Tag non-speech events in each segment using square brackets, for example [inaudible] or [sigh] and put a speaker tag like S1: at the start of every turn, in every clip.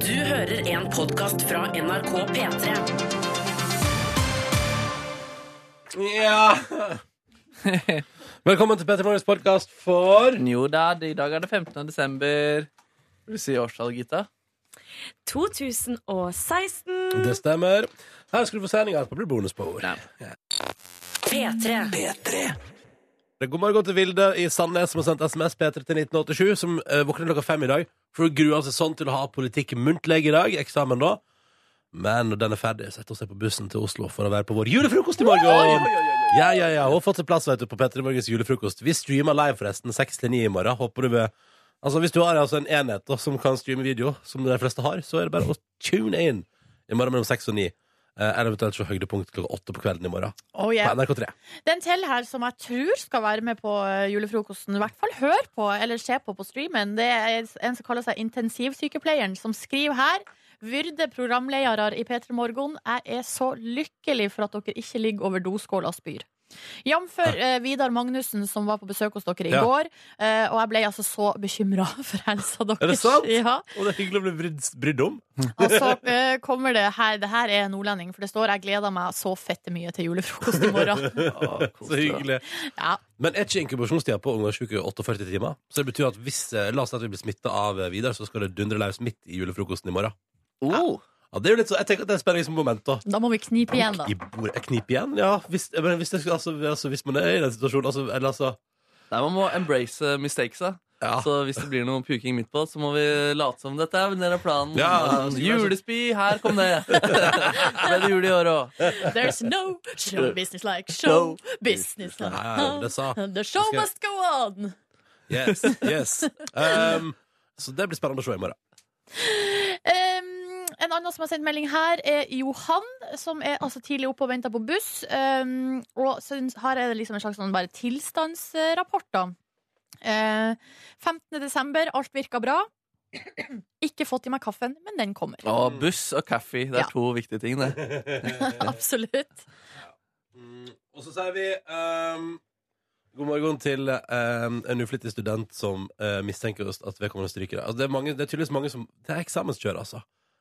S1: Du hører en podkast fra NRK P3.
S2: Ja. [laughs] Velkommen til Petter Morgens podkast for
S3: Jo da, i dag er det 15. desember. Vil du si årstall, Gitta?
S4: 2016.
S2: Det stemmer. Her skal du få sendinga etterpå. Blir bonusbord.
S3: Ja.
S1: P3.
S2: God morgen til Vilde i Sandnes som har sendt SMS P3 til 1987, som eh, våkner klokka fem i dag. For hun gruer seg sånn til å ha politikk muntlig i dag. Eksamen da. Men når den er ferdig, setter hun seg på bussen til Oslo for å være på vår julefrokost i morgen. Ja, ja, ja. Hun har fått seg plass vet du, på P3 Morgens julefrokost. Vi streamer live forresten 6 til 9 i morgen. Håper du vil Altså, Hvis du har altså en enhet da, som kan streame video, som de fleste har, så er det bare å tune inn i morgen mellom 6 og 9. Eh, Eller eventuelt se høydepunkt klokka 8 på kvelden i morgen
S5: Oh,
S2: på
S5: yeah.
S2: NRK3.
S5: Det er en til her som jeg tror skal være med på eh, julefrokosten. I hvert fall hør på eller se på på streamen. Det er en som kaller seg Intensivsykepleieren, som skriver her. Vyrde programledere i P3 Morgen, jeg er så lykkelig for at dere ikke ligger over doskåla og spyr. Jf. Eh, Vidar Magnussen, som var på besøk hos dere i
S2: Ja.
S5: går. Eh, og jeg ble altså så bekymra [laughs] for helsa deres.
S2: Er det sant?
S5: Ja.
S2: Og det er hyggelig å bli brydd, brydd om.
S5: Og så eh, kommer det her. Det her er nordlending, for det står 'Jeg gleder meg så fette mye til julefrokost i
S2: [laughs]
S5: morgen'.
S2: Så hyggelig.
S5: Ja.
S2: Men er ikke inkubasjonstida på ungdomssjuke 48 timer? Så det betyr at hvis eh, la oss si at vi blir smitta av eh, Vidar, så skal det dundre løs midt i julefrokosten i morgen.
S3: Oh.
S2: Ja, det er jo litt så, jeg tenker at det er et spenningsmoment, da.
S5: Da må vi knipe igjen, da.
S2: I bordet. Jeg kniper igjen, ja. Hvis, eh, men hvis, det, skulle- altså, altså, hvis man er i den situasjonen, altså, eller altså
S3: Nei, man må embrace eh, mistakesa.
S2: ja.
S3: Så hvis det blir noe puking midt på, så må vi late som dette er dere planen.
S2: Ja, det skulle være så-
S3: Julespy, her kom sånn [laughs] det! Ble det jul i år òg?
S5: There's no show business like show business like
S2: Ja, ja, ja, det sa-
S5: The show
S2: skal-
S5: must go on!
S2: Yes.
S5: [laughs]
S2: yes. Um, så det blir spennende å se i morgen.
S5: Um, en annen som har sendt melding her, er Johan, som er altså tidlig oppe og venter på buss. Um, og syns- her er det liksom en slags sånn bare tilstandsrapport, da. Eh, 15. desember, alt virka bra. Ikke fått i meg kaffen, men den kommer.
S3: Og buss og kaffe. Det
S5: Ja.
S3: er to viktige ting, det.
S5: [laughs] Absolutt.
S2: Mm, Og så sier vi ehm, god morgen til ehm, en uflittig student som eh, mistenker oss at vedkommende stryker. Altså, det, er mange, det er tydeligvis mange som Det er eksamenskjør, altså.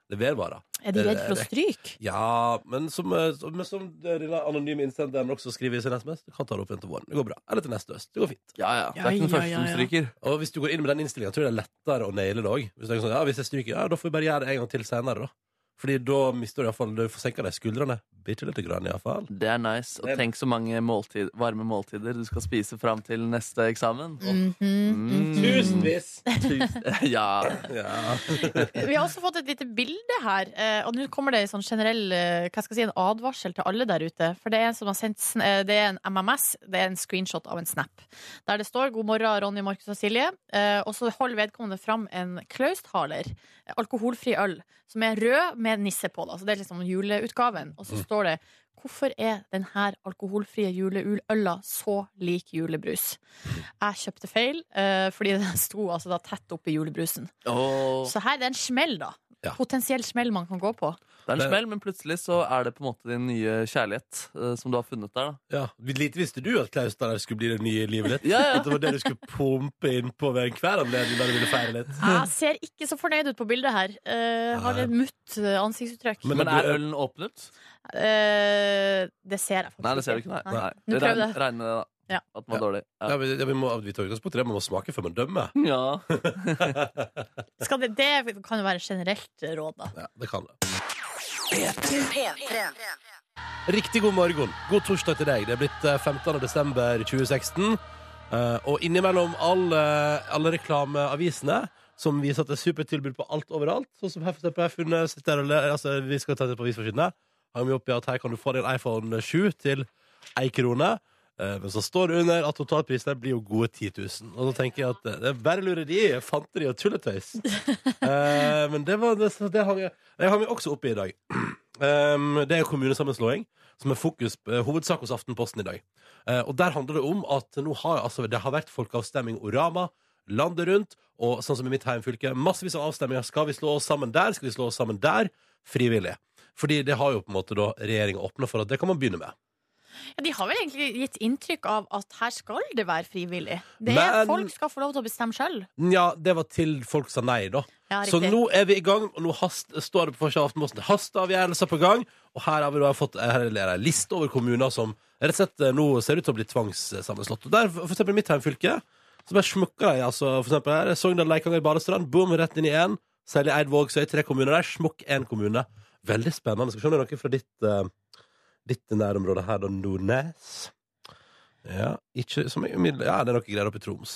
S2: Det er vedvarer.
S5: Er de redd for å stryke?
S2: Ja, men som, eh, som- men som denne anonyme innsenderen også skriver i sin SMS, du kan ta det opp igjen til våren. Det går bra. Eller til neste høst. Det går fint.
S3: Ja, ja. Det er ikke den første som stryker.
S2: Og hvis du går inn med den innstillinga, tror jeg det er lettere å naile det òg. Hvis, du tenker sånn, ja, hvis jeg stryker, ja, da får vi bare gjøre det en gang til senere, da. Fordi da mister du iallfall Du får senka de skuldrene bitte lite grann, iallfall.
S3: Det er nice. Og tenk så mange måltid, varme måltider du skal spise fram til neste eksamen.
S5: Mhm.
S3: Mm.
S2: [laughs]
S3: Tusen- [laughs] Ja.
S2: Ja.
S5: [laughs] Vi har også fått et lite bilde her, eh, og nå kommer det en sånn generell eh, hva skal jeg si, en advarsel til alle der ute. For det er en som har sendt sn- eh, Det er en MMS, det er en screenshot av en snap, der det står 'God morgen, Ronny, Markus og Silje', eh, og så holder vedkommende fram en Klausthaler, eh, alkoholfri øl, som er rød med nisse på. Da. Så det er liksom juleutgaven. Og så står det 'Hvorfor er denne alkoholfrie juleøla så lik julebrus?' Jeg kjøpte feil, eh, fordi den sto altså da tett oppi julebrusen.
S3: Åh.
S5: Så her det er en smell, da.
S2: Ja.
S5: Potensiell smell man kan gå på.
S3: Det er
S2: Det-
S3: en smell, men plutselig så er det på en måte din nye kjærlighet eh, som du har funnet der. da
S2: Ja, Lite visste du at Klaus der skulle bli det nye livet ditt.
S3: Ja, ja.
S2: [laughs] At det var det du skulle pumpe inn på ved enhver anledning der du ville feire litt.
S5: Jeg ser ikke så fornøyd ut på bildet her. Eh, har et mutt eh, ansiktsuttrykk.
S2: Men-
S3: [laughs] Men,
S2: du-
S3: er ølen åpnet?
S5: Eh, det ser jeg faktisk
S3: Nei, det ser du ikke. Nei.
S5: Nei.
S3: Nei.
S5: Men
S3: Det
S5: prøv
S3: regner,
S5: det.
S3: regner det, da.
S5: Ja.
S3: At den var dårlig.
S2: Ja,
S3: Ja.
S2: vi, ja, vi, må, vi tar utgangspunkt i det, man må smake før man dømmer.
S3: [laughs] ja.
S5: Skal det, det kan jo være generelt råd, da.
S2: Ja, det kan det.
S1: P3.
S2: Riktig god morgen. God torsdag til deg. Det er blitt eh, 15. desember 2016. eh, og innimellom alle, alle reklameavisene som viser at det er supertilbud på alt overalt, sånn som her for eksempel, jeg har funnet, sitter her og le- altså, vi skal ta det på avisforsidene, har vi oppi at her kan du få din iPhone 7 til ei krone. Eh, Men så står det under at totalprisen her blir jo gode 10 000. Og da tenker jeg at eh, det er bare lureri, fanteri og tulletøys. Eh, men det var det, så det hang jeg, jeg hang meg også opp i i dag. [clears throat] Em, det er kommunesammenslåing, som er fokus, eh, hovedsak hos Aftenposten i dag. Eh, og der handler det om at nå har, altså, det har vært folkeavstemning Orama landet rundt, og sånn som i mitt heimfylke, massevis av avstemninger. Skal vi slå oss sammen der? Skal vi slå oss sammen der? Frivillig. Fordi det har jo på en måte da regjeringa åpna for at det kan man begynne med.
S5: Ja, de har vel egentlig gitt inntrykk av at her skal det være frivillig. Det er,
S2: Men-
S5: Folk skal få lov til å bestemme sjøl.
S2: Ja, det var til folk sa nei, da.
S5: Ja,
S2: Så
S5: riktig.
S2: nå er vi i gang, og nå hast, står det på forsiden av Aftenposten hasteavgjørelser på gang. Og her har vi da fått her er en liste over kommuner som rett og slett eh, nå ser ut til å bli tvangssammenslått. Og der, for eksempel i mitt hjemfylke, så bare smukker de, altså. For eksempel her, Sogndal, Leikanger, Balestrand. Boom, rett inn i én. Særlig Eidvåg, så er det tre kommuner der. Smukk én kommune. Veldig spennende. Skal vi se om det er noe fra ditt, eh, ditt nærområde her, da. Nordnes. Ja, ikke, som, er umiddelbar- ja, det er noe greier oppe i Troms.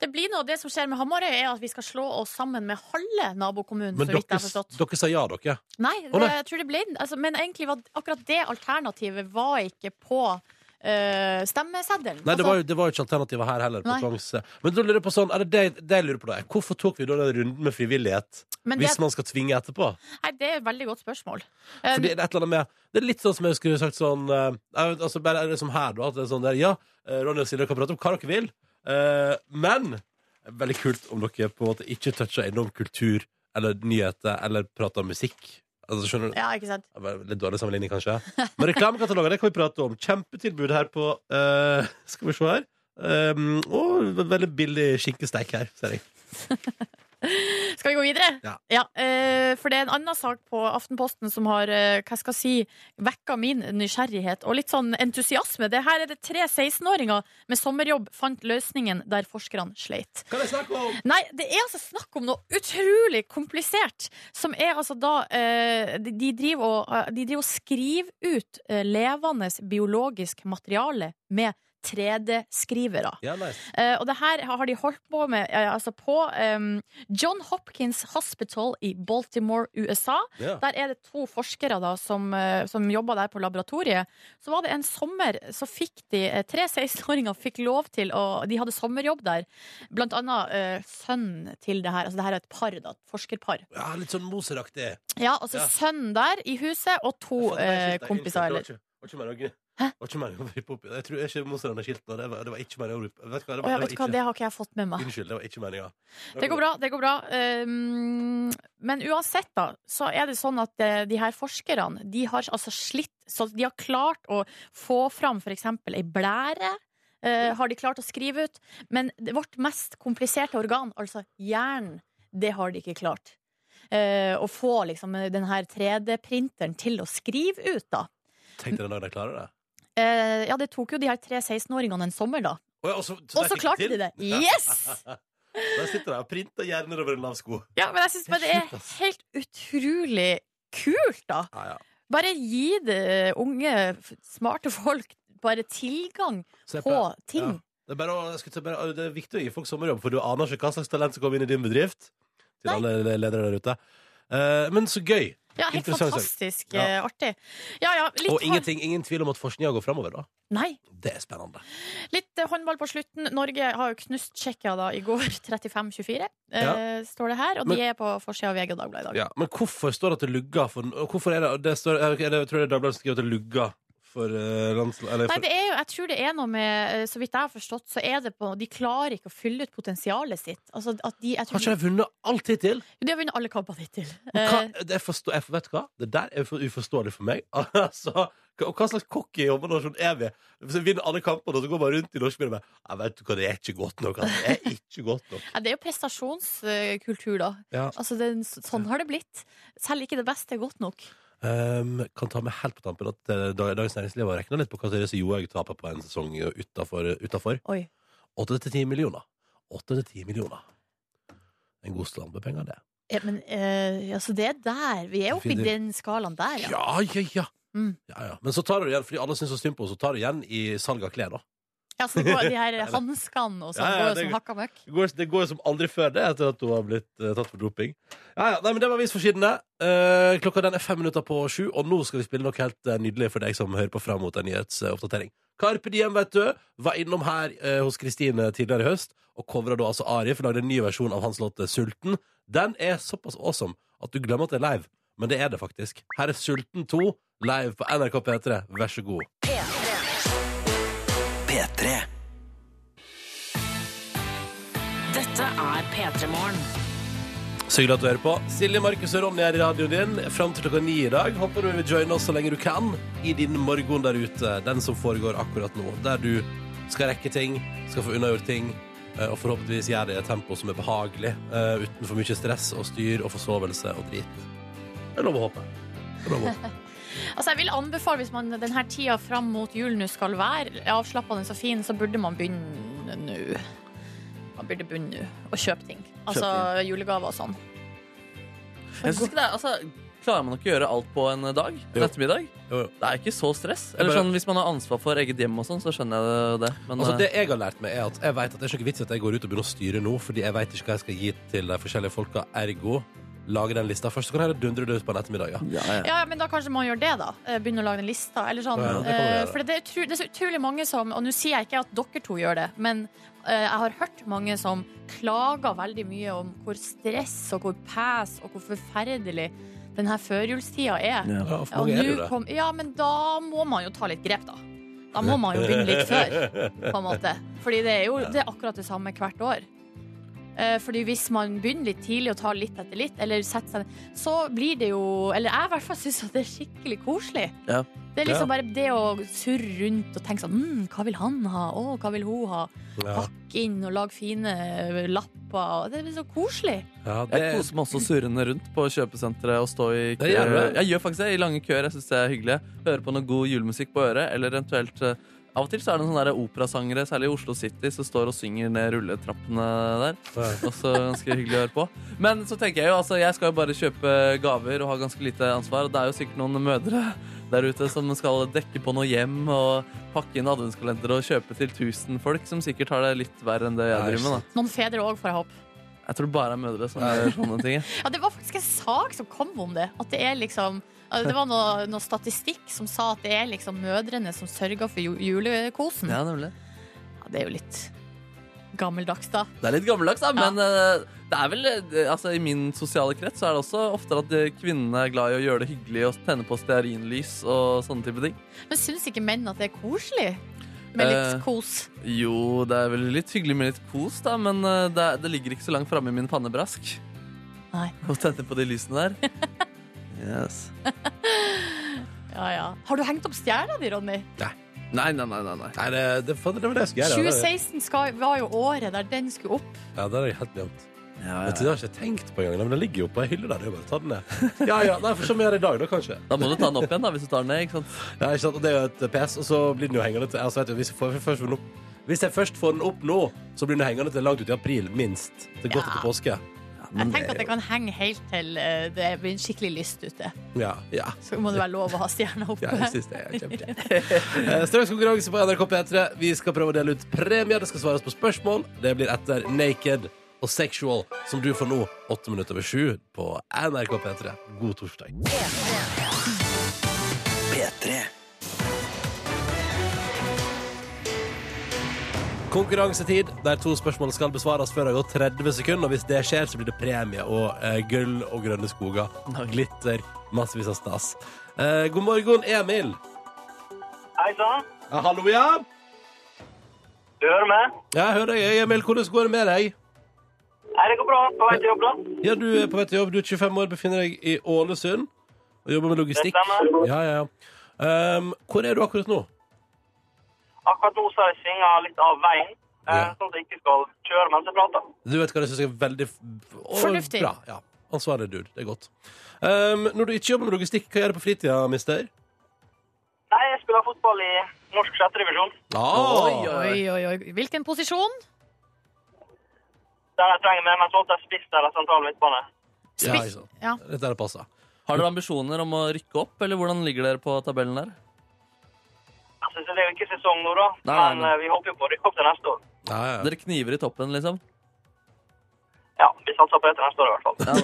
S5: Det blir noe, det som skjer med Hamarøy, er at vi skal slå oss sammen med halve nabokommunen.
S2: Men
S5: så vidt jeg
S2: dere,
S5: har forstått.
S2: dere sa ja, dere.
S5: Nei, det,
S2: Å, nei.
S5: jeg tror det ble altså, Men egentlig var akkurat det alternativet var ikke på eh, stemmeseddelen.
S2: Nei, det
S5: Altså,
S2: var, jo- det var jo ikke alternativet her heller. På
S5: Nei.
S2: tvangs. Men da lurer jeg på sånn, er det det, det jeg lurer på da? Hvorfor tok vi da den runden med frivillighet
S5: men det, Um,
S2: hvis man skal tvinge etterpå?
S5: nei, det er et veldig godt spørgsmål. Eh,
S2: Fordi det er et eller annet med Det er litt sånn som jeg skulle sagt sånn eh, jeg vet, altså Bare er det som her, da. At det er sånn der Ja, eh, Ronny og Silje kan prate om hva dere vil, eh, men Veldig kult om dere på en måte ikke toucher innom kultur eller nyheter eller prater om musikk. Altså, skjønner du?
S5: Um, ja, ikke sant?
S2: Det var Litt dårlig sammenligning, kanskje. Men reklamekataloger det kan vi prate om. Kjempetilbud her på eh, Skal vi se her. Um, og ve- veldig billig skinkesteik her, ser jeg.
S5: Skal vi gå videre?
S2: Ja.
S5: eh, for det er en annen sak på Aftenposten som har eh, hva skal jeg si, vekka min nysgjerrighet og litt sånn entusiasme. Det her er det tre 16-åringer med sommerjobb fant løsningen der forskerne sleit.
S2: Kan jeg snakke om?
S5: Nei, det er altså snakk om noe utrolig komplisert, som er altså da eh, De de driver og, eh, de driver og skriver ut eh, levende biologisk materiale med 3D-skrivere.
S2: Ja, nice.
S5: Eh, og det her har de holdt på med eh, altså på ehm, John Hopkins Hospital i Baltimore, USA.
S2: Ja.
S5: Der er det to forskere da, som, eh, som jobber der på laboratoriet. Så var det en sommer, så fikk de eh, Tre 16-åringer fikk lov til å De hadde sommerjobb der. Blant annet eh, sønnen til det her. Altså det her er et par, da. et Forskerpar.
S2: ja, litt sånn Moser-aktig.
S5: Ja, altså
S2: Ja.
S5: sønnen der i huset, og
S2: Jeg
S5: to
S2: fant meg
S5: eh,
S2: skilt der.
S5: kompiser.
S2: Unnskyld,
S5: Eller.
S2: det var ikke- det var ikke meningen å gni-
S5: Hæ?
S2: det var ikke meningen å rippe opp i. Jeg tror ikke Moser hadde skilt nå. Det var, det var ikke meningen å rippe Vet du hva, det
S5: Å
S2: var, det
S5: ja, vet du hva,
S2: var
S5: det
S2: ikke
S5: har ikke jeg fått med meg.
S2: Unnskyld, det var ikke meninga.
S5: Det går bra. det går bra Ehm, Men uansett, da, så er det sånn at eh, de her forskerne De har altså slitt Så de har klart å få fram f.eks. ei blære. eh, har de klart å skrive ut. Men det- vårt mest kompliserte organ, altså hjernen, det har de ikke klart. Eh, å få liksom den her 3D-printeren til å skrive ut, da.
S2: Tenk dere når de klarer det.
S5: Eh, ja, det tok jo de her tre 16-åringene en sommer, da.
S2: Å ja, og så,
S5: Og så
S2: fikk
S5: klarte
S2: til.
S5: de
S2: [laughs]
S5: det. Yes!
S2: Der sitter de og printer hjerner over en lav sko.
S5: Ja, men jeg syns bare det
S2: Det er
S5: er
S2: sjukt, ass.
S5: helt utrolig kult, da.
S2: Ja, ja.
S5: Bare gi det unge, f- smarte folk bare tilgang
S2: Så jeg
S5: på
S2: Ja.
S5: ting.
S2: Det er, bare, å- jeg skulle si bare, det er viktig å gi folk sommerjobb, for du aner ikke hva slags talent som kommer inn i din bedrift. Til
S5: Nei.
S2: alle le- ledere der ute. Eh, men så gøy!
S5: Ja, helt
S2: Interessant sak.
S5: fantastisk
S2: Ja.
S5: eh, artig. Ja, ja, litt,
S2: Og
S5: hånd-
S2: ingenting, ingen tvil om at forskninga går framover, da.
S5: Nei,
S2: Det er spennende.
S5: litt eh, håndball på slutten. Norge har jo knust Tsjekkia da i går, [laughs] 35-24, eh, står det her. Og
S2: Men-
S5: de er på forsida av VG og Dagbladet i dag.
S2: Ja. Men hvorfor står det at det lugger for og Hvorfor er det, det står, er det, Jeg tror det er Dagbladet som skriver at det lugger for eh, landsla- eller
S5: Nei,
S2: for-
S5: det er jo, jeg tror det er noe med eh, Så vidt jeg har forstått, så er det på De klarer ikke å fylle ut potensialet sitt. Altså, at de, jeg
S2: Har
S5: tror,
S2: ikke de vunnet alt hittil?
S5: de har vunnet alle kampene hittil.
S2: Men
S5: Eh,
S2: hva- det forstår, jeg, vet du hva? Det der er for- uforståelig for meg. [laughs] Altså, hva- og hva slags cocky jobbernasjon er vi? Hvis vi vinner alle kampene, og så går man rundt i norsk media og bare «Nei, Vet du hva, det er ikke godt nok. Altså. Det er ikke godt
S5: [laughs]
S2: nok.
S5: ja, det er jo prestasjonskultur, da.
S2: Ja.
S5: Altså, det, er en- sånn har det blitt. Selv ikke det beste er godt nok.
S2: Ehm, kan ta med helt på tampen at eh, Dag- Dagens Næringsliv har regna litt på hva Therese Johaug taper på en sesong utafor. 8-10
S5: Oi.
S2: millioner. 8-10 millioner. En god slant med penger, det.
S5: Ja, men eh, altså, det er der. Vi er oppe i
S2: Finner-
S5: den skalaen der, ja.
S2: Ja, ja, ja.
S5: Mm.
S2: ja, ja. Men så tar du igjen, fordi alle syns så synd på henne, så tar du igjen i salg av klær, da.
S5: [laughs] ja så det går, de her hanskene og sånn
S2: Ja, ja,
S5: går jo
S2: det-
S5: som hakka møkk.
S2: Det går, det går som aldri før det, etter at hun har blitt eh, tatt for doping. Ja, ja, nei, men Det var avisforsidene. Uh, klokka den er fem minutter på sju, og nå skal vi spille noe helt eh, nydelig for deg som hører på fram mot en nyhetsoppdatering. Carpe Diem vet du, var innom her eh, hos Kristine tidligere i høst og covra da altså Arif og lagde en ny versjon av hans låt eh, 'Sulten'. Den er såpass awesome at du glemmer at det er live, men det er det faktisk. Her er 'Sulten 2' live på NRK P3. Vær så god.
S1: P3. Dette er P3 Morgen.
S2: Så hyggelig at du hører på. Silje, Markus og Ronny er i radioen din fram til klokka ni i dag. Håper du vil joine oss så lenge du kan i din morgen der ute, den som foregår akkurat nå. Der du skal rekke ting, skal få unnagjort ting, eh, og forhåpentligvis gjøre det i et tempo som er behagelig, eh, uten for mye stress og styr og forsovelse og drit. Det er lov å håpe. Det er lov å håpe. [laughs]
S5: Altså, jeg vil anbefale, hvis man denne tida fram mot jul nå skal være avslappende og fin, så burde man begynne nå. Man burde begynne nå å kjøpe ting. Altså julegaver og sånn.
S3: Jeg synes ikke det er, altså, Klarer man ikke å gjøre alt på en dag?
S2: Jo.
S3: En ettermiddag?
S2: Jo, jo.
S3: Det er ikke så stress.
S2: Jeg
S3: Eller
S2: bare-
S3: sånn, Hvis man har ansvar for eget hjem, og sånn, så skjønner jeg det. Men
S2: Altså,
S3: eh,
S2: det jeg har lært meg, er at jeg vet at det er ikke vits i at jeg går ut og begynner å styre nå, fordi jeg vet ikke hva jeg skal gi til de forskjellige folka. Ergo lage den lista først, så kan jeg dundre det ut på en ettermiddag. Ja.
S3: ja, ja.
S5: Ja, ja, men da kanskje man gjør det, da. Eh, Begynner å lage den lista. Eller sånn.
S2: Ja, det kan man
S5: Eh,
S2: gjøre.
S5: For det er, utru, det er så utrolig mange som Og nå sier jeg ikke at dere to gjør det, men eh, jeg har hørt mange som klager veldig mye om hvor stress og hvor pes og hvor forferdelig denne førjulstida er.
S3: Ja.
S2: Ja, for
S5: Ja, og
S2: mange er det
S5: nå
S2: jo det.
S5: kom, ja, men da må man jo ta litt grep, da. Da må man jo begynne
S2: [laughs]
S5: litt før, på en måte. Fordi det er jo det er akkurat det samme hvert år. Eh, Fordi hvis man begynner litt tidlig og tar litt etter litt, eller setter seg så blir det jo Eller jeg i hvert fall syns at det er skikkelig koselig.
S3: Ja.
S5: Det er
S2: Ja.
S5: liksom bare det å surre rundt og tenke sånn mm, Hva vil han ha? Å, hva vil hun ha?
S2: Ja.
S5: Pakke inn og lage fine lapper. Det er så koselig.
S2: Ja, det,
S3: Jeg koser meg også surrende rundt på kjøpesenteret og stå i kø.
S2: Det gjør du.
S3: Jeg gjør faktisk det, i lange køer. Jeg syns det er hyggelig. Høre på noe god julemusikk på øret, eller eventuelt eh, av og til så er det sånne der operasangere, særlig i Oslo City, som står og synger ned rulletrappene der.
S2: Ja.
S3: Også ganske hyggelig å høre på. Men så tenker jeg jo, altså, jeg skal jo bare kjøpe gaver og ha ganske lite ansvar. Og det er jo sikkert noen mødre der ute som skal dekke på noe hjem og pakke inn adventskalendere og kjøpe til 1000 folk, som sikkert har det litt verre enn det jeg
S2: Nei,
S3: driver med. da.
S5: Noen fedre òg, får jeg håpe.
S3: Jeg tror det bare er mødre som gjør sånne
S2: [laughs]
S3: ting. jeg.
S5: Ja, det var faktisk en sak som kom om det. At det er liksom det var noe, noe statistikk som sa at det er liksom mødrene som sørger for ju- julekosen. Ja.
S3: Ja, nemlig.
S5: Det er jo litt gammeldags, da.
S3: Det er litt gammeldags, da,
S5: Ja.
S3: men eh, det er vel, eh, altså, i min sosiale krets så er det også oftere at eh, kvinnene er glad i å gjøre det hyggelig og tenne på stearinlys og sånne type ting.
S5: Men syns ikke menn at det er koselig med litt
S3: Eh.
S5: kos?
S3: Jo, det er vel litt hyggelig med litt kos, da, men eh, det, er- det ligger ikke så langt framme i min pannebrask
S5: Nei.
S3: [laughs] å tenne på de lysene der. Yes.
S5: Ja, ja. Har du hengt opp stjerna di, Ronny?
S3: Nei, nei, nei. nei, nei.
S2: Nei, det, det, faen, det var det jeg skulle gjøre. Det,
S5: 2016 skal, var jo året der den skulle opp.
S2: ja, det er jeg helt glemt.
S3: Ja,
S2: Vet du, Det har jeg ikke tenkt på engang, men den ligger jo på ei hylle der. Det er jo bare å ta den ned. Ja, ja, nei, for som jeg gjør i dag, da, kanskje.
S3: Da må du ta den opp igjen da, hvis du tar den ned. ikke sant?
S2: Ja, ikke sant? Og det er jo et PS, og så blir den jo hengende til altså, vet du, hvis, jeg får, først får den opp, hvis jeg først får den opp nå, så blir den hengende til langt ut i april, minst. Til godt etter påske.
S5: Jeg tenker at det kan henge helt til eh, det blir skikkelig lyst ute.
S2: Ja, ja.
S5: Så må det være lov å ha stjerna oppe.
S2: Ja, jeg synes det [laughs] er kjempegøy. Eh, Straks konkurranse på NRK P3. Vi skal prøve å dele ut premier. Det skal svares på spørsmål. Det blir etter Naked og Sexual, som du får nå, åtte minutter over sju, på NRK P3. God torsdag. Konkurransetid, der to spørsmål skal besvares før det har gått 30 sekunder. Og hvis det skjer, så blir det premie og eh, gull og grønne skoger. Glitter. Massevis av stas. Eh, god morgen, Emil.
S4: Hei sann.
S2: Ja, hallo, ja.
S4: Du hører meg?
S2: Ja, jeg hører deg. Emil, hvordan går det med deg?
S4: Nei, det går bra. På vei til jobb, da.
S2: Ja, Du er på vei til jobb, du er 25 år, befinner deg i Ålesund og jobber med logistikk.
S4: Det stemmer.
S2: Ja, ja, ja. Ehm, hvor er du akkurat nå?
S4: Akkurat nå så har jeg svinga litt av veien, eh,
S2: Ja.
S4: sånn at jeg ikke skal kjøre mens jeg prater.
S2: Du vet hva det syns jeg er veldig f- å,
S5: Fornuftig.
S2: Bra, ja. Ansvarlig dude. Det er godt. Ehm, når du ikke jobber med logistikk, hva gjør du på fritida, mister?
S4: Nei, jeg spiller fotball i norsk sjette divisjon,
S2: Ah,
S5: Oi, oi, oi. Hvilken posisjon?
S4: der jeg trenger med meg sånn at jeg spiss eller sentral midtbane.
S2: Ja, ikke sant.
S5: Ja.
S2: Dette er det passa.
S3: Har dere ambisjoner om å rykke opp, eller hvordan ligger dere på tabellen der?
S4: Jeg synes det er jo ikke sesong nå, da,
S3: Nei, nei,
S4: men
S3: nei.
S4: eh, vi håper jo på å rykke opp til neste år.
S2: Ja, ja.
S3: Dere kniver i toppen, liksom?
S4: Ja, vi satser på det til neste år i hvert fall.
S3: Ja,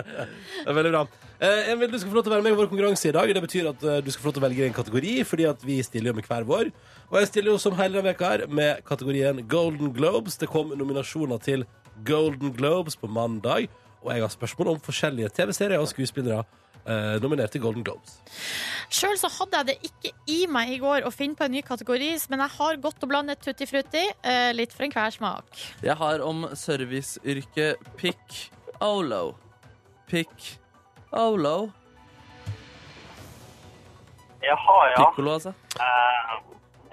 S3: [laughs] det-
S2: Det er Veldig bra. Eh, Emil, du skal få lov til å være med i vår konkurranse i dag. Det betyr at eh, du skal få lov til å velge en kategori, fordi at vi stiller jo med hver vår. Og jeg stiller jo som hele denne veka her med kategorien Golden Globes. Det kom nominasjoner til Golden Globes på mandag, og jeg har spørsmål om forskjellige TV-serier og skuespillere eh, nominert til Golden Globes.
S3: [laughs]
S5: Sjøl så hadde jeg det ikke i meg i går å finne på en ny kategori, men jeg har godt og blandet tutti frutti. eh, Litt for enhver smak.
S3: Jeg har om serviceyrket pikk Olo. Pick Olo.
S4: Jaha, ja.
S3: Pikkolo, altså.
S4: Eh,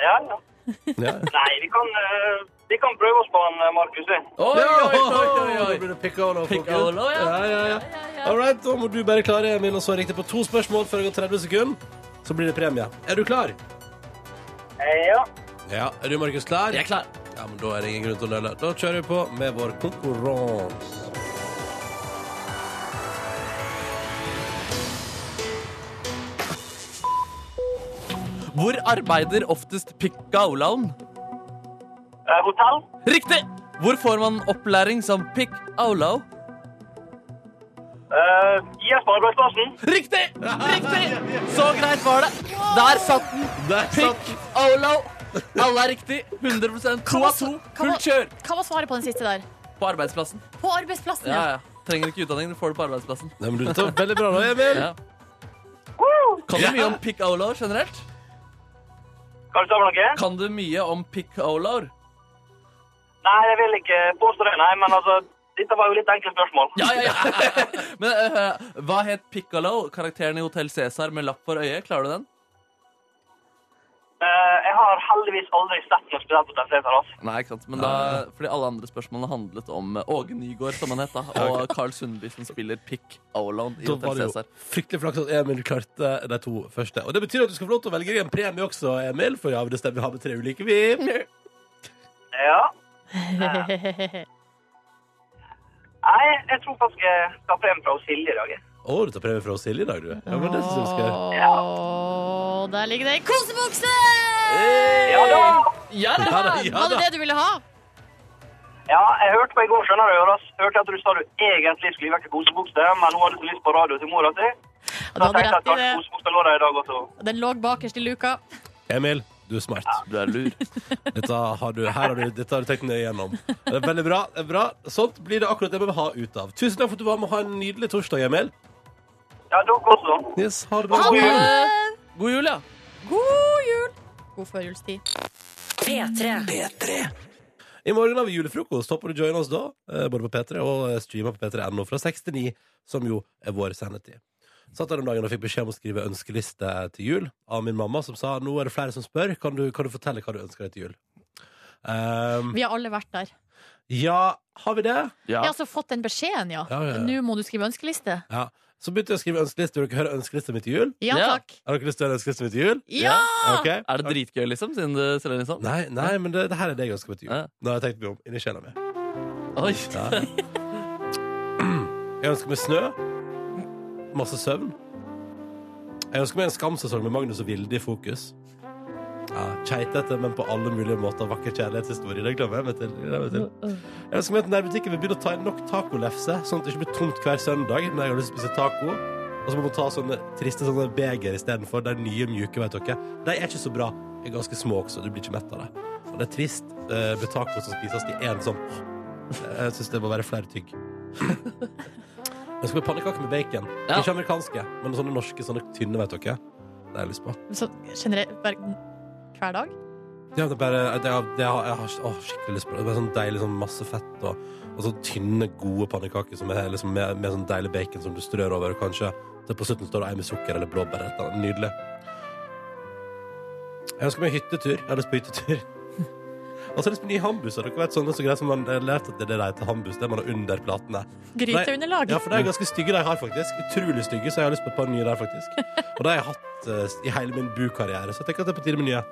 S4: ja, ja.
S2: Ja.
S4: Nei, vi kan, eh, vi kan prøve oss på han, eh, Markus. vi.
S3: Oi, oi, oi,
S2: Da
S3: oi,
S2: blir
S3: oi.
S2: det piccolo, folkens.
S3: Piccolo, ja.
S2: Ja, ja, ja. All right, da må du bare klare Emil, å svare riktig på to spørsmål før det går 30 sekunder. Så blir det premie. Er du klar?
S4: Eh, ja.
S2: Ja. Er du, Markus, klar?
S3: Jeg er klar.
S2: Ja, men Da er det ingen grunn til å nøle. Da kjører vi på med vår konkurranse.
S3: Hvor arbeider oftest pikkaulaun?
S4: Eh, hotell?
S3: Riktig! Hvor får man opplæring som pikkaulau?
S4: Eh, gi oss på arbeidsplassen.
S3: Riktig! Riktig! Så greit var det. Der satt den.
S2: Der
S3: Pikk aulau. Alle er riktig. 100 To av to. Fullt kjør
S5: Hva var svaret på den siste der?
S3: på arbeidsplassen.
S5: På arbeidsplassen,
S3: Ja,
S5: ja.
S3: ja. Trenger ikke utdanning, du får det på arbeidsplassen.
S2: Nei, men du tar veldig bra nå, Emil.
S3: Ja. Kan du mye om pikkaulau generelt?
S4: Kan du ta med noe?
S3: Kan du mye om pikkaulaur?
S4: Nei, jeg vil ikke påstå det, nei, men altså, dette var jo litt enkle spørsmål.
S3: Ja, ja, ja. [laughs] Men eh, hva het Piccolo, karakteren i Hotell Cæsar med lapp for øyet? Klarer du den?
S4: Eh, jeg har heldigvis aldri sett noe spesielt på Tesla, altså.
S3: Nei, ikke sant. Men da, fordi alle andre spørsmålene handlet om eh, Åge Nygaard, som
S2: [laughs]
S3: han het, da, og Carl Sundby, som spiller Pick Auland i
S2: Da var
S3: Hotell
S2: det jo
S3: Cæsar.
S2: fryktelig flaks at Emil klarte de to første. Og Det betyr at du skal få lov til å velge deg en premie også, Emil. For ja, det stemmer, vi har med tre ulike, vi.
S4: Ja. Nei, jeg tror faktisk jeg skal frem fra Silje i dag. jeg.
S2: Å, du tar premie fra oss Silje i dag, du. Ja, men det synes jeg skal gjøre.
S5: Åh, der ligger det en kosebukse!
S4: Ja, da.
S3: Ja, da.
S2: Ja da, ja
S5: Var det
S2: da.
S5: det du ville ha?
S4: Ja, jeg hørte på i går, skjønner du, Jonas. Hørte at du sa du egentlig skulle vekke kosebukse, men hun hadde så lyst på radio til mora si.
S5: Ja,
S4: Så
S5: du
S4: jeg
S5: hadde
S4: tenkte at
S5: rett i
S4: kanskje
S5: det.
S4: kosebuksa lå der i dag også.
S5: Den lå bakerst i luka.
S2: Emil, du er smart.
S3: Du er lur.
S2: Dette har du, her har du, dette har du tenkt nøye gjennom. Det er veldig bra. det er bra. Sånt blir det akkurat det vi vil ha ut av. Tusen takk for at du var med. Ha en nydelig torsdag, Emil.
S4: Ja, dere også.
S2: Yes, ha det bra.
S5: Ha det!
S3: God jul, ja.
S5: God jul! God førjulstid.
S1: P3.
S2: I morgen har vi julefrokost. Håper du joiner oss da, eh, både på P3 og eh, streamer på p3.no fra 6 til 9, som jo er vår sendetid. Satt her om dagen og fikk beskjed om å skrive ønskeliste til jul av min mamma, som sa nå er det flere som spør, kan du, kan du fortelle hva du ønsker deg til jul? Ehm,
S5: Vi har alle vært der.
S2: ja, har vi det?
S5: Vi har altså fått den beskjeden, ja.
S2: Ja, ja, ja.
S5: Nå må du skrive ønskeliste.
S2: Ja. Så begynte jeg å skrive ønskeliste. Vil dere høre ønskelista mi til jul?
S5: Ja,
S3: Ja.
S5: takk.
S2: Har dere lyst til å høre ønskelista mi til jul?
S5: Ja!
S2: Ok.
S3: Er det dritgøy, liksom? Siden du selger den sånn?
S2: Nei, nei, men det, det her er det jeg ønsker meg til jul.
S3: Ja.
S2: Nå har jeg tenkt meg om inni sjela mi.
S3: Oi.
S2: Jeg ønsker meg snø. Masse søvn. Jeg ønsker meg en skamsesong med Magnus og Vilde i fokus. Ja, Keitete, men på alle mulige måter vakker kjærlighetshistorie. Det glemmer jeg meg til. Det glemmer Jeg meg til. Jeg ønsker meg at nærbutikken vil begynne å ta inn nok tacolefse, sånn at det ikke blir tomt hver søndag når jeg har lyst til å spise taco. Og så må man ta sånne triste sånne beger istedenfor. De nye mjuke, vet dere. De er ikke så bra. De er ganske små også. Du blir ikke mett av det. Og det er trist eh, med taco som spises i én sånn. Jeg syns det må være flere tygg. Jeg skal ha pannekaker med bacon.
S3: Ja.
S2: Ikke amerikanske, men sånne norske, sånne tynne, vet dere. Det har jeg lyst på.
S5: Så generelt bare hver dag?
S2: Ja, det er bare, det har, det har, jeg har å, skikkelig lyst på det. Det er sånn deilig sånn masse fett og, og sånn tynne, gode pannekaker som er liksom med, med sånn deilig bacon som du strør over. Og kanskje til på slutten står det ei med sukker eller blåbær. eller et eller annet. Nydelig. Jeg ønsker meg hyttetur. Jeg har lyst på hyttetur. [laughs] Og så har jeg lyst på nye hambuser. Dere vet sånne så greit som man har lært at det er det de heter hambus. Det man har under platene.
S5: Gryteunderlag?
S2: Ja, for de er ganske stygge, de har faktisk. Utrolig stygge, så jeg har lyst på et par nye der, faktisk. Og det har jeg hatt eh, i hele min bukarriere, så jeg tenker at det er på tide med nye.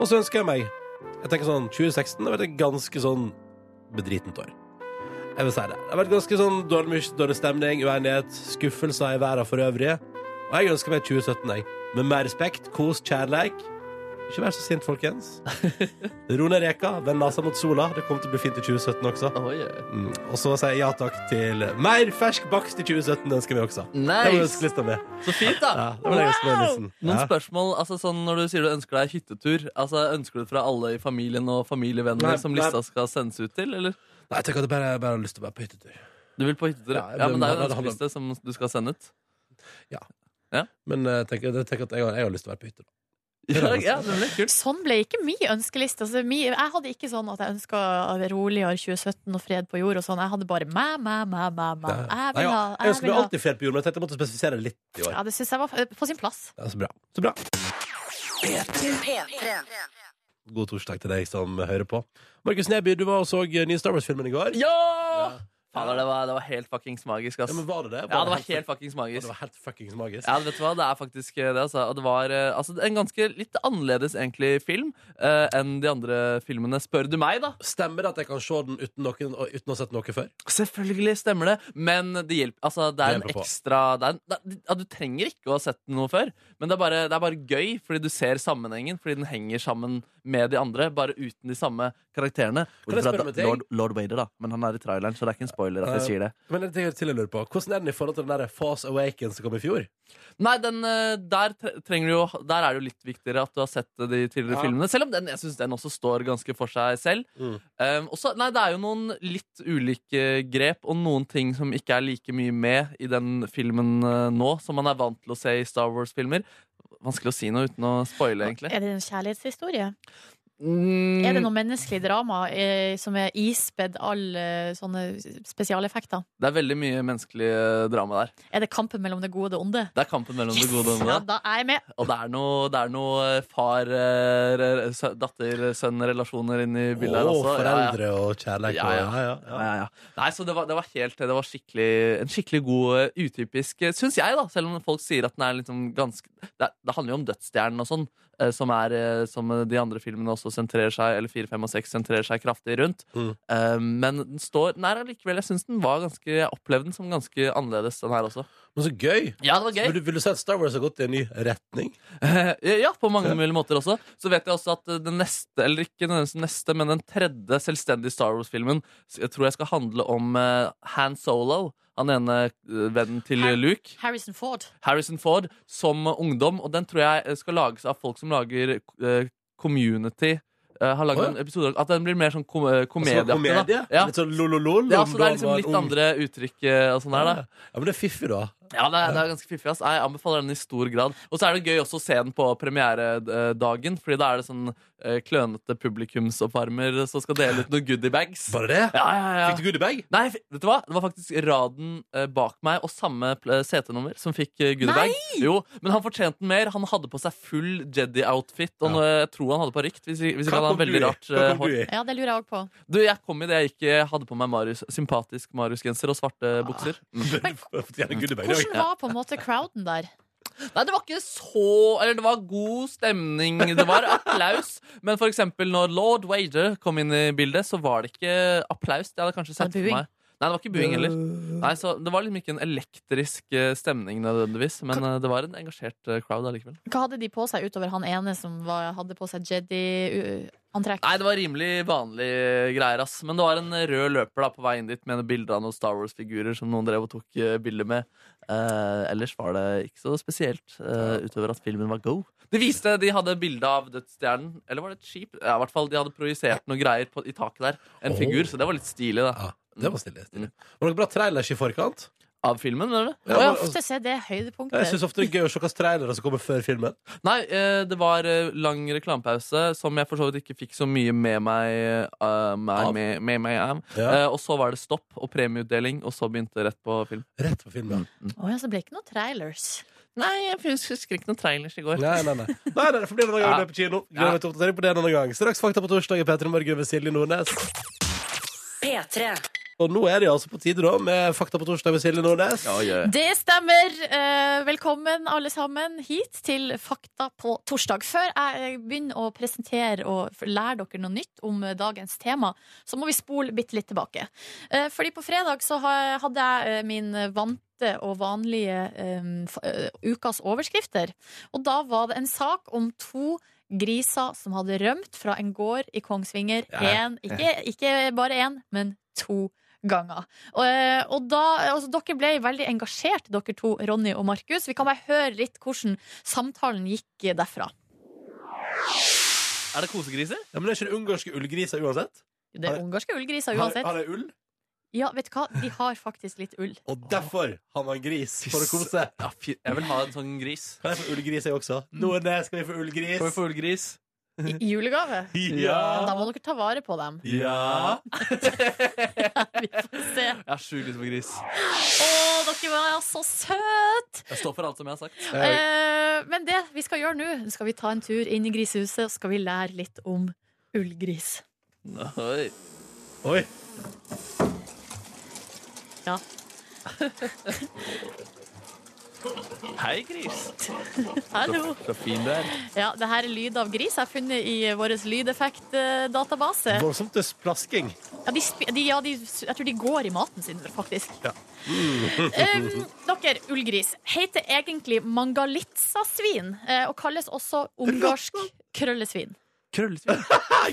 S2: Og så ønsker jeg meg Jeg tenker sånn 2016 har vært et ganske sånn bedritent år. Jeg vil si det. Det har vært ganske sånn dårlig, mys- dårlig stemning, uenighet, skuffelser i verden for øvrig. Og jeg ønsker meg 2017, jeg. Med mer respekt, kos, kjærleik. Ikke vær så sint, folkens. Ro ned reka, vend nesa mot sola. Det kommer til å bli fint i 2017 også.
S3: [laughs] Oi, oi.
S2: Mm. Og så sier jeg ja takk til mer fersk bakst i 2017. Ønsker vi også. Det var
S3: Nice.
S2: ønskelista mi.
S3: Så fint,
S2: Ja,
S3: da.
S2: det var ønskelisten.
S3: Noen
S2: Ja.
S3: spørsmål, altså sånn Når du sier du ønsker deg hyttetur, altså ønsker du det fra alle i familien og familievenner
S2: Nei,
S3: som
S2: nei.
S3: lista skal sendes ut til, eller?
S2: Nei, jeg tenker at jeg bare, bare har lyst til å være på hyttetur.
S3: Du vil på hyttetur? Ja,
S2: Ja,
S3: ja men det er jo en
S2: det handler-
S3: ønskeliste som du skal sende ut.
S2: Men eh, tenker, jeg tenker at jeg har, jeg har lyst til å være på hytte.
S3: Ja, ja, nemlig. Kult.
S5: Sånn ble ikke min ønskeliste. Altså, mi, jeg hadde ikke sånn at jeg ønska roligere 2017 og fred på jord og sånn. Jeg hadde bare mæ, mæ, mæ, mæ, mæ. Jeg
S2: Nei, ja. Jeg
S5: vil ha, jeg
S2: ønsker
S5: vil
S2: meg
S5: ha.
S2: alltid fred på jord, men jeg tenkte jeg måtte spesifisere det litt i år.
S5: Ja, det syns jeg var eh, på sin plass.
S2: Ja, så bra. Så bra. God torsdag til deg som hører på. Markus Neby, du var og så nye Star Wars-filmen i går.
S3: Ja! Fader, det var, det var helt fuckings magisk, ass.
S2: men Var det det?
S3: Ja, det var
S2: helt-
S3: helt fuckings
S2: Ja, det
S3: magisk.
S2: var helt fuckings magisk.
S3: Ja, vet du hva, det er faktisk det, altså. Og det var eh, altså, en ganske litt annerledes egentlig film eh, enn de andre filmene, spør du meg, da.
S2: Stemmer det at jeg kan se den uten, noen, og uten å ha sett noe før?
S3: Selvfølgelig stemmer det, men det hjelper. Altså, det er
S2: Det
S3: en
S2: hjelper på.
S3: ekstra det er en, det, ja, Du trenger ikke å ha sett noe før, men det er, bare, det er bare gøy fordi du ser sammenhengen, fordi den henger sammen med de andre, bare uten de samme karakterene.
S2: Kan jeg
S3: Bortsett fra
S2: spørre om en ting?
S3: Lord, Lord Vader, da, men han er i traileren, så det er ikke en spoiler at jeg sier det.
S2: Men det er til jeg lurer på Hvordan er den i forhold til den der Fast Awakens som kom i fjor?
S3: Nei, den, eh, der, tre- trenger du jo, der er det jo litt viktigere at du har sett eh, de tidligere
S2: Ja.
S3: filmene. Selv om den, jeg synes den også står ganske for seg selv.
S2: Mm.
S3: Um, også, nei, Det er jo noen litt ulike grep og noen ting som ikke er like mye med i den filmen eh, nå, som man er vant til å se i Star Wars-filmer. Vanskelig å si noe uten å spoile, egentlig.
S5: Er det en kjærlighetshistorie?
S3: Mm,
S5: Er det noe menneskelig drama eh, som er ispedd all eh, sånne spesialeffekter?
S3: det er veldig mye menneskelig eh, drama der.
S5: Er det kampen mellom det gode og det onde?
S3: Det er kampen mellom det gode og det
S5: Ja,
S3: onde.
S5: da er jeg med.
S3: Og det er noe, det er noe eh, far-datter-sønn-relasjoner inni bildet her
S2: Åh,
S3: også. Ja, ja.
S2: foreldre og kjærlighet.
S3: Ja,
S2: og-
S3: ja.
S2: ja, ja.
S3: ja, ja. Nei, så det var, det var helt Det var skikkelig, en skikkelig god, eh, utypisk eh, Synes jeg, da. Selv om folk sier at den er liksom ganske Det, er- det handler jo om Dødsstjernen og sånn, eh, som, er, eh, som eh, de andre filmene også sentrerer seg Eller 4, 5 og 6 sentrerer seg kraftig rundt.
S2: Mm.
S3: Eh, men den står Nei, allikevel. Jeg syns den var ganske Jeg opplevde den som ganske annerledes, den her også.
S2: Men så gøy!
S3: Ja, det var
S2: Vil du, vil du si at Star Wars har gått i en ny retning?
S3: [laughs] ja, på mange mulige måter også. Så vet jeg også at eh, den neste, eller ikke nødvendigvis den neste, men den tredje selvstendige Star Wars-filmen s- jeg tror jeg skal handle om eh, Han Solo. Han ene eh, vennen til
S5: Han-
S3: Luke,
S5: Harrison Ford.
S3: Harrison Ford, som ungdom. Og den tror jeg eh, skal lages av folk som lager eh, Community. eh, har laget
S2: Å, ja.
S3: en episode At den blir mer sånn kom
S2: Altså,
S3: komedieaktig.
S2: komedie?
S3: da. Ja.
S2: Litt sånn lololol?
S3: Ja, så
S2: ungdom
S3: det er
S2: var
S3: liksom
S2: en
S3: litt
S2: ung-
S3: andre uttrykk eh, og sånn der, da.
S2: Ja, men det er fiffig, da.
S3: Ja, det er, det er ganske fiffig. ass Jeg anbefaler den i stor grad. Og så er det gøy også å se den på premieredagen, Fordi da er det sånn eh, klønete publikumsoppvarmer som skal dele ut noen goodiebags.
S2: Bare det?
S3: Ja, ja, ja.
S2: Fikk du goodiebag?
S3: Nei, f- vet du hva? Det var faktisk raden eh, bak meg og samme pl- eh, setenummer som fikk eh, goodiebag. Jo, men han fortjente den mer. Han hadde på seg full Jedi-outfit, og
S2: Ja.
S3: nå- jeg tror han hadde parykk. Hvis, ikke- hvis ikke
S2: Hva
S3: hadde
S2: kom
S3: han
S2: du i?
S3: veldig rart
S2: Hva
S3: eh,
S2: kom
S3: hår.
S2: du i?
S5: Ja, det lurer jeg òg på.
S3: Du, jeg kom i det jeg ikke hadde på meg Marius, sympatisk Marius-genser og svarte
S2: Ah.
S3: bukser. Mm.
S2: Fortjener goodiebag, det
S5: Hvordan var på en måte crowden der?
S3: Nei, det var ikke så Eller det var god stemning. Det var
S5: [laughs]
S3: applaus. Men for eksempel når lord Wager kom inn i bildet, så var det ikke applaus. Det hadde jeg kanskje sett
S5: Det var
S3: for
S5: buing.
S3: meg. Nei, det var ikke buing heller. Nei, så Det var liksom ikke en elektrisk eh, stemning nødvendigvis, men eh, det var en engasjert eh, crowd allikevel.
S5: Hva hadde de på seg utover han ene som var, hadde på seg Jedi-antrekk?
S3: Nei, det var rimelig vanlige greier, ass. Men det var en rød løper da på vei inn dit med noen bilder av noen Star Wars-figurer som noen drev og tok eh, bilder med. Eh, ellers var det ikke så spesielt, eh, utover at filmen var go. De viste de hadde bilde av Dødsstjernen, eller var det et skip? Ja, i hvert fall De hadde projisert noen greier på, i taket der. En
S2: Oh.
S3: figur, så det var litt stilig, da.
S2: Ja, det var stille. stille. Var det noen bra trailers i forkant?
S3: Av filmen, mener du?
S2: Ja,
S3: Å, ja.
S2: bare-
S5: Ofte så er det
S2: Jeg
S5: høydepunktet.
S2: syns ofte det er gøy å se hvilke trailere som kommer før filmen.
S3: Nei, eh, det var eh, lang reklamepause som jeg for så vidt ikke fikk så mye med meg, eh, meg,
S2: Av.
S3: med, med meg av.
S2: Ja.
S3: Eh, og så var det stopp og premieutdeling, og så begynte rett på film.
S2: Rett på filmen.
S5: Å ja, så det ble ikke noen trailers.
S3: Nei, jeg husker ikke noen trailers i går.
S2: Nei, nei, nei. nei, [laughs] nei det får bli en annen gang
S3: Ja.
S2: det er på kino. Gleder meg til å oppdatere på det en annen gang. Straks Fakta på torsdag i P3 Morgen ved Silje Nordnes.
S1: P3.
S2: Og nå er det altså på tide da med Fakta på torsdag ved Silje Nordnes.
S3: Ja, ja, ja.
S5: Det stemmer. Eh, Velkommen alle sammen hit til Fakta på torsdag. Før jeg begynner å presentere og f- lære dere noe nytt om eh, dagens tema, så må vi spole bitte litt tilbake. Eh, Fordi på fredag så ha- hadde jeg eh, min vante og vanlige eh, f- eh, ukas overskrifter. Og da var det en sak om to griser som hadde rømt fra en gård i Kongsvinger. En, ikke, ikke bare én, men to ganger. Og, eh, og da, altså, dere ble veldig engasjert, dere to, Ronny og Markus. Vi kan bare høre litt hvordan samtalen gikk derfra.
S3: Er det kosegriser?
S2: Ja, men det er ikke det ungarske ullgriser uansett?
S5: Det
S2: Har-
S5: er ungarske ullgriser
S2: Har,
S5: uansett.
S2: har de ull?
S5: Ja, vet du hva? De har faktisk litt ull.
S2: Og derfor har man gris for å kose.
S3: Ja, fy, jeg vil ha en sånn gris.
S2: Kan jeg få ullgris, jeg også? Nordnes, skal vi få ullgris?
S3: Får Mm. vi fuglgris?
S5: I i julegave. Da
S2: Ja!
S5: må dere ta vare på dem.
S2: Ja!
S5: Vi får se.
S3: Jeg er sjukt lyst på gris.
S5: Å, dere var så søte!
S3: Jeg står for alt som jeg har sagt.
S2: Eh,
S5: Eh, men det vi skal gjøre nå, skal vi ta en tur inn i grisehuset og skal vi lære litt om ullgris.
S3: Oi.
S2: Oi!
S3: Hei, gris.
S5: Hallo!
S3: Så fin du er.
S5: Ja, det her er lyd av gris jeg har funnet i vår lydeffektdatabase.
S2: Voldsomt til splasking.
S5: Ja, de, spi- de, ja de, jeg tror de går i maten sin, faktisk.
S2: Ja.
S5: um, dere, ullgris, heter egentlig mangalitsa-svin eh, og kalles også ungarsk krøllesvin.
S3: [laughs] Krøllesvin.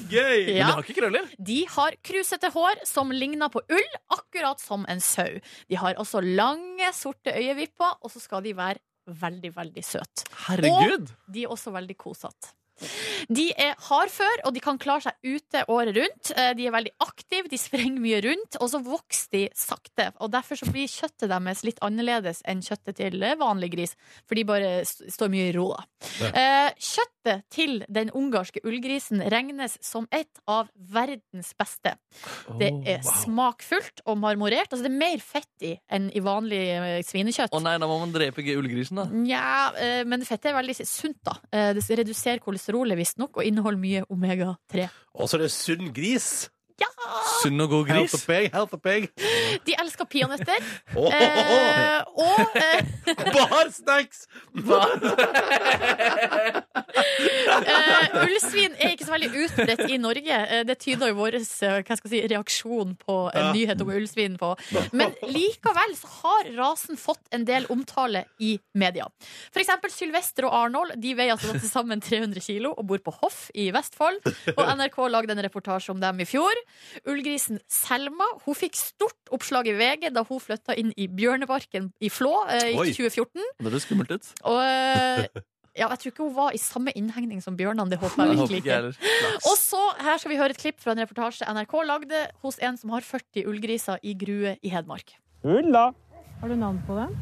S2: Gøy!
S3: Men de
S5: Ja,
S3: har ikke krøller.
S5: de har krusete hår som ligner på ull, akkurat som en sau. De har også lange, sorte øyevipper, og så skal de være veldig, veldig søte.
S3: Herregud.
S5: De er også veldig kosete. De er hardfør, og de kan klare seg ute året rundt. Eh, De er veldig aktive, de sprenger mye rundt, og så vokser de sakte. Og Derfor så blir kjøttet deres litt annerledes enn kjøttet til eh, vanlig gris, for de bare st- står mye i ro. da. Eh, Kjøttet til den ungarske ullgrisen regnes som et av verdens beste. Det er smakfullt og marmorert. Altså det er mer fett i enn i vanlig eh, svinekjøtt.
S3: Å nei, da må man drepe g- ullgrisen, da.
S5: Nja, eh, men fettet er veldig sunt, da. Eh, Det reduserer kolesterolet visstnok, og inneholder mye omega-3.
S2: Og så er det sunn gris.
S3: Sunn og god
S2: Health
S3: gris.
S2: of pig, health of pig.
S5: De elsker peanøtter.
S2: Oh,
S5: eh, og eh,
S2: Bar snacks!
S5: eh, ullsvin er ikke så veldig utbredt i Norge. Eh, Det tyder jo vår eh, hva skal jeg si, reaksjon på en
S2: Ja.
S5: nyhet om ullsvin på. Men likevel så har rasen fått en del omtale i media. For eksempel Sylvester og Arnold De veier altså til sammen 300 kilo og bor på Hoff i Vestfold. Og NRK lagde en reportasje om dem i fjor. Ullgrisen Selma Hun fikk stort oppslag i VG da hun flytta inn i Bjørneparken i Flå eh, i
S2: Oi.
S5: 2014.
S3: Det høres skummelt ut.
S5: Og eh, ja, jeg tror ikke hun var i samme innhegning som bjørnene. Det håper
S3: Jeg
S5: jeg
S3: håper
S5: virkelig
S3: ikke jeg
S5: ikke.
S3: heller.
S5: Og så her skal vi høre et klipp fra en reportasje NRK lagde hos en som har 40 ullgriser i grue i Hedmark.
S6: Ulla!
S7: Har du navn på dem?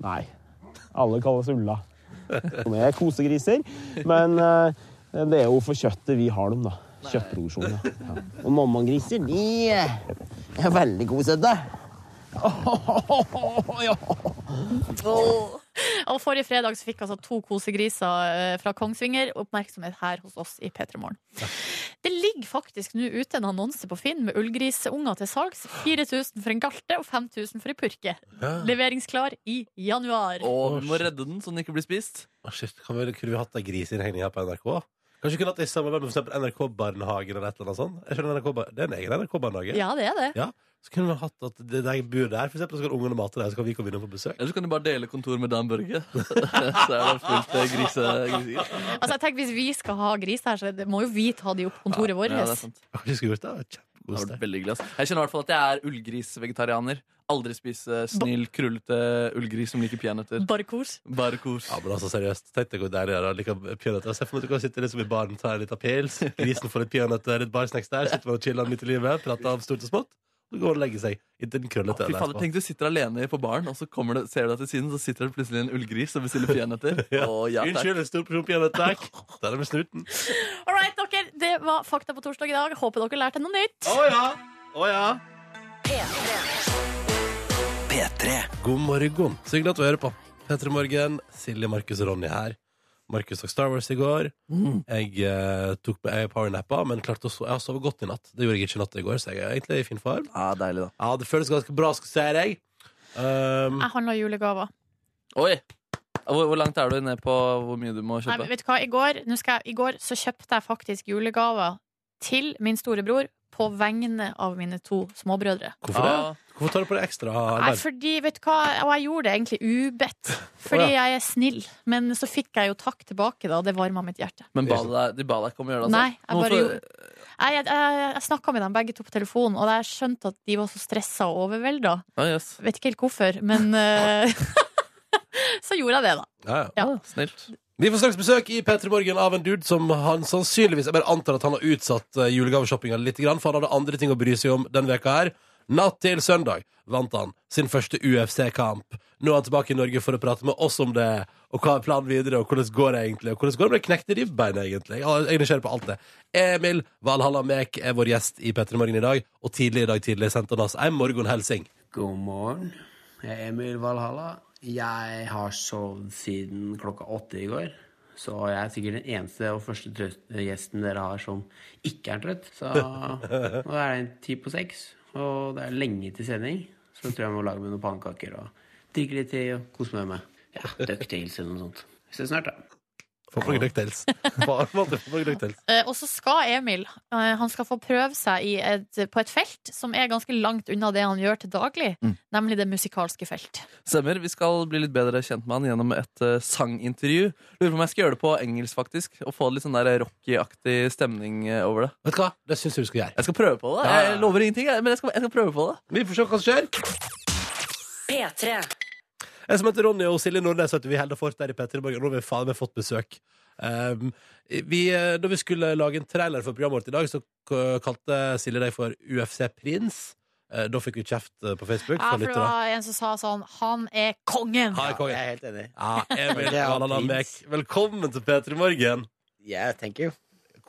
S6: Nei, alle kalles Ulla. De er kosegriser, men eh, det er jo for kjøttet vi har dem, da. Kjøttproduksjonen. da. Ja. Og mammagriser, de er veldig kosete. ja.
S5: Og forrige fredag så fikk altså to kosegriser eh, fra Kongsvinger oppmerksomhet her hos oss i P3 Morgen. Det ligger faktisk nå ute en annonse på Finn med ullgrisunger til salgs. 4000 for en galte og 5000 for en purke. Leveringsklar i januar.
S3: Og vi må redde den så den ikke blir spist.
S2: Å, shit, kan vi, kunne vi hatt en griseinnhegning her på NRK? Kanskje vi kunne hatt det i samarbeid med for eksempel NRK-barnehagen eller et eller annet sånt? Jeg skjønner NRK, bar- Det er en egen NRK-barnehage.
S5: Ja, det er det.
S2: Så kunne vi hatt at det der bor der, for eksempel, så kan ungene mate deg, så kan vi komme innom på besøk.
S3: Eller så kan du bare dele kontor med Dan Børge. [laughs] så er det fullt eh, grise... griser.
S5: Altså, jeg tenker Hvis vi skal ha gris her, så det- må jo vi ta de opp på kontoret vårt.
S3: Ja, det er sant.
S2: Kanskje vi skulle gjort det? det? var Kjempegod
S3: Det hadde vært
S2: sted.
S3: veldig hyggelig, ass. Jeg kjenner i hvert fall at jeg er ullgrisvegetarianer. Aldri spise snill, krullete ullgris som liker peanøtter.
S5: Bare kos.
S3: Bare kos.
S2: Ja, men altså seriøst, tenk deg hvor deilig det er å like peanøtter. Se for meg at du kan sitte liksom i baren, ta en liten pils, grisen får litt peanøtter, litt barsnacks der, sitter man og chiller midt i livet, prater om stort og smått, og går og legger seg inntil den krøllete.
S3: Fy
S2: eller
S3: faen,
S2: etterpå.
S3: Tenk du sitter alene på baren, og så kommer det, ser du deg til siden, så sitter det plutselig en ullgris og bestiller peanøtter.
S2: [laughs] Ja.
S3: Å, ja, takk.
S2: Unnskyld, en stor porsjon peanøtter. Der er med snuten.
S5: All right, dere, Det var Fakta på torsdag i dag. Håper dere lærte noe nytt.
S2: Å ja! Å ja! God morgen. Så hyggelig at du hører på. Petter Morgen, Silje, Markus og Ronny her. Markus tok Star Wars i går. Jeg eh, tok med jeg powernappa, men klarte å so jeg har sovet godt i natt. Det gjorde jeg ikke i natt i går, så jeg er egentlig i fin form.
S3: Ja, deilig, da.
S2: Ja, det føles ganske bra, skal si deg. Um,
S5: Jeg handla julegaver.
S3: Oi! Hvor, hvor langt er du ned på hvor mye du må
S5: Nei,
S3: kjøpe?
S5: vet du hva? I går, nå skal jeg, I går så kjøpte jeg faktisk julegaver til min storebror på vegne av mine to småbrødre.
S2: hvorfor det? Hvorfor tar du på deg ekstra
S5: Nei,
S2: arbeid?
S5: fordi, vet du hva? Og jeg gjorde det egentlig ubedt, fordi
S2: Å,
S5: jeg er snill. Men så fikk jeg jo takk tilbake, da. og Det varma mitt hjerte.
S3: Men ba de deg, de ba deg ikke om å gjøre det? altså.
S5: Nei, jeg bare
S3: Hvorfor-
S5: Nei, Jeg, jeg, jeg snakka med dem begge to på telefon, og jeg skjønte at de var så stressa og overvelda.
S3: Ja, jøss.
S5: Vet ikke helt hvorfor, [laughs] men eh, Så gjorde jeg det, da.
S2: Ja, ja.
S5: Ja.
S3: Snilt.
S2: Vi får straks besøk i P3 Morgen av en dude som han sannsynligvis Jeg bare antar at han har utsatt eh, julegaveshoppinga litt, grann, for han hadde andre ting å bry seg om den veka her. Natt til søndag vant han sin første UFC-kamp. Nå er han tilbake i Norge for å prate med oss om det, og hva er planen videre, og hvordan går det egentlig, og hvordan går det med det knekte ribbeinet egentlig? Ja, Jeg er nysgjerrig på alt det. Emil Valhalla Mek er vår gjest i P3 Morgen i dag, og tidlig i dag tidlig sendte han oss ei morgenhelsing.
S7: God morgen. Jeg er Emil Valhalla. Jeg har sovet siden klokka åtte i går. Så jeg er sikkert den eneste og første trø- gjesten dere har som ikke er trøtt. Så nå er det ti på seks, og det er lenge til sending. Så jeg tror jeg må lage meg noen pannekaker og drikke litt te og kose meg med ja, ducktails eller noe sånt. Vi ses snart, da.
S2: For noen ducktails. For noen ducktails.
S5: Eh, Og så skal Emil eh, Han skal få prøve seg i et, på et felt som er ganske langt unna det han gjør til daglig,
S8: Mm.
S5: nemlig det musikalske felt.
S3: Stemmer. Vi skal bli litt bedre kjent med han gjennom et eh, sangintervju. Lurer på om jeg skal gjøre det på engelsk, faktisk. Og få litt sånn der rocky-aktig stemning eh, over det.
S2: Vet du hva? Det syns jeg du skal gjøre.
S3: Jeg skal prøve på det.
S2: Ja, ja, ja.
S3: Jeg lover ingenting, jeg, men jeg skal, jeg skal prøve på det.
S2: Vi får se hva som skjer.
S1: P3.
S2: Jeg som heter Ronny og Silje Nordnes, vet du, vi holder fort der i P3 Morgen. Nå har vi faen meg fått besøk. Um, vi, eh, da vi skulle lage en trailer for programmet vårt i dag, så k- kalte Silje deg for UFC Prins. Eh, da fikk vi kjeft eh, på Facebook.
S5: Ja,
S2: fra
S5: for det
S2: lyttere.
S5: var en som sa sånn Han er kongen!
S2: Hei,
S8: Jeg
S2: konge.
S8: er helt enig.
S2: Ja,
S5: [laughs]
S2: Emil
S8: Det er han,
S2: Valhalla Mek,
S8: prins.
S2: velkommen til P3 Morgen.
S8: Yeah, thank you.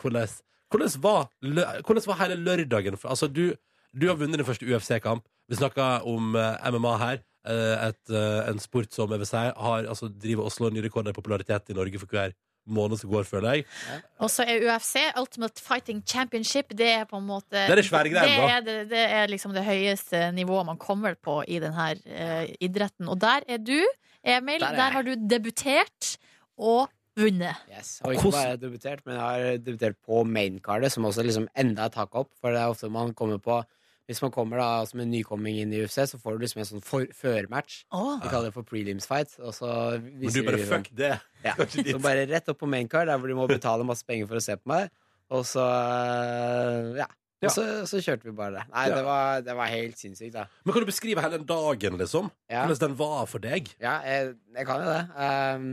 S2: Hvordan, hvordan, var, lø- hvordan var hele lørdagen? For, altså, du, du har vunnet din første UFC-kamp. Vi snakka om eh, MMA her. Eh, et, eh, en sport som jeg vil si har, altså, driver og slår nye rekorder i popularitet i Norge for hver måned som går, føler jeg.
S5: Og så er UFC, Ultimate Fighting Championship, det er på en måte
S2: er det svære greiene,
S5: det
S2: da.
S5: er, det, det er liksom det høyeste nivået man kommer på i denne idretten. Og der er du, Emil.
S8: Der er
S5: Der,
S8: jeg.
S5: har du debutert og vunnet.
S8: Yes. Og ikke bare debutert, men jeg har debutert på maincardet, som også liksom enda et hakk opp. For det er ofte man kommer på Hvis man kommer da som en nykomming inn i UFC, så får du liksom en sånn for- førmatch.
S5: Åh.
S8: Vi kaller det for prelims fight. Og så
S2: Men du
S8: viser
S2: bare
S8: de
S2: [laughs]
S8: liksom-
S2: fuck det.
S8: Ja.
S2: Skal ikke dit.
S8: Så bare rett opp på maincard, der hvor de må betale masse penger for å se på meg. Og så ja.
S2: Ja.
S8: Og så, så kjørte vi bare det. Nei,
S2: Ja.
S8: det, var, det var helt sinnssykt, da.
S2: Men kan du beskrive hele den dagen, liksom?
S8: Ja.
S2: Hvordan den var for deg?
S8: Ja, jeg, jeg kan jo det. Ehm,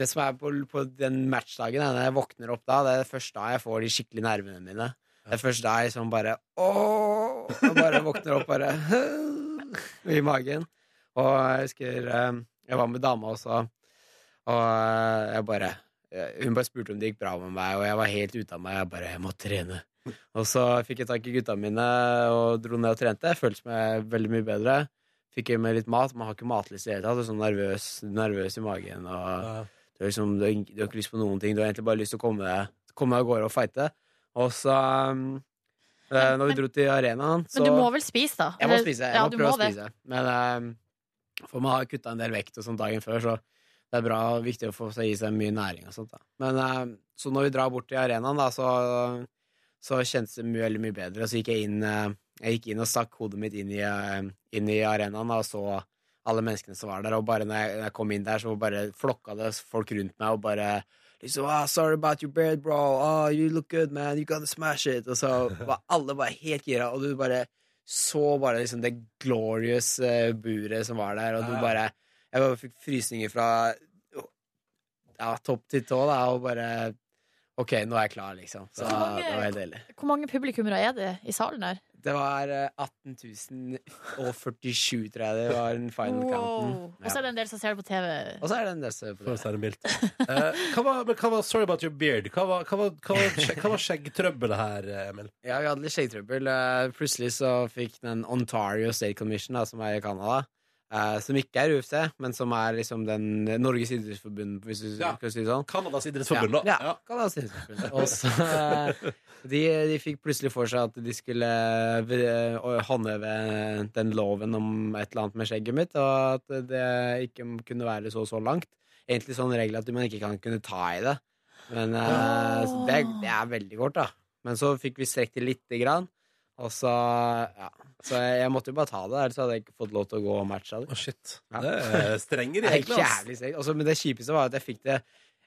S8: det som er på, på den matchdagen, er når jeg våkner opp da, det er først da jeg får de skikkelig nervene mine. Det er først da jeg liksom bare åh, og bare våkner opp bare [laughs] i magen. Og jeg husker ehm, jeg var med dama også, og jeg bare eh, hun bare spurte om det gikk bra med meg, og jeg var helt ute av meg. Jeg bare, jeg må trene. Og så fikk jeg tak i gutta mine og dro ned og trente. Jeg følte meg veldig mye bedre. Fikk i meg litt mat. Man har ikke matlyst i det hele tatt. Du er sånn nervøs, nervøs i magen. Og du, er liksom, du, har, du har ikke lyst på noen ting. Du har egentlig bare lyst til å komme deg- komme deg av gårde og fighte. Og så um, eh, Når vi dro til arenaen, så
S5: Men du må vel spise, da?
S8: jeg må
S5: Eller-
S8: spise. Jeg
S5: ja,
S8: må
S5: du
S8: prøve
S5: må
S8: å
S5: det.
S8: spise. Men eh, for man har kutta en del vekt og sånn dagen før, så det er bra og viktig å få seg i seg mye næring og sånt. Da. Men eh, så når vi drar bort til arenaen, da, så, så kjentes det mye, veldig mye bedre. Så gikk jeg inn, eh, jeg gikk inn og stakk hodet mitt inn i, eh, inn i arenaen da, og så alle menneskene som var der. Og bare når jeg, når jeg kom inn der, så bare flokka det folk rundt meg og bare Liksom, ah, sorry about your beard, bro. Ah, you look good, man. You gonna smash it. Og
S5: [laughs]
S8: så var alle bare helt gira, og du bare så bare liksom det glorious eh, buret som var der, og du
S2: Ja.
S8: bare Jeg bare fikk frysninger fra ja, topp til tå, da, og bare OK, nå er jeg klar, liksom. Så
S5: Konge.
S8: det var helt deilig.
S5: Hvor mange publikummere er det i salen her?
S8: Det var eh, 18.047, tror jeg det var den final Mm, counten.
S5: Og så er det en del som ser det på TV.
S8: Og så er det en del som hører
S2: For
S8: på
S2: å
S8: det.
S2: si det
S8: [laughs]
S2: mildt. Eh, hva, var, men hva var Sorry about your beard. Hva var, hva var, hva var, skjegg- hva var skjeggtrøbbelet her, eh, Emil?
S8: Ja, vi hadde litt skjeggtrøbbel. Eh, Plutselig så fikk den Ontario State Commission, da, som er i Canada, eh, som ikke er UFC, men som er liksom den Norges idrettsforbund, hvis du
S2: Ja.
S8: skal si det sånn.
S2: Canadas idrettsforbund, da.
S8: Ja, ja. Canada's idrettsforbund. Og så eh, de, de fikk plutselig for seg at de skulle eh, å- håndheve den loven om et eller annet med skjegget mitt, og at det ikke kunne være så så langt. Egentlig sånn regel at man ikke kan kunne ta i det. Men eh, så det, det er veldig kort, da. Men så fikk vi strekt det lite grann. Og så ja. Så jeg, jeg måtte jo bare ta det, ellers hadde jeg ikke fått lov til å gå og matcha det.
S2: Å, shit.
S8: Ja.
S2: Det er strenge
S8: Det er
S2: regler, ass.
S8: jævlig strekt. Altså, men det kjipeste var at jeg fikk det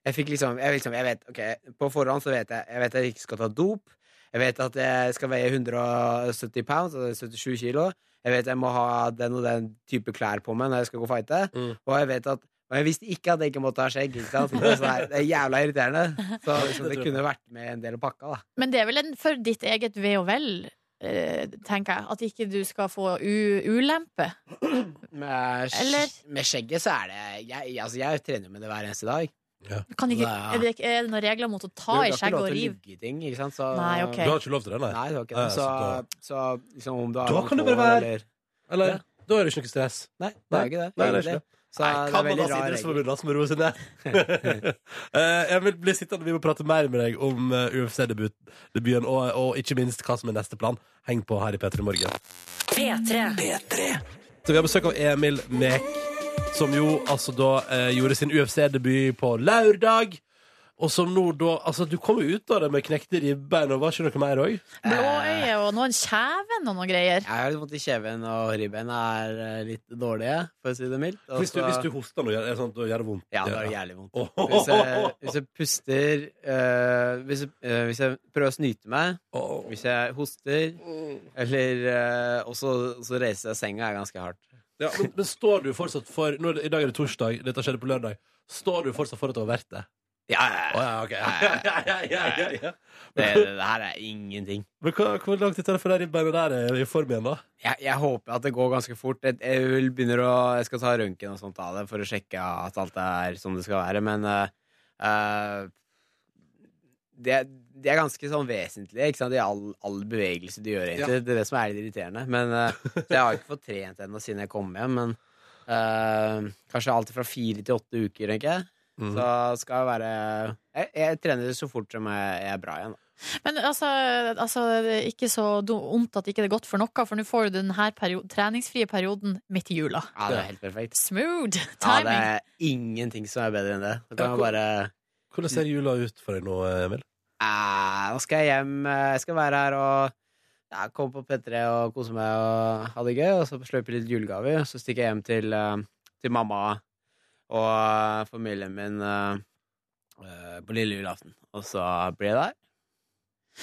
S8: Jeg fikk liksom Jeg, liksom, jeg vet, ok, På forhånd så vet jeg Jeg vet at jeg ikke skal ta dop. Jeg vet at jeg skal veie 170 pounds, altså 77 kilo. Jeg vet jeg må ha den og den type klær på meg når jeg skal gå og fighte.
S2: Mm.
S8: Og jeg vet at og jeg visste ikke at jeg ikke måtte ha skjegg. Ikke sant? Så Det, er sånn her, det er jævla [laughs] irriterende. Så liksom, det kunne vært med en del av pakka, da.
S5: Men det er vel en, for ditt eget ve og vel? eh, tenker jeg. At ikke du skal få u ulempe.
S8: Med, sk-
S5: Eller-
S8: med skjegget så er det jeg, altså, jeg trener jo med det hver eneste dag.
S5: Kan ikke,
S8: Nei.
S5: er, det, ikke- er det noen regler mot å ta i skjegget og rive?
S8: Du har ikke lov til å lugge i ting, ikke sant? Så,
S5: Nei, ok.
S2: Du har ikke lov til det, nei?
S8: Nei, du har ikke
S2: Nei,
S8: det. Så,
S2: så
S8: så liksom om du har
S2: Da
S8: langt
S2: kan du bare
S8: hår,
S2: være-
S8: eller-
S2: Eller? Da er det ikke noe stress.
S8: Nei, det er jo ikke det.
S2: Nei, det er ikke
S8: egentlig.
S2: det.
S8: Så det er veldig rar regel. [laughs]
S2: Eh, jeg vil bli sittende, vi må prate mer med deg om eh, UFC-debuten, og, og ikke minst hva som er neste plan. Heng på her i P3 Morgen.
S1: P3.
S2: Så vi har besøk av Emil Mek, som jo altså da eh, gjorde sin UFC-debut på lørdag. Og som nå da Altså, du kom jo ut av det med knekte ribbein, og var ikke noe mer òg?
S8: Eh.
S5: Blåøye og noen kjeven og noen greier.
S8: Jeg har litt vondt i kjeven, og ribbeina er eh, litt dårlige, for å si det mildt. Og
S2: Hvis, du-
S8: så-
S2: hvis du hoster nå, gjør det, sånn, da gjør det vondt?
S8: Altså- Ja, det er jævlig
S2: [laughs]
S8: vondt.
S2: Åh.
S8: Hvis jeg, hvis jeg puster eh, hvis, jeg, eh, hvis jeg prøver å snyte meg,
S2: Åh.
S8: hvis jeg hoster, eller eh, Og så så reiser jeg senga er ganske hardt.
S2: Ja, men, men står du fortsatt for nå, er det- I dag er det torsdag, dette skjedde på lørdag. Står du fortsatt for at det var verdt det?
S8: Ja,
S2: Å ja, ok. [laughs] Ja, ja, ja, ja, ja, ja.
S8: det, det her er ingenting.
S2: Men hva, hvor lang tid tar det før de ribbeina der er i form igjen, da?
S8: Jeg, jeg håper at det går ganske fort. Jeg, jeg, vil begynner å, jeg skal ta røntgen og sånt av det for å sjekke at alt er som det skal være, men eh, eh, det, det er ganske sånn vesentlig ikke sant? i all, all bevegelse du gjør. egentlig. Det er det som er litt irriterende. Men, eh, så jeg har ikke fått trent ennå siden jeg kom hjem, men eh, kanskje alt fra fire til åtte uker, tenker jeg.
S2: Mhm.
S8: Så skal jeg være Jeg, jeg trener så fort som jeg, jeg er bra igjen. da.
S5: Men altså, altså det er ikke så do- vondt at ikke det er godt for noe, for nå får du denne perio- treningsfrie perioden midt i jula.
S8: Ja, det er helt perfekt.
S5: Smooth
S8: Ja, det
S5: timing.
S8: er ingenting som er bedre enn det. Da
S2: Ja,
S8: kan
S2: hvor-
S8: man bare
S2: Hvordan ser jula ut for deg nå, Emil?
S8: Eh, nå skal jeg hjem. eh, Jeg skal være her og ja, komme på P3 og kose meg og ha det gøy. Og så sløyfe litt julegaver. Og så stikker jeg hjem til, eh, til mamma og eh, familien min eh, eh, på lille julaften. Og så blir jeg der.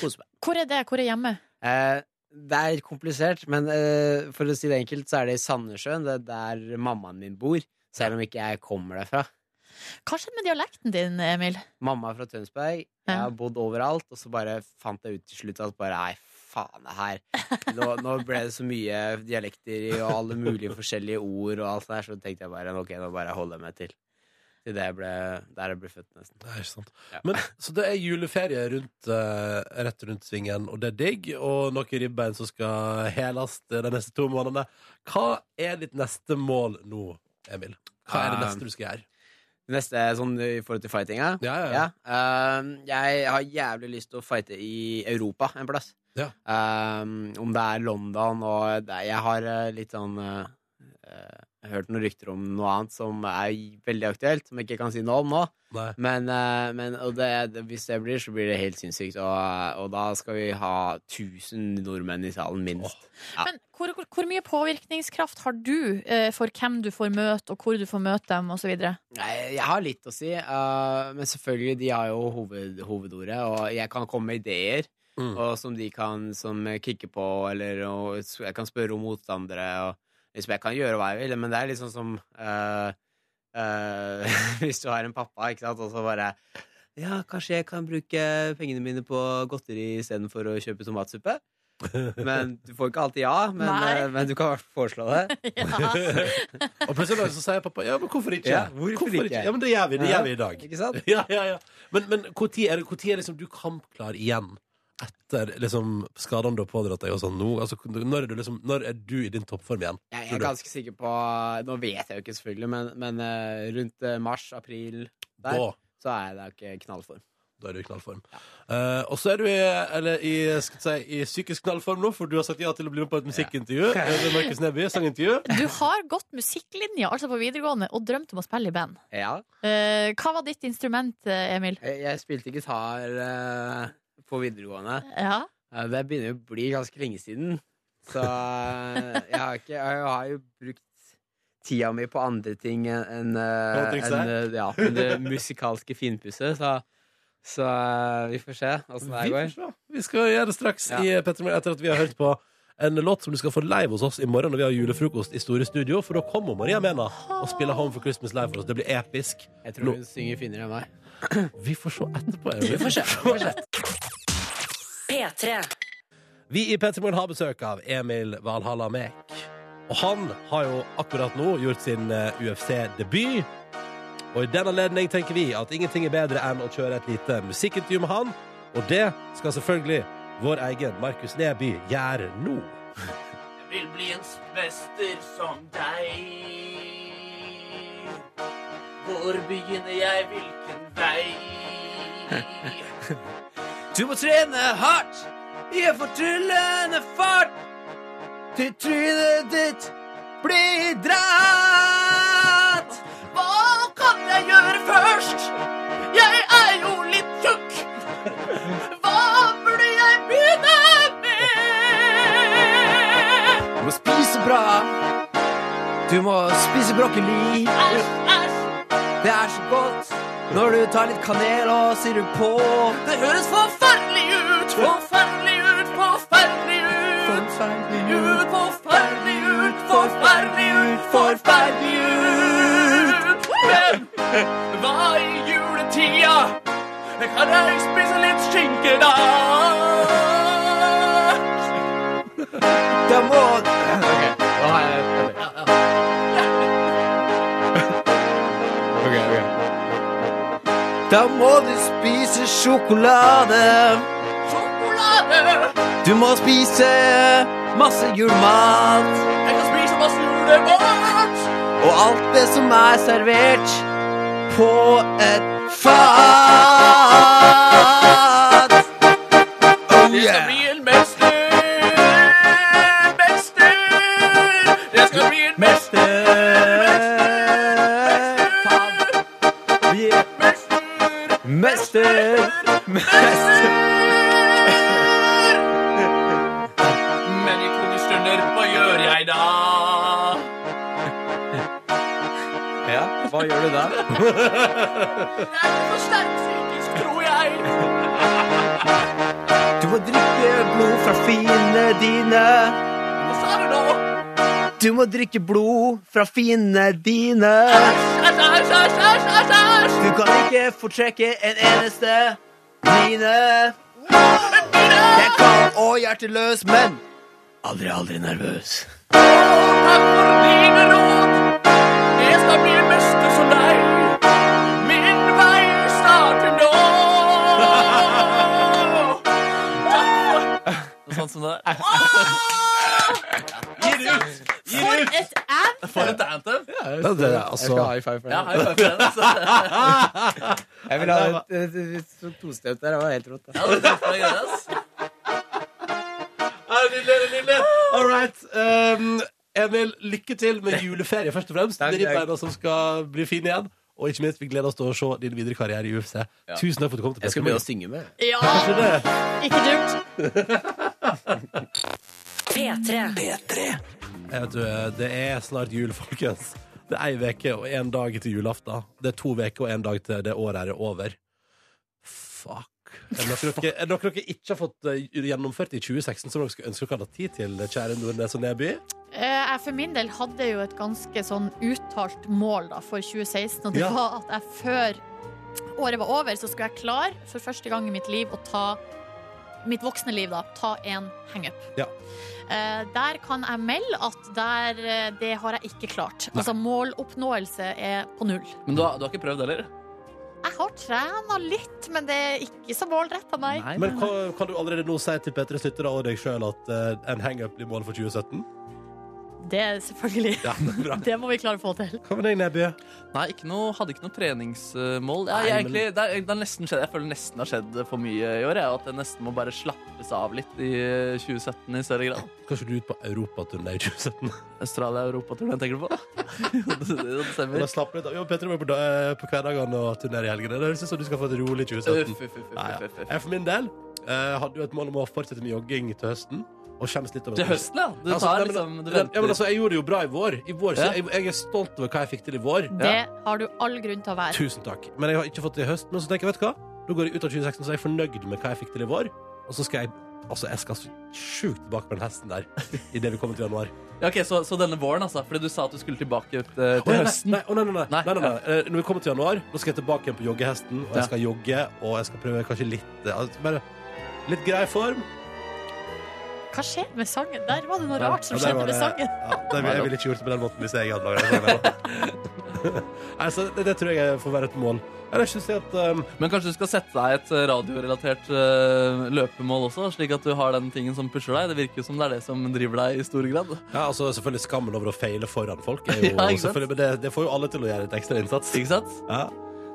S8: Kose meg.
S5: Hvor er det? Hvor er hjemme?
S8: Eh, det er komplisert, men eh, for å si det enkelt, så er det i Sandnessjøen. Det er der mammaen min bor. Selv om ikke jeg kommer derfra.
S5: Hva skjedde med dialekten din, Emil?
S8: Mamma er fra Tønsberg. Jeg
S5: Ja.
S8: har bodd overalt, og så bare fant jeg ut til slutt at bare nei, faen det her. Nå, nå ble det så mye dialekter i, og alle mulige forskjellige ord og alt det der, så tenkte jeg bare ok, nå bare holder jeg meg til. Til det jeg ble, der jeg ble født, nesten.
S2: Nei, ikke sant.
S8: Ja.
S2: Men, så det er juleferie rundt, eh, rett rundt svingen, og det er digg. Og noen ribbein som skal heles de neste to månedene. Hva er ditt neste mål nå, Emil? Hva er det
S8: Eh,
S2: neste du skal gjøre?
S8: Det neste sånn i forhold til fightinga
S2: Ja, ja, ja.
S8: Ja. ehm, jeg har jævlig lyst til å fighte i Europa en plass.
S2: Ja.
S8: Ehm, om det er London og det, Jeg har eh, litt sånn eh, eh, Hørt noen rykter om noe annet som er veldig aktuelt, som jeg ikke kan si noe om nå.
S2: Nei.
S8: Men, eh, men og det, det, hvis det blir, så blir det helt sinnssykt. Og, og da skal vi ha 1000 nordmenn i salen, minst. Ja.
S5: Men hvor, hvor, hvor mye påvirkningskraft har du eh, for hvem du får møte, og hvor du får møte dem, osv.?
S8: Nei, Jeg har litt å si, eh, men selvfølgelig, de har jo hoved, hovedordet, og jeg kan komme med ideer.
S2: Mm.
S8: Og som de kan som kicker på, eller og s- jeg kan spørre om motstandere. Og, liksom, jeg kan gjøre hva jeg vil, men det er litt sånn som eh, eh, [laughs] Hvis du har en pappa, ikke sant, og så bare Ja, kanskje jeg kan bruke pengene mine på godteri istedenfor å kjøpe tomatsuppe? Men du får ikke alltid ja, men,
S5: Nei.
S8: eh, men du kan i hvert fall foreslå det.
S5: Ja.
S2: Og plutselig er det noen som sier pappa ja, men hvorfor ikke?
S8: Ja, hvorfor ikke?
S2: Ja, men det gjør vi, det gjør vi i dag. [laughs]
S8: Ikke sant?
S2: Ja, ja, ja. Men, men hvor tid er, det, hvor tid er liksom du kampklar igjen? Etter liksom, skadene du har pådratt deg og sånn nå? Altså, når, er du liksom, når er du i din toppform igjen?
S8: Jeg, jeg
S2: tror
S8: er
S2: du?
S8: ganske sikker på Nå vet jeg jo ikke, selvfølgelig, men, men eh, rundt eh, mars, april der,
S2: Da,
S8: så er jeg da ikke knallform.
S2: da er du i knallform. Eh, og så er du i, eller, i, skal jeg si, i psykisk knallform nå, for du har sagt ja til å bli med på et musikkintervju.
S8: [laughs]
S2: med Markus Neby, sangintervju.
S5: Du har gått musikklinja, altså på videregående, og drømt om å spille i band.
S8: Ja.
S5: Eh, hva var ditt instrument, eh, Emil?
S8: Jeg, jeg spilte gitar eh, på videregående.
S5: Ja.
S8: Eh, Det begynner jo å bli ganske lenge siden. Så eh, jeg har, ikke, jeg har jo brukt tida mi på andre ting enn enn, eh,
S2: Kan du trikse?
S8: enn, eh, ja, enn det musikalske finpusset, så, så eh, vi får se åssen det
S2: Vi
S8: her
S2: får
S8: går.
S2: se. Vi skal gjøre det straks
S8: Ja.
S2: i Petter Morgen etter at vi har hørt på en låt som du skal få live hos oss i morgen når vi har julefrokost i Store Studio. For da kommer Maria Mena og spiller Home for Christmas live for oss. Det blir episk.
S8: Jeg tror hun synger finere enn meg.
S2: Vi får se etterpå. Emil.
S8: Vi får se. Vi får se.
S1: P3.
S2: [laughs] Vi i P3 Morgen har besøk av Emil Valhalla Mek. Og han har jo akkurat nå gjort sin eh, UFC-debut. Og i den anledning tenker vi at ingenting er bedre enn å kjøre et lite musikkintervju med han. Og det skal selvfølgelig vår egen Markus Neby gjøre nå.
S9: vil bli en spester som deg. Hvor begynner jeg, hvilken vei?
S8: Du må trene hardt i en fortryllende fart til trynet ditt blir dratt.
S9: Hva kan jeg gjøre først? Jeg er jo litt tjukk. Hva burde jeg begynne med?
S8: Du må spise bra. Du må spise brokkoli.
S9: Æsj, æsj.
S8: Det er så godt når du tar litt kanel og sirup på.
S9: Det høres forferdelig ut, forferdelig ut, forferdelig ut. Forferdelig ut, forferdelig ut, forferdelig ut, forferdelig ut. Men hva i juletida? Kan jeg spise litt skinke da?
S8: Da må Ok, nå har jeg Ok, ok. Da må du spise sjokolade.
S9: Sjokolade!
S8: Du må spise masse julemat
S9: Jeg kan spise masse julemat.
S8: og alt det som er servert på et fat. Oh
S9: Det skal
S8: yeah!
S9: bli en mester. Mester. Det skal bli en mester.
S8: Mester!
S9: Men i tunge stunder, hva gjør jeg da?
S8: Ja, hva gjør du da?
S9: [laughs] Det er for sterk psykisk, tror jeg.
S8: Du må drikke blod fra fiendene dine.
S9: Hva sa du nå?
S8: Du må drikke blod fra fiendene dine.
S9: Æsj, æsj, æsj, æsj, æsj, æsj.
S8: Du kan ikke fortrekke en eneste mine. Jeg kan og hjerteløs, men aldri, aldri nervøs.
S9: Takk for dine råd. Jeg skal bli en mester som deg. Min vei starter nå. Takk for
S3: Sånn som det er.
S5: For et ad!
S3: For et anthem!
S2: Det, det, altså,
S8: high five for
S3: Ja, high five for den, altså.
S8: Jeg vil ha et, et, et, et, et tostøt der. Det var helt rått. da.
S3: Ja, det er derfor jeg gjør det, altså. ass.
S2: All right. Um, Emil, lykke til med juleferie, først og fremst.
S8: Takk,
S2: Det er de
S8: takk.
S2: beina som skal bli fine igjen. Og ikke minst, vi gleder oss til å se din videre karriere i UFC. Tusen takk for at du kom til
S7: Jeg skal begynne å synge med.
S5: Ja,
S2: Petter.
S5: ikke dumt.
S1: P3.
S2: Jeg vet du, Det er snart jul, [laughs] folkens. Det er ei uke og én dag til julaften. Det er to uker og én dag til det året her er over. Fuck. Er det noe dere, er det noe dere ikke har fått eh, gjennomført i 2016 som dere skulle ønske dere hadde hatt tid til, kjære Nordnes og Neby?
S5: Eh, Jeg for min del hadde jo et ganske sånn uttalt mål da, for 2016, og det
S2: Ja.
S5: var at jeg før året var over, så skulle jeg klar for første gang i mitt liv å ta mitt voksne liv, da. Ta en hangup.
S2: Ja.
S5: Eh, der kan jeg melde at der, eh, det har jeg ikke klart. Altså måloppnåelse er på null.
S3: Men du har, du har ikke prøvd heller?
S5: Jeg har trena litt, men det er ikke så målretta, nei.
S2: Men kan, kan du allerede nå si til Petres lyttere og deg sjøl at eh, en hangup blir målet for 2017?
S5: Det er selvfølgelig.
S2: Ja, det er bra.
S5: [laughs] Det må vi klare å få til.
S2: Hva med deg, Neby?
S3: Nei, ikke noe, hadde ikke noe treningsmål. Jeg, jeg,
S2: Nei, men-
S3: egentlig, det, er- det er nesten skjedd, jeg føler nesten har skjedd for mye i år. Jeg, og at jeg nesten må bare slappes av litt i eh, 2017 i større grad.
S2: Kanskje du er ute på europaturné i
S3: [laughs]
S2: 2017?
S3: Australia-Europa-turneen tenker du på? [laughs] det, det
S2: Og
S3: stemmer.
S2: da slapper litt av. Jo, Petter var på, da- eh, på hverdagene og turné i helgene. Det høres ut som du skal få et rolig 2017.
S3: Uff, uff, uff, uff,
S2: Ja, ja.
S3: uff, uff.
S2: Jeg for min del eh, hadde jo et mål om å fortsette med jogging til høsten. Og skjemmes litt over
S3: Til høsten, ja. Du
S2: Altså,
S3: tar
S2: nei,
S3: liksom
S2: men,
S3: Du
S2: ja, men
S3: venter.
S2: altså, Jeg gjorde det jo bra i vår. I vår så
S3: Ja.
S2: jeg, jeg er stolt over hva jeg fikk til i vår.
S5: Det har du all grunn til å være.
S2: Tusen takk. Men jeg har ikke fått det i høst. Men så tenker jeg, vet du hva? Nå går jeg ut av 2016, så er jeg fornøyd med hva jeg fikk til i vår. Og så skal jeg Altså, jeg skal så sjukt tilbake på den hesten der [laughs] idet vi kommer til januar.
S3: Ja, ok, så, så denne våren, altså. Fordi du sa at du skulle tilbake ut, eh,
S2: Å,
S3: til
S2: nei,
S3: høsten.
S2: Nei, å, nei, nei, nei.
S3: Nei.
S2: nei, nei, nei. Eh, Når vi kommer til januar, nå skal jeg tilbake igjen på joggehesten. Og
S3: Ja.
S2: jeg skal jogge, og jeg skal prøve kanskje litt eh, altså, Bare litt grei form.
S5: Hva skjer med sangen? Der var det noe
S2: Ja,
S5: rart som
S2: ja, der
S5: skjedde
S2: var
S5: med
S2: det-
S5: sangen.
S2: Ja, det, jeg ville ikke gjort det på den måten hvis jeg hadde laga [laughs] den. altså, det, det tror jeg får være et mål. Eller jeg synes jeg at um,
S3: Men kanskje du skal sette deg et eh, radiorelatert eh, løpemål også, slik at du har den tingen som pusher deg. Det virker jo som det er det som driver deg i stor grad.
S2: ja, altså, Selvfølgelig skammen over å feile foran folk,
S3: [laughs]
S2: er jo,
S3: Ja, ikke sant?
S2: selvfølgelig, men det, det får jo alle til å gjøre et ekstra innsats.
S3: Ikke sant?
S2: Ja.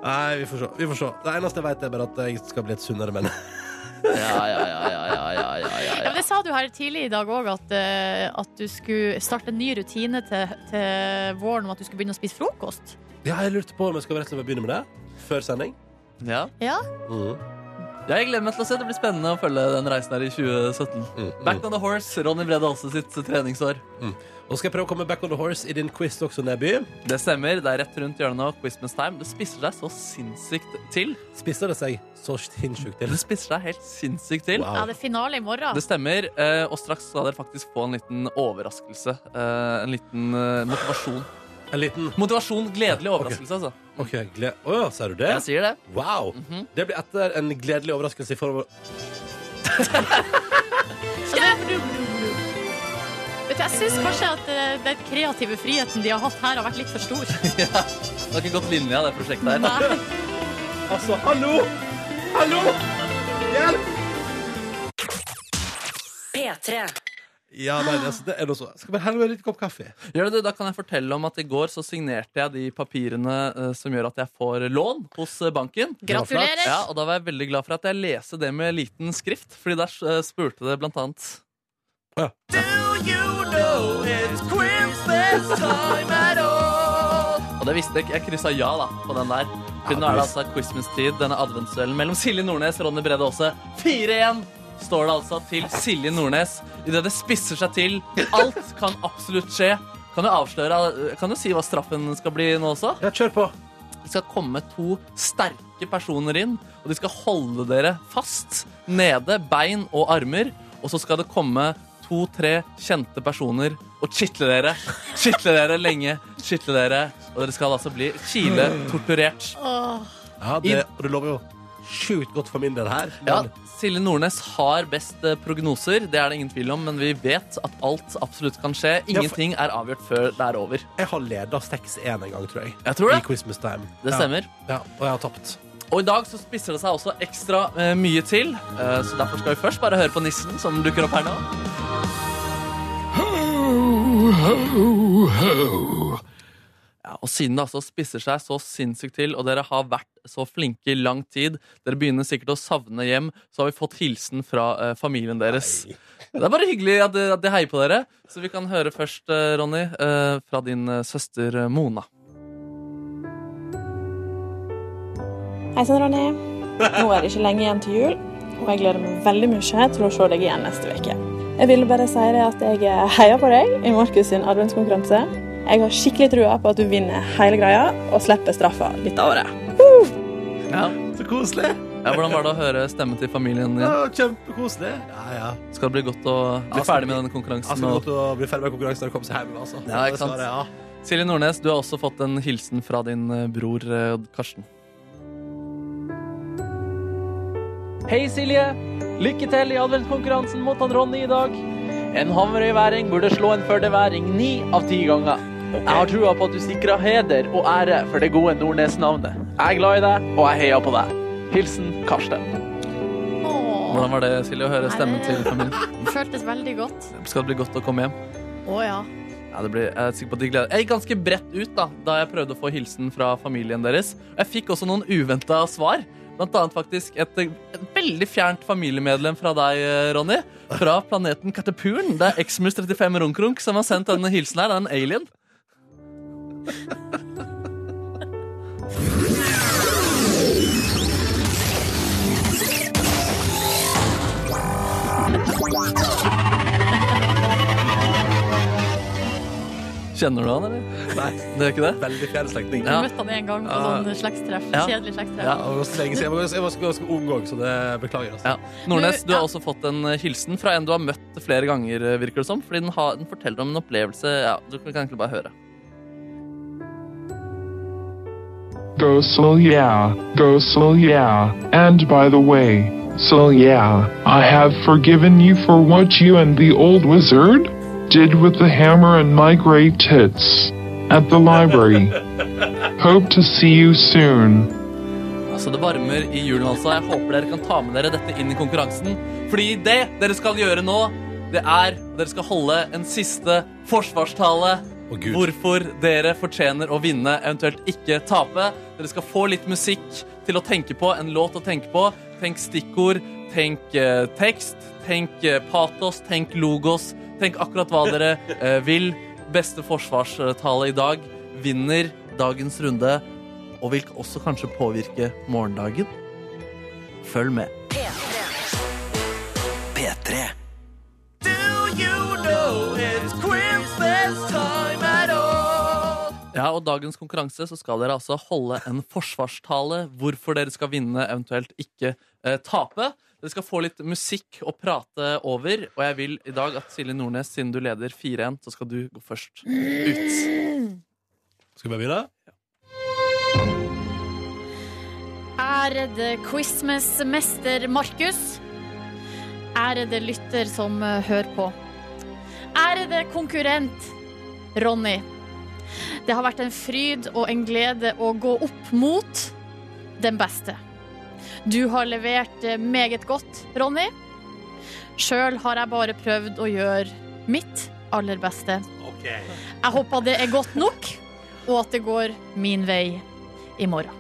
S2: Nei, vi får se. Vi får se. Det eneste jeg vet, er bare at eh, jeg skal bli et sunnere
S3: [laughs]
S2: menneske.
S3: Ja, ja, ja, ja, ja, ja, ja, ja.
S5: Ja, men det sa du her tidlig i dag òg, at, eh, at du skulle starte en ny rutine til, til våren om at du skulle begynne å spise frokost.
S2: Ja, jeg lurte på om jeg skal rett og slett begynne med det. Før sending.
S3: ja.
S5: Ja,
S2: Mm.
S3: Ja, Jeg gleder meg til å se. Det blir spennende å følge den reisen her i 2017.
S2: Mm.
S3: Back on the horse, Ronny Brede Aase sitt eh, treningsår.
S2: Nå skal jeg prøve å komme back on the horse i din quiz også, Neby.
S3: Det stemmer. Det er rett rundt hjørnet nå. Christmas time. Det spisser seg så sinnssykt til.
S2: Spisser det seg så sinnssykt til?
S3: Det spisser seg helt sinnssykt til.
S5: ja det er finale i morgen.
S3: Det stemmer. eh, Og straks skal dere faktisk få en liten overraskelse. Eh, En liten eh, motivasjon.
S2: En liten
S3: Motivasjon. Gledelig overraskelse, altså.
S2: OK, gled... Å ja, sier du det?
S3: Jeg sier det.
S2: Wow!
S3: Mhm.
S2: Det blir etter en gledelig overraskelse i form av
S5: Vet du, jeg syns kanskje at eh, den kreative friheten de har hatt her, har vært litt for stor.
S3: Det har ikke gått linja, det prosjektet her.
S5: Nei.
S2: Altså, hallo! Hallo!
S1: P3.
S2: Ja, nei,
S3: Ah.
S2: det, altså, det er noe så Skal bare helle meg en liten kopp kaffe.
S3: [laughs] Gjør det, du? Da kan jeg fortelle om at i går så signerte jeg de papirene eh, som gjør at jeg får lån hos eh, banken.
S5: Gratulerer.
S3: Ja, og da var jeg veldig glad for at jeg leste det med liten skrift, fordi der eh, spurte det blant annet
S2: Ja.
S3: Og det visste jeg ikke. Jeg kryssa ja da på den der. For
S2: Ja,
S3: nå
S2: du
S3: er det altså Christmas-tid, denne adventsduellen mellom Silje Nordnes og Ronny Brede Aase. 4-1 står det altså til Silje Nordnes idet det spisser seg til. Alt kan absolutt skje. Kan du avsløre Kan du si hva straffen skal bli nå også?
S2: Ja, kjør på.
S3: Det skal komme to sterke personer inn, og de skal holde dere fast. Nede, bein og armer. Og så skal det komme to-tre kjente personer og kitle dere. Kitle dere lenge. Kitle dere. Og dere skal altså bli kiletorturert.
S5: Åh.
S2: Ja, det, og det lover jo sjukt godt for min del her.
S3: Ja,
S2: Men
S3: Silje Nordnes har best eh, prognoser, det er det ingen tvil om, men vi vet at alt absolutt kan skje.
S2: for-
S3: Ingenting er avgjort før det er over.
S2: jeg har leda 6-1 en gang, tror jeg.
S3: Jeg tror det.
S2: I Christmas time.
S3: Det
S2: Ja.
S3: stemmer.
S2: Ja, og jeg har tapt.
S3: Og i dag så spisser det seg også ekstra eh, mye til, eh, så derfor skal vi først bare høre på nissen som dukker opp her nå. Ja, og siden det altså spisser seg så sinnssykt til, og dere har vært så flinke i lang tid, dere begynner sikkert å savne hjem, så har vi fått hilsen fra eh, familien deres. Det er bare hyggelig at, at de heier på dere. Så vi kan høre først, eh, Ronny, eh, fra din eh, søster eh, Mona.
S10: Hei sann, Ronny. Nå er det ikke lenge igjen til jul, og jeg gleder meg veldig mye til å se deg igjen neste uke. Jeg ville bare si det at jeg eh, heier på deg i Markus sin adventskonkurranse. Jeg har skikkelig trua på at du vinner hele greia og slipper straffa dette året.
S3: Ja.
S2: Så koselig.
S3: Ja, hvordan var det å høre stemmen til familien
S2: Ja,
S3: din?
S2: Kjempekoselig. Ja, ja.
S3: Skal det bli godt å bli
S2: Altså,
S3: ferdig med denne
S2: Altså, det
S3: konkurransen?
S2: er
S3: Og...
S2: godt å bli ferdig med konkurransen og komme seg hjem. Altså.
S3: Ja, ikke sant?
S2: Det er svaret,
S3: Silje Nordnes, du har også fått en hilsen fra din eh, bror eh, Karsten.
S11: Hei Silje! Lykke til i adventskonkurransen mot han Ronny i dag. En Hamarøy-væring burde slå en førdeværing ni av ti ganger. Jeg har trua på at du sikrer heder og ære for det gode Nordnes-navnet. Jeg er glad i deg, og jeg heier på deg. Hilsen Karsten.
S5: Åh.
S3: Hvordan var det, Silje, å høre stemmen til familien?
S5: Føltes veldig godt.
S3: Skal det bli godt å komme hjem?
S5: Å ja.
S3: Ja, det blir, jeg er sikker på at de gleder Jeg gikk ganske bredt ut da, da jeg prøvde å få hilsen fra familien deres. Jeg fikk også noen uventa svar. Blant annet faktisk et, et veldig fjernt familiemedlem fra deg, eh, Ronny. Fra planeten Katepurn. Det er Exmus 35 Runkrunk som har sendt denne hilsen her. Det er en alien. Kjenner du han, eller?
S2: ja. Nei,
S3: Det gjør ikke det?
S2: veldig fjern slektning.
S5: Du
S3: Ja.
S5: møtte han én gang på
S3: Ja.
S5: sånn slektstreff.
S3: Ja.
S5: Kjedelig
S3: Ja.
S5: slektstreff.
S2: Ja, det var så lenge siden. Jeg var ganske- jeg var ganske- ganske ung òg, så det beklager. Altså.
S3: Ja. Nordnes,
S5: Du,
S3: du har
S5: ja.
S3: også fått en eh, hilsen fra en du har møtt flere ganger, eh, virker det som. Fordi den, har, den forteller om en opplevelse Ja, du kan egentlig bare høre.
S12: Go soul yeah, go soul yeah, and by the way, So, yeah, I have forgiven you for what you and the old wizard did with the hammer and my gray tits at the library. Hope to see you soon.
S3: Altså, det varmer i julen, altså. Jeg håper dere kan ta med dere dette inn i konkurransen. Fordi det dere skal gjøre nå, det er Dere skal holde en siste forsvarstale. hvorfor dere fortjener å vinne, eventuelt ikke tape. Dere skal få litt musikk til å tenke på, en låt å tenke på. Tenk stikkord, tenk eh, tekst, tenk eh, patos, tenk logos. Tenk akkurat hva dere eh, vil. Beste forsvarstale i dag vinner dagens runde og vil også kanskje påvirke morgendagen. Følg med.
S9: P3. Do you know it's Christmas time at all?
S3: Ja, og dagens konkurranse så skal dere altså holde en forsvarstale. Hvorfor dere skal vinne, eventuelt ikke eh, tape. Dere skal få litt musikk å prate over, og jeg vil i dag at Silje Nordnes, siden du leder 4-1, så skal du gå først ut.
S2: Skal vi bare begynne?
S5: Ærede quizmester Markus. Ærede lytter som eh, hører på. Ærede konkurrent Ronny. Det har vært en fryd og en glede å gå opp mot den beste. Du har levert eh, meget godt, Ronny. Sjøl har jeg bare prøvd å gjøre mitt aller beste. Jeg håper det er godt nok, og at det går min vei i morgen.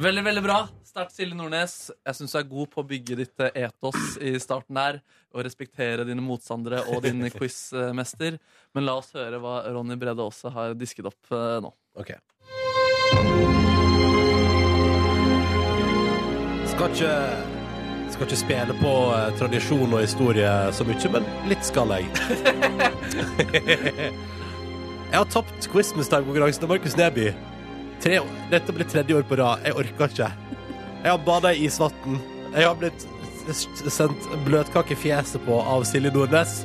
S3: Veldig, veldig bra. Start Silje Nordnes. Jeg syns du er god på å bygge ditt eh, etos i starten her. Og respektere dine motstandere og din quizmester. Men la oss høre hva Ronny Brede også har disket opp eh, nå.
S2: Ok Skal ikke Skal ikke spille på eh, tradisjon og historie så mye, men litt skal jeg. jeg har tapt Christmas Time-konkurransen av Markus Neby. Tre, dette blir tredje år på rad. Jeg orker ikke. Jeg har bada i isvann. Jeg har blitt s- s- sendt bløtkake i fjeset på av Silje Nordnes.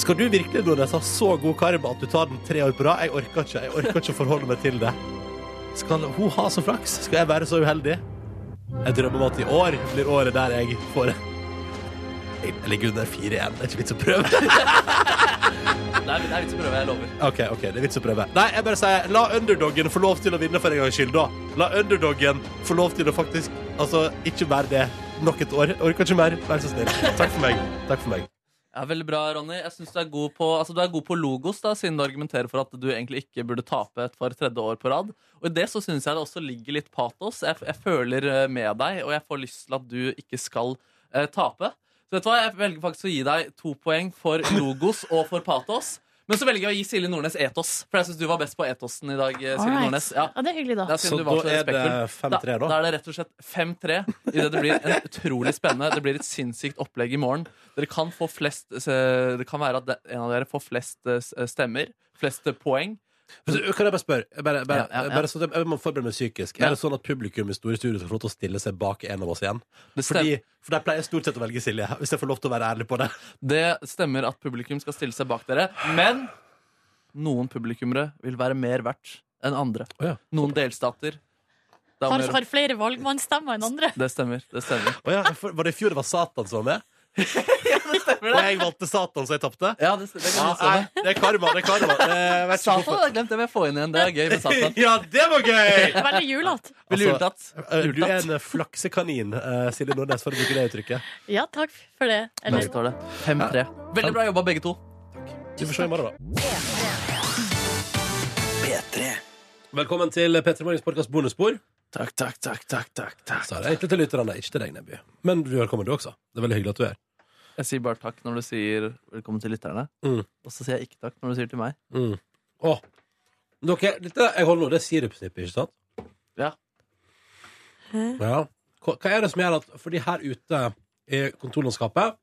S2: Skal du virkelig Nordnes, ha så god karma at du tar den tre år på rad? Jeg orker ikke Jeg orker ikke å forholde meg til det. Skal hun ha så flaks? Skal jeg være så uheldig? Jeg drømmer om at i år blir året der jeg får Jeg ligger under fire igjen. Det er ikke vits å prøve. [laughs]
S3: Det er, det er vits å prøve, jeg lover.
S2: OK, ok, det er vits å prøve. Nei, jeg bare sier la underdoggen få lov til å vinne for en gangs skyld, da. La underdoggen få lov til å faktisk Altså, ikke være det nok et år. Jeg Orker ikke mer. Vær så snill. Takk for meg. Takk for meg.
S3: Ja, veldig bra, Ronny. Jeg synes Du er god på altså, du er god på logos, da, siden du argumenterer for at du egentlig ikke burde tape for tredje år på rad. Og I det så syns jeg det også ligger litt patos. Jeg, jeg føler eh, med deg, og jeg får lyst til at du ikke skal eh, tape. Så vet du hva, Jeg velger faktisk å gi deg to poeng for logos og for patos. Men så velger jeg å gi Silje Nordnes etos, for jeg syns du var best på etosen i dag. eh, Silje
S5: Alright.
S3: Nordnes. Ja.
S5: Ja, det er hyggelig, da.
S3: Ja, siden du var så respektfull. da. Da er det rett og slett 5-3. I det det blir en utrolig spennende Det blir et sinnssykt opplegg i morgen. Dere kan få flest eh, Det kan være at det- en av dere får flest eh, s- stemmer. Flest eh, poeng.
S2: Men så Kan jeg bare spørre? Jeg Bare, bare,
S3: Ja, ja, ja.
S2: bare sånn at jeg må forberede meg psykisk. Er det sånn at publikum i store studio skal få lov til å stille seg bak en av oss igjen? Fordi, for de pleier stort sett å velge Silje, hvis jeg får lov til å være ærlig på det.
S3: Det stemmer at publikum skal stille seg bak dere, men noen publikummere vil være mer verdt enn andre. Noen delstater. Det er om å
S5: Har,
S3: gjøre-
S5: har flere valgmannsstemmer enn andre.
S3: det stemmer. det stemmer
S2: Å ja, for, Var det i fjor det var Satan som var [laughs] med? Og jeg valgte Satan, så jeg tapte?
S3: Ja, det, det kan jeg se
S2: nei, det er karma. det er karma Eh, vet ikke
S3: Satan,
S2: hvorfor.
S3: jeg glemte jeg å få inn igjen. Det er gøy med Satan.
S2: Ja, det var gøy!
S5: Veldig julete.
S3: Veldig juletatt.
S2: Altså, eh, Du er en flaksekanin, eh, Silje Nordnes, for å bruke det uttrykket.
S5: Ja, takk for det. Eller-
S3: Der står det. 5-3. Veldig bra jobba, begge to.
S2: Vi får se i morgen, da. Velkommen til P3 Morgens podkast bonusspor.
S11: Takk, takk, takk, takk, takk,
S2: Sa det egentlig til lytterne, ikke til deg, Nebby. Men du er velkommen, du også. Det er veldig hyggelig at du er her.
S3: Jeg sier bare takk når du sier velkommen til lytterne.
S2: Mm.
S3: Og så sier jeg ikke takk når du sier til meg.
S2: Mm. Å. Dere, dette jeg holder nå, det er sirupsnippet, ikke sant?
S3: Ja.
S2: Ja. Hva hva er det som gjør at Fordi her ute i kontorlandskapet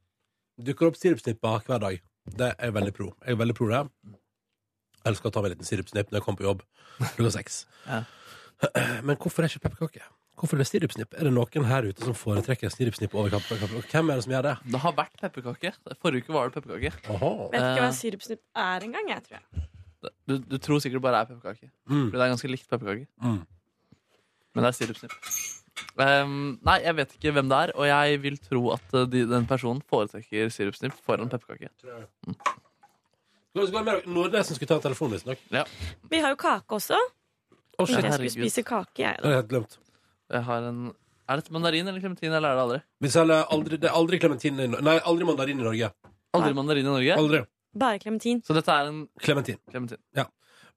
S2: dukker opp sirupsnipper hver dag. Det er jeg veldig pro. Jeg er veldig pro det. Jeg elsker å ta meg en liten sirupsnipp når jeg kommer på jobb klokka seks. Men hvorfor er ikke pepperkake? Hvorfor er det sirupsnipp? Er det noen her ute som foretrekker sirupsnipp over pepperkake? Hvem er det som gjør det?
S3: Det har vært pepperkake. Forrige uke var det pepperkake.
S10: Vet ikke hva
S3: Eh,
S10: sirupsnipp er engang, jeg, tror jeg.
S3: du, du tror sikkert det bare er pepperkake.
S2: Mm.
S3: Fordi det er ganske likt pepperkake.
S2: Mm.
S3: Men det er sirupsnipp. Ehm, nei, jeg vet ikke hvem det er, og jeg vil tro at eh, de, den personen foretrekker sirupsnipp foran pepperkake.
S2: Skal det være mer- Nordnesen skulle ta en telefon, visstnok.
S3: Ja.
S13: Vi har jo kake også.
S2: Å, shit.
S13: jeg skulle
S3: Herregud.
S13: spise kake, jeg.
S2: Det har jeg helt glemt.
S3: Jeg har en Er dette mandarin eller klementin, eller er det aldri?
S2: Vi selger aldri, det er aldri klementin i Norge. Nei, aldri mandarin i Norge.
S3: Aldri mandarin i Norge?
S2: Aldri.
S13: Bare klementin.
S3: Så dette er en
S2: Klementin.
S3: Klementin.
S2: Ja.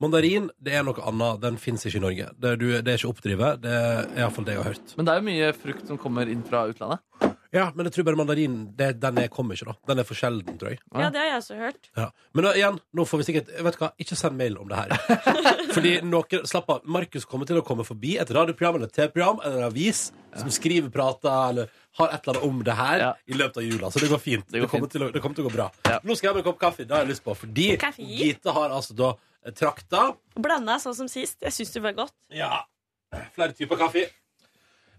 S2: Mandarin det er noe annet. Den fins ikke i Norge. Det er, du, det er ikke oppdrivet. Det er iallfall det jeg har hørt.
S3: Men det er jo mye frukt som kommer inn fra utlandet.
S2: Ja, Men jeg tror bare mandarin det, den er, kommer ikke, da. Den er for sjelden, tror jeg.
S13: Ja, det har jeg også hørt.
S2: Ja. Men da, igjen, nå får vi sikkert Vet du hva, ikke send mail om det her. Fordi noen, Slapp av. Markus kommer til å komme forbi et radioprogram eller et TV-program eller en avis som skriver, prater eller har et eller annet om det her i løpet av jula. Så det går fint. Det, kommer, Til å, det kommer til å gå bra. Nå skal jeg ha meg en kopp kaffe. Det har jeg lyst på. Fordi
S13: Kaffe?
S2: Gita har altså da eh, trakta
S13: Blanda sånn som sist. Jeg syns det var godt.
S2: Ja. Flere typer kaffe.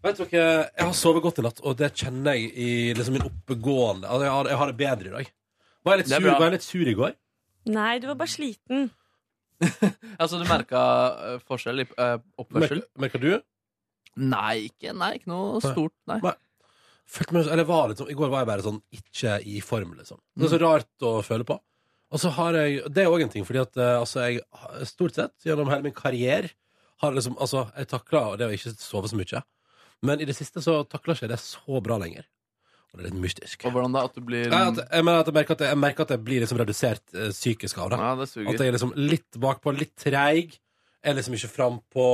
S2: Vet dere, Jeg har sovet godt i natt, og det kjenner jeg i liksom min oppegående altså, jeg, har, jeg har det bedre i dag. Var jeg litt
S3: Det er
S2: sur,
S3: bra.
S2: var jeg litt sur i går?
S13: Nei, du var bare sliten.
S3: Altså, [laughs] du merka eh, forskjell i eh, oppførsel?
S2: Merka du?
S3: Nei, ikke, nei, ikke noe stort. Nei.
S2: Følte meg, eller var litt sånn, I går var jeg bare sånn ikke i form, liksom. Det er
S3: Mm.
S2: så rart å føle på. Og så har jeg, Det er òg en ting, fordi at eh, altså, jeg har- stort sett gjennom hele min karriere har liksom, altså, Jeg takla det å ikke sove så mye. Men i det siste så takler ikke jeg det så bra lenger. Og det er litt mystisk.
S3: Og hvordan da? At du blir
S2: Nei, at, jeg, mener at jeg, merker at jeg, jeg merker at jeg blir liksom redusert eh, psykisk av det.
S3: Ja, det suger.
S2: At jeg er liksom litt bakpå, litt treig. Er liksom ikke frampå.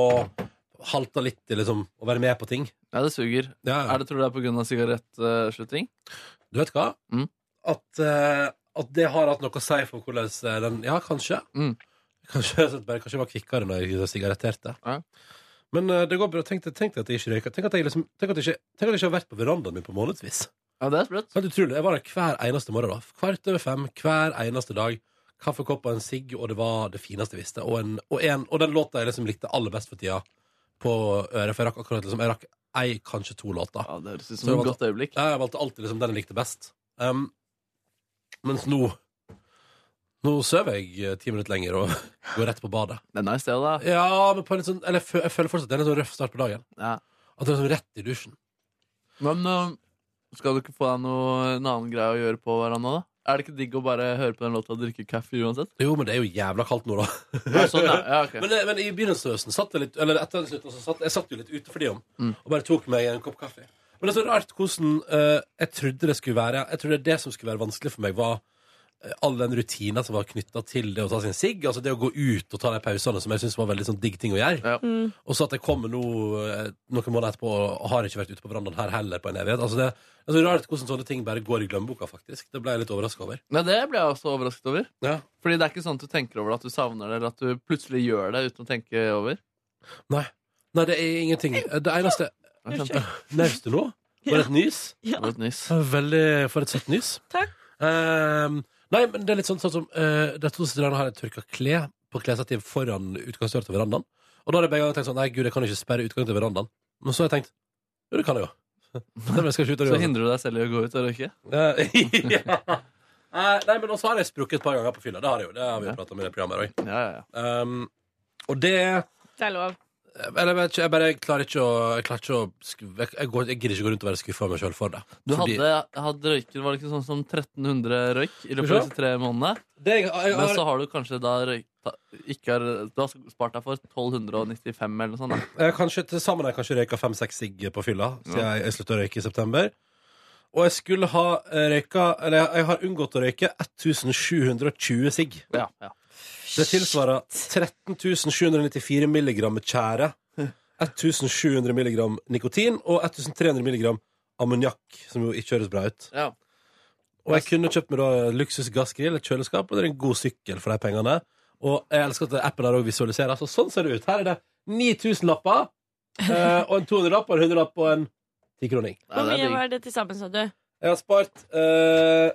S2: Halter litt i liksom, å være med på ting.
S3: Ja, det suger. Er det, tror du det er pga. sigarettsluting?
S2: Du vet hva?
S3: Mm.
S2: At, eh, at det har hatt noe å si for hvordan eh, den Ja, kanskje. Kanskje, [laughs] jeg bare, kanskje jeg var kvikkere når jeg sigaretterte. Men eh, det går bra. Tenk, tenk at jeg ikke røyker. Tenk at jeg, liksom, tenk at jeg, ikke, tenk at jeg ikke har vært på verandaen min på månedsvis. Sånn
S3: Ja, det er sprøtt.
S2: Helt utrolig. Jeg var der hver eneste morgen. da. Kvart over fem hver eneste dag. Kaffekopp og en sigg, og det var det fineste jeg visste. Og, en, og, en, og den låta jeg liksom likte aller best for tida, på øret. For jeg rakk akkurat liksom, jeg rakk ei, kanskje to låter.
S3: Ja, det høres ut
S2: Så
S3: som
S2: jeg
S3: et
S2: valgte-
S3: godt øyeblikk.
S2: Ja, jeg valgte alltid liksom, den jeg likte best. Um, mens nå Nå sover jeg eh, ti minutter lenger og [laughs] går rett på badet.
S3: Det er nice, det òg, da.
S2: Ja, men på en litt sånn, eller jeg fø- jeg føler fortsatt at det er en sånn røff start på dagen.
S3: Ja.
S2: At det er sånn rett i dusjen.
S3: Men eh, skal du ikke få deg noe, en annen greie å gjøre på hverandre, da? Er det ikke digg å bare høre på den låta og drikke kaffe uansett?
S2: Jo, men det er jo jævla kaldt nå, da.
S3: [laughs] Ja, sånn, ja. Ja, ok.
S2: men, det- men i begynnelsen satt jeg litt Eller etter den slutten, så satt jeg satt jo litt ute for de om.
S3: Mm.
S2: Og bare tok meg en kopp kaffe. Men det er så rart hvordan eh, jeg trodde det skulle være Jeg trodde det som skulle være vanskelig for meg, var eh, all den rutina som var knytta til det å ta sin sigg. Altså det å gå ut og ta de pausene som jeg syns var veldig sånn digg ting å gjøre.
S13: Mm.
S2: Og så at jeg kommer nå eh, noen måneder etterpå og har ikke vært ute på verandaen her heller på en evighet. Altså det, det er så rart hvordan sånne ting bare går i glemmeboka, faktisk. Det ble jeg litt overraska over.
S3: Nei, det ble jeg også overrasket over.
S2: Ja.
S3: Fordi det er ikke sånn at du tenker over det, at du savner det, eller at du plutselig gjør det uten å tenke over.
S2: Nei. Nei, det er ingenting. Det eneste
S3: Unnskyld.
S2: Nøste nå? Var det et nys?
S13: Ja.
S3: Det var et nys.
S2: Veldig For et søtt nys.
S13: Takk.
S2: Ehm, nei, men det er litt sånn, sånn som eh, De to siste dagene har jeg tørka kle på klesstativ foran utgangsdøra til verandaen. Og da har jeg begge ganger tenkt sånn Nei, gud, jeg kan ikke sperre utgangen til verandaen. Men så har jeg tenkt Jo, det kan
S3: [laughs]
S2: jeg jo. Nei, men jeg skal ikke ut av
S3: Så
S2: det. [laughs]
S3: hindrer du deg selv i å gå ut og røyke.
S2: ja. Eh, Nei, men også har jeg sprukket et par ganger på fylla. Det har jeg jo. Det har vi jo pratet om i det programmet her òg. Ehm, og det
S5: Det er lov.
S2: eller jeg, vet ikke, jeg bare jeg klarer ikke å Jeg, klarer ikke å, sku- jeg, jeg, går, jeg gidder ikke gå rundt og være skuffa av meg sjøl for det.
S3: Du
S2: Fordi-
S3: hadde, hadde røyker, var det ikke sånn som 1300 røyk
S2: Skal
S3: i løpet
S2: vi
S3: av
S2: se?
S3: disse tre månedene?
S2: Det- jeg- jeg-
S3: Men så har du kanskje da røyka ikke har, Du har spart deg for 1295 eller noe sånt. Da.
S2: jeg, Eh, Kanskje til sammen har jeg kanskje røyka fem-seks sigg på fylla siden
S3: Ja.
S2: jeg, jeg slutta å røyke i september. Og jeg skulle ha eh, røyka Eller jeg, jeg har unngått å røyke 1720 sigg. Det tilsvarer 13794 milligram med tjære. 1700 milligram nikotin og 1300 milligram ammoniakk, som jo ikke høres bra ut.
S3: Ja.
S2: Og jeg kunne kjøpt meg da luksus gassgrill, et kjøleskap og det er en god sykkel for de pengene. Og jeg elsker at appen her også visualiserer. Så sånn ser det ut. Her er det 9000 lapper, eh, og en 200-lapp, og en 100-lapp og en 10-kroning.
S13: Hvor mye var det til sammen, sa du?
S2: Jeg har spart eh,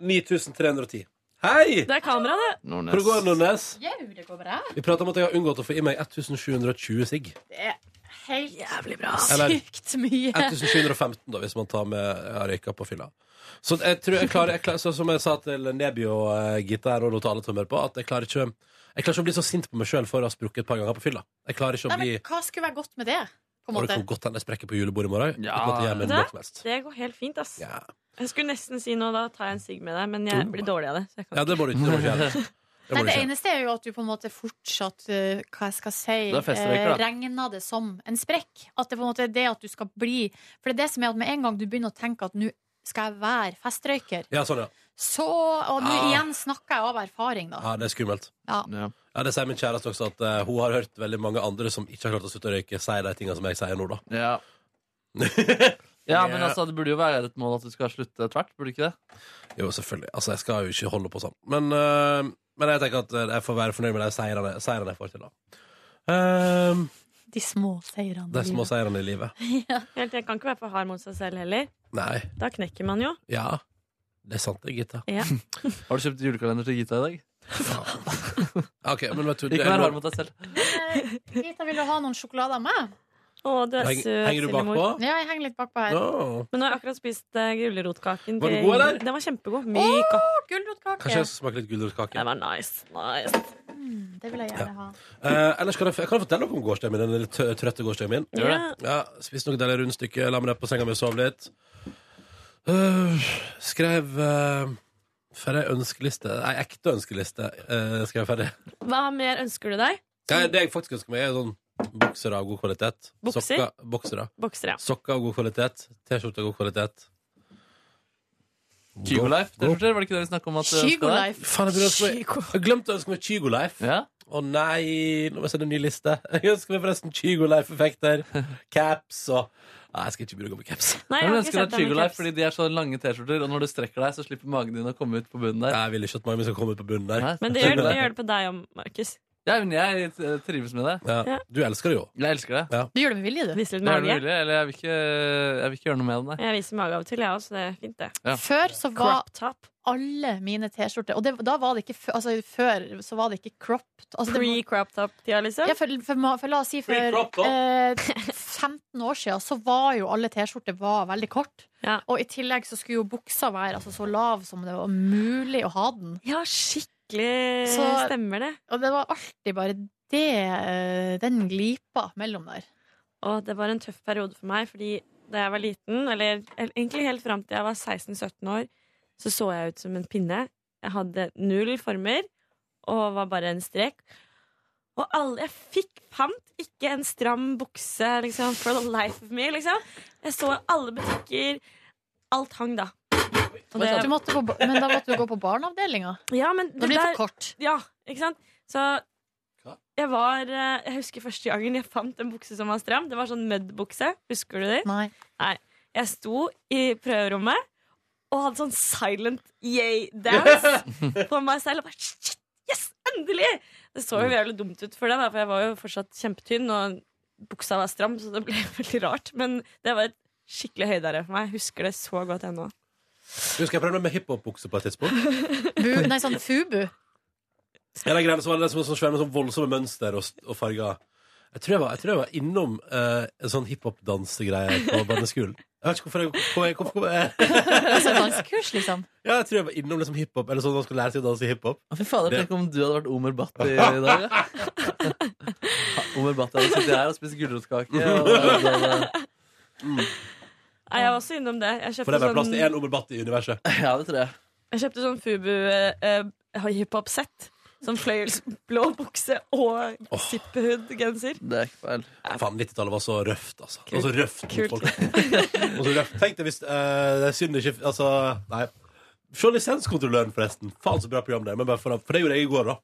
S2: 9310. Hei!
S13: Det er kamera, det.
S2: Hvordan går det, Nordnes?
S5: Jau, det går bra.
S2: Vi prater om at jeg har unngått å få i meg 1720 sigg.
S5: Det er helt jævlig bra.
S2: Eller-
S5: Sykt mye.
S2: 1715, da, hvis man tar med jeg har røyka på fylla. Så jeg tror jeg klarer, jeg klarer så som jeg sa til Neby og uh, Gitta her, og lot alle ta med på, at jeg klarer ikke jeg klarer ikke å bli så sint på meg sjøl for å ha sprukket et par ganger på fylla. Jeg klarer ikke å
S5: Nei,
S2: bli
S5: men Hva skulle være godt med det?
S13: På en
S2: Og det
S13: måte.
S2: kan godt hende jeg sprekker på julebordet i morgen. uten at det gjør meg
S13: Vet du
S2: noe
S13: hva?
S2: som helst.
S13: det går helt fint, ass. Jeg skulle nesten si nå, da tar jeg en sigg med deg, men
S2: Oh.
S13: jeg blir dårlig av det. Så jeg kan
S2: Ja, det må du ikke det må du ikke gjøre. Det må
S5: Nei,
S2: du
S5: det
S2: ikke gjøre.
S5: eneste er jo at du på en måte fortsatt eh, Hva jeg skal si
S2: Det er festreker,
S5: eh,
S2: da.
S5: Regner det som en sprekk. At det på en måte er det at du skal bli For det er det som er at med en gang du begynner å tenke at nå skal jeg være festrøyker,
S2: Ja, sånn, ja.
S5: så Og nå
S2: Ah.
S5: igjen snakker jeg av erfaring, da.
S2: ja. Det er skummelt.
S5: Ja.
S2: Ja, Det sier min kjæreste også, at eh, hun har hørt veldig mange andre som ikke har klart å slutte å røyke, si de tingene som jeg sier nå, da.
S3: Ja. [laughs] men altså, det burde jo være et mål at du skal slutte tvert, burde ikke det?
S2: Jo, selvfølgelig. Altså, jeg skal jo ikke holde på sånn. Men, eh, men jeg tenker at eh, jeg får være fornøyd med de seirene, seirene jeg får til, da. Ehm,
S5: De små seirene.
S2: de små seirene i livet.
S13: Helt, jeg kan ikke være for hard mot seg selv heller.
S2: Nei.
S13: Da knekker man jo.
S2: Ja. Det er sant, det, Gita. [laughs]
S13: Ja.
S3: Har du kjøpt julekalender til Gita i dag?
S2: Ok, men vet du
S3: Ikke vær hard mot deg selv.
S5: Gita, Eh, vil du ha noen sjokolader av meg?
S13: Å, du er
S2: Heng-
S13: søt,
S2: henger du bakpå?
S13: Sillemor.
S5: Ja, jeg henger litt bakpå her.
S2: Å.
S13: Men nå har jeg akkurat spist uh, gulrotkaken.
S2: Var den
S13: til-
S2: god, eller?
S13: Den var kjempegod. Myk.
S2: Kanskje jeg skal smake litt gulrotkake?
S13: Det var nice. nice.
S5: Mm, det vil jeg gjerne ha.
S2: Eh, ellers kan jeg, jeg kan fortelle dere om gårsdagen min. Den litt tø- trøtte gårsdagen min.
S13: Gjør det.
S2: Ja, Spiste noe deilig rundstykke, la meg ned på senga mi og sov litt. Eh, skrev uh, ferdig ønskeliste. Ei ekte ønskeliste eh, skrev jeg ferdig.
S13: Hva mer ønsker du deg?
S2: Nei, det jeg faktisk ønsker meg, er sånn boksere av god kvalitet.
S13: Bukser?
S2: Sokker, boksere.
S13: Bokser, ja.
S2: Sokker av god kvalitet. T-skjorte av god kvalitet.
S3: Kygolife, det skjorter, var det ikke det vi snakket om? at eh, skal være?
S2: Faen, jeg, begynner å ønske meg- jeg glemte å ønske meg Kygo-Life. Å nei, nå må jeg sende en ny liste. [laughs] Jeg ønsker meg forresten Kygo-Life-effekter. Caps og Nei, jeg skal ikke begynne å gå med caps.
S13: Nei, jeg
S3: jeg
S13: har ikke
S3: ønsker
S13: sett
S3: deg
S13: den i
S3: Chigolife
S13: caps.
S3: fordi de er så lange T-skjorter, og når du strekker deg, så slipper magen din å komme ut på bunnen der.
S2: Jeg vil ikke at magen min skal komme ut på bunnen der.
S13: Men det gjør, det gjør det på deg òg, Markus.
S3: Ja, men jeg eh, trives med det.
S13: Ja.
S2: Du elsker det jo.
S3: Jeg elsker det.
S13: Du gjør det med vilje, du. Viser litt
S3: Det er det
S13: mage.
S3: mulig, eller jeg vil, ikke, jeg vil ikke gjøre noe med den der.
S13: Jeg viser mage av og til, jeg òg, så det er fint, det.
S3: Ja.
S5: Før så var
S13: Crop top.
S5: alle mine T-skjorter Og det, da var det ikke fø- altså, Før så var det ikke cropped altså, det-
S13: Pre-crop top-tida, liksom?
S5: ja, for, for, ma- for la oss si for
S13: Pre-crop top.
S5: eh, 15 år siden så var jo alle T-skjorter var veldig kort. Og i tillegg så skulle jo buksa være altså, så lav som det var mulig å ha den.
S13: Ja, skikkelig stemmer det.
S5: Og det var alltid bare det, eh, den glipa mellom der.
S13: Og det var en tøff periode for meg, fordi da jeg var liten, eller eller egentlig helt fram til jeg var 16-17 år, så så jeg ut som en pinne. Jeg hadde null former og var bare en strek. Og alle, jeg fikk, fant ikke en stram bukse liksom, for the life of me. Liksom. Jeg så alle butikker. Alt hang da. Og det-
S5: Du måtte på, ba- men da måtte du gå på barneavdelinga.
S13: Ja, men
S5: Da blir det for kort.
S13: Ja, ikke sant? Så jeg var eh, Jeg husker første gangen jeg fant en bukse som var stram. Det var sånn mud-bukse. Husker du det?
S5: Nei.
S13: Jeg sto i prøverommet og hadde sånn silent yay-dance på meg selv. Og bare shit, yes, endelig! Det så
S2: Mm.
S13: jo jævlig dumt ut for det, da, for jeg var jo fortsatt kjempetynn, og buksa var stram, så det ble [laughs] veldig rart. Men det var et skikkelig høydere for meg. Jeg husker det så godt ennå.
S2: Husker jeg prøvde meg med hiphop-bukse på et tidspunkt.
S5: Bu, nei, sånn fubu.
S2: En av greiene som var det som var sånn svære med sånn voldsomme mønster og, s- og farger. Jeg tror jeg var, jeg tror jeg var innom eh, en sånn hiphop-dansegreie på barneskolen. Jeg vet ikke hvorfor jeg, hvorfor jeg, hvorfor [laughs] jeg
S5: Altså dansekurs, liksom.
S2: Ja, jeg tror jeg var innom liksom hiphop, eller sånn at man skulle lære seg å danse hiphop.
S3: Fy fader, Tenk om du hadde vært Omer Batt [laughs] i i dag. Ja. Omer Batt hadde sittet her og spist gulrotkake. og- [laughs]
S13: Nei, Jeg var også innom det. Jeg
S2: For det
S13: kjøpte
S2: var plass
S13: sånn-
S2: til én oberbatt i universet.
S3: Ja, det tror jeg.
S13: Jeg kjøpte sånn Fubu eh, eh, hiphop-sett. Sånn fløyelsblå bukse og zippehood-genser.
S3: Det er ikke feil.
S2: Faen, 90-tallet var så røft, altså. Det var så røft mot
S13: Kult.
S2: folk. Og så røft. Tenk deg hvis eh, Det er synd det ikke Altså, nei. Se lisenskontrolløren, forresten. Faen, så bra program det er. Men bare for, for det gjorde jeg i går, da.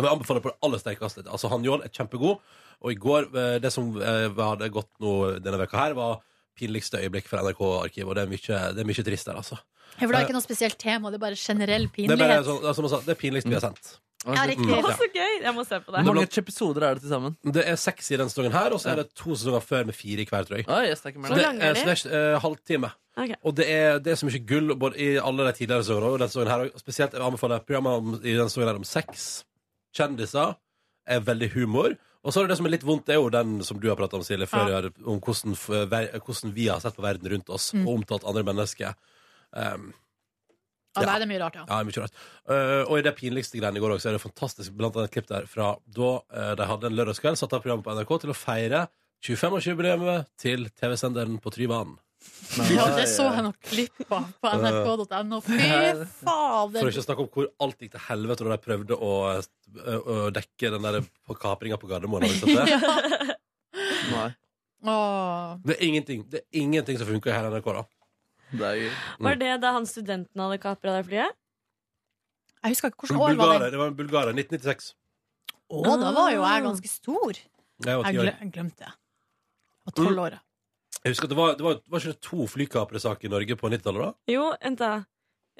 S2: Jeg vil anbefale på det aller sterkeste. Altså, han Jål er kjempegod. Og i går, eh, det som eh, hadde gått nå denne veka her, var pinligste øyeblikk fra NRK-arkivet. Og det er mye, det er mye trist der, altså.
S5: For det er ikke noe spesielt tema, det er bare generell
S2: Det er bare
S5: pinlighet.
S2: sånn, det er som han sa, det er pinligst vi har sendt.
S5: Ja, riktig.
S2: Mm, ja.
S13: Så gøy! Jeg må se på det.
S2: Hvor mange
S3: episoder er det til sammen?
S2: Det er seks i denne sesongen her, og så er det to sesonger før med fire i hver, tror jeg.
S3: Oi, jeg snakker med
S2: Så det,
S3: deg. Hvor lange er
S2: eh,
S3: de?
S2: så det er eh, halvtime.
S13: Ok.
S2: Og det er, det er så mye gull både i alle de tidligere sesongene og denne sesongen her. Og spesielt jeg anbefaler programmet om, i denne sesongen her om sex, kjendiser, er veldig humor. Og så er det det som er litt vondt, det er jo den som du har pratet om, Silje, før,
S13: Ja.
S2: her, om hvordan, f- ver, hvordan vi har sett på verden rundt oss,
S5: Mm.
S2: og omtalt andre mennesker. Um,
S5: Ja, nei, det er mye rart, ja.
S2: ja, mye rart. Eh, og i det pinligste greiene i går også, er det fantastisk blant annet et klipp der fra da eh, de hadde en lørdagskveld, satt av programmet på NRK til å feire 25-årsjubileet til TV-senderen på Tryvann.
S5: Ja, det så jeg nok klipp av på nrk.no. Fy
S2: For ikke
S5: fader!
S2: å snakke om hvor alt gikk til helvete da de prøvde å, eh, å, å dekke den der på kapringa på Gardermoen. Har du sett
S5: [laughs]
S2: det? Nei.
S5: Åh.
S2: Det er ingenting Det er ingenting som funker her i NRK, da. Det er
S13: Var det da han studenten hadde kapra det flyet?
S5: Jeg husker ikke
S2: Bulgarer, det var en bulgarer. 1996.
S5: Å, da var jo jeg ganske stor.
S2: Jeg var
S5: Jeg
S2: ti år.
S5: glem- jeg glemte det. Jeg var tolv år.
S2: Jeg husker at det var, det var, var ikke det to flykapresaker i Norge på 90-tallet, da?
S13: Jo, vent da.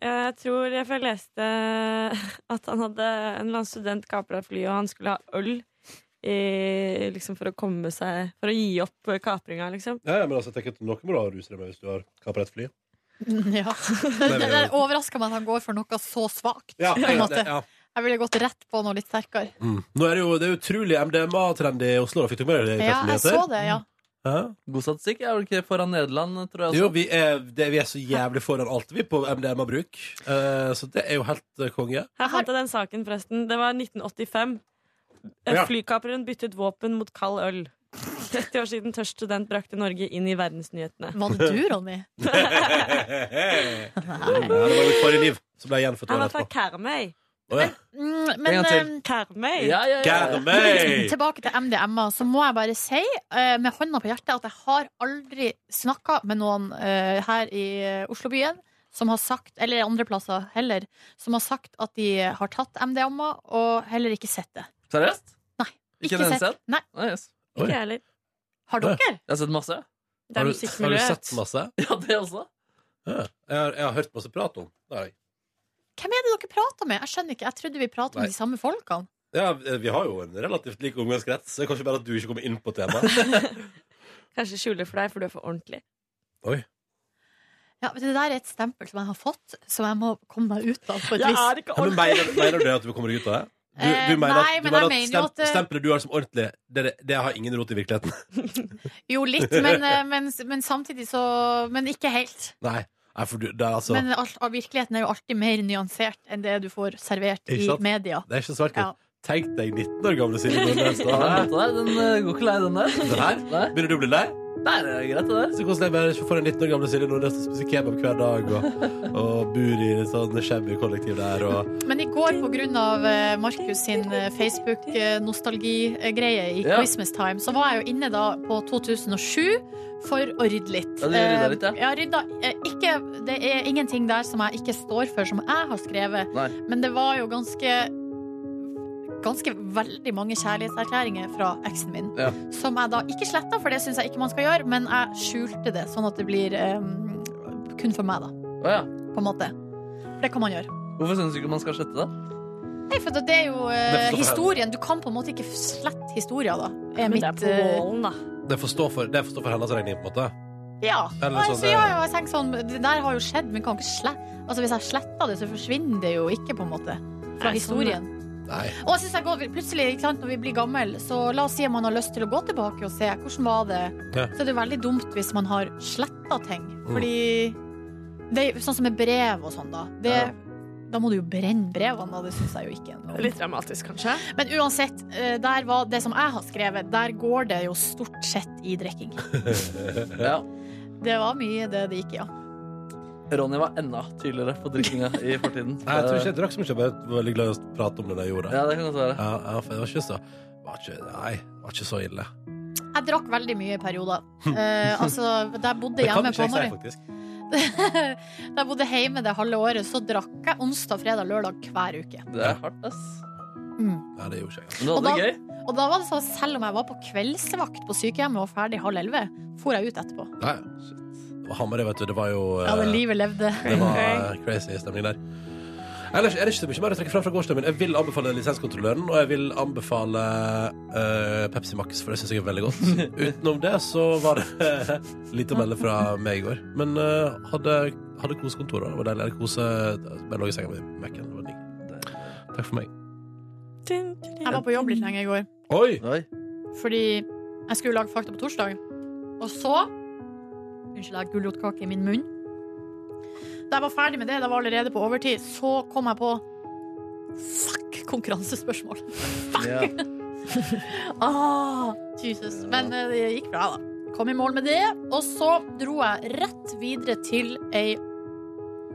S13: Jeg tror jeg, for jeg leste [laughs] at han hadde en eller annen student kapra et fly, og han skulle ha øl i, liksom for å komme seg For å gi opp kapringa, liksom.
S2: Ja, ja, men altså, jeg tenker at Noe må du ha ruse deg med hvis du har kapret et fly.
S5: Mm, Ja. [laughs] Det, det der overrasker meg at han går for noe så svakt.
S2: Ja,
S5: [laughs] på en måte.
S2: egentlig, ja.
S5: Jeg ville gått rett på noe litt sterkere.
S2: Mm. Nå er det jo det er utrolig MDMA-trend i Oslo. Da. Fikk du med deg det? i
S5: Ja,
S2: Karsten
S5: jeg
S2: Nyheter?
S5: så det, ja.
S2: God statistikk. Er du ikke foran Nederland, tror jeg? Jo, vi er, det, vi er så jævlig foran alt, vi, på MDMA-bruk. Eh, så det er jo helt eh, konge.
S13: Her fant jeg den saken, forresten. Det var 1985.
S2: Ja.
S13: Flykapreren byttet våpen mot kald øl. [laughs] 30 år siden tørst student brakte Norge inn i verdensnyhetene.
S5: Var det du, Ronny?
S2: Nei. Det var mitt forrige liv, som ble gjenfødt
S13: Han
S2: året
S13: var fra
S2: etterpå.
S13: Karmøy.
S2: Å, ja.
S5: Mm,
S2: En
S5: Men
S2: gang til.
S5: eh, liksom,
S13: Karmøy.
S2: Ja, ja, ja. Karmøy.
S5: Tilbake til MDMA, så må jeg bare si eh, med hånda på hjertet at jeg har aldri snakka med noen eh, her i eh, Oslobyen som har sagt, eller andre plasser heller, som har sagt at de har tatt MDMA og heller ikke sett det.
S3: Seriøst?
S5: Nei.
S3: Ikke den eneste?
S5: Nei.
S3: Ikke Oi. jeg
S13: heller.
S5: Har dere?
S3: Jeg har sett masse.
S5: Det er Har du-
S2: Har du sett masse?
S3: Ja, det også.
S2: Ja. Jeg, har, jeg har hørt masse prat om det. har jeg.
S5: Hvem er det dere prater med? Jeg skjønner ikke, jeg trodde vi pratet
S2: Nei.
S5: med de samme folkene.
S2: Ja, eh, vi har jo en relativt lik omgangskrets. så Det er kanskje bare at du ikke kommer inn på
S5: [laughs]
S2: temaet.
S13: Kanskje skjuler for deg, for du er for ordentlig.
S2: Oi.
S5: Ja, men Det der er et stempel som jeg har fått, som jeg må komme meg ut av. på et
S13: Jeg
S5: vis.
S13: er ikke
S2: Ja, men mener, mener du at du kommer deg ut av det? Du, du
S5: Eh,
S2: mener
S5: nei,
S2: at, du mener
S5: men jeg
S2: at
S5: mener jo
S2: stemp,
S5: at eh, det-
S2: stempelet du har som ordentlig, det, det har ingen rot i virkeligheten? [laughs]
S5: Jo, litt, men, eh, men, men samtidig så Men ikke helt.
S2: Nei. Nei, for du, det er altså
S5: Men alt, av virkeligheten er jo alltid mer nyansert enn det du får servert
S2: Ikke
S5: i
S2: sant?
S5: media.
S2: Det er ikke svart-hvitt.
S5: Ja.
S2: Tenk deg 19 år gamle Silje Nordnes. da.
S3: Ja,
S5: [laughs]
S3: vet du det, den eh, går ikke lei, den der.
S2: Den her? Begynner du å bli lei?
S3: Nei, det er greit, det der.
S2: Så koselig med for en 19 år gamle Silje Nordnes som spiser kebab hver dag og, og bor i et sånn shabby kollektiv der. Og,
S5: Men i går, på grunn av eh, Markus sin Facebook-nostalgi-greie i
S2: Ja.
S5: Christmas Time, så var jeg jo inne da på 2007 for å rydde litt.
S13: Ja, du rydda
S5: Eh,
S13: litt, ja.
S5: Jeg har rydda eh, ikke Det er ingenting der som jeg ikke står for, som jeg har skrevet, men det var jo ganske Ganske veldig mange kjærlighetserklæringer fra eksen min.
S3: Ja.
S5: Som jeg da ikke sletta, for det syns jeg ikke man skal gjøre, men jeg skjulte det, sånn at det blir eh, kun for meg, da.
S3: Å, ja.
S5: På en måte. For det kan man gjøre.
S3: Hvorfor syns du ikke man skal slette det?
S5: Nei, for det er jo eh,
S3: Det forstår jeg.
S5: historien. Du kan på en måte ikke slette historien, da. Er
S13: Men det er
S5: mitt,
S13: på
S5: eh,
S13: målen, da.
S2: det får stå for, det får stå for hennes regning, på en måte.
S5: Ja.
S2: Eller
S5: Nei,
S2: sånn,
S5: så
S2: det-
S5: ja, ja, jeg tenker sånn, det der har jo skjedd, men kan ikke slette Altså, Hvis jeg sletter det, så forsvinner det jo ikke, på en måte. Fra
S13: Nei, sånn,
S5: historien.
S2: Nei.
S5: Og jeg synes jeg går, plutselig, ikke sant, når vi blir gammel så la oss si at man har lyst til å gå tilbake og se hvordan var det
S2: Ja. Mm.
S5: Så er det jo veldig dumt hvis man har sletta ting. Fordi det er jo Sånn som med brev og sånn, da. Det, Da må du jo brenne brevene, og det syns jeg jo ikke. er noe-
S13: Litt dramatisk, kanskje.
S5: Men uansett, eh, der var det som jeg har skrevet, der går det jo stort sett i drikking.
S3: Ja.
S5: Det var mye det det gikk i, ja.
S3: Ronny var enda tydeligere på drikkinga i fortiden.
S2: Nei, jeg tror ikke jeg drakk så mye, jeg bare var veldig glad i å prate om det da jeg gjorde.
S3: Ja, det kan godt være.
S2: Ja, ja, for det var ikke så var ikke, Nei, det var ikke så ille.
S5: Jeg drakk veldig mye i perioder.
S2: [laughs]
S5: Eh, altså, da jeg bodde
S2: Det kan
S5: hjemme
S2: ikke
S5: på
S2: jeg si,
S5: Amarøy
S2: faktisk.
S5: [laughs] Da jeg bodde hjemme det halve året, så drakk jeg onsdag, fredag, lørdag hver uke.
S3: Det er hardt, ass.
S2: Ja, det gjorde ikke jeg.
S3: Men du hadde
S5: Og da-
S3: det gøy.
S5: Og da var det sånn, selv om jeg var på kveldsvakt på sykehjemmet og ferdig halv elleve, for jeg ut etterpå.
S2: Nei, det var Hamarøy, vet du. Det var jo
S5: Ja, det
S2: eh,
S5: livet levde.
S2: Det var eh, crazy stemning der. Ellers er det ikke så mye mer å trekke fram fra gårsdagen min. Jeg vil anbefale lisenskontrolløren, og jeg vil anbefale eh, Pepsi Max, for det syns jeg er veldig godt. Utenom det så var det [laughs] litt å melde fra meg i går. Men eh, hadde, hadde kosekontoret. Det var deilig. Jeg Kose, bare lå i senga mi med Mac-en. Det var digg. Takk for meg.
S5: Jeg var på jobb litt lenge i går.
S2: Oi!
S5: Fordi jeg skulle lage fakta på torsdag. Og så Unnskyld, jeg har gulrotkake i min munn. Da jeg var ferdig med det, da var jeg allerede på overtid, så kom jeg på Fuck konkurransespørsmål.
S3: Ja.
S5: Ah, Jesus. Men eh, det gikk bra, da. Kom i mål med det. Og så dro jeg rett videre til ei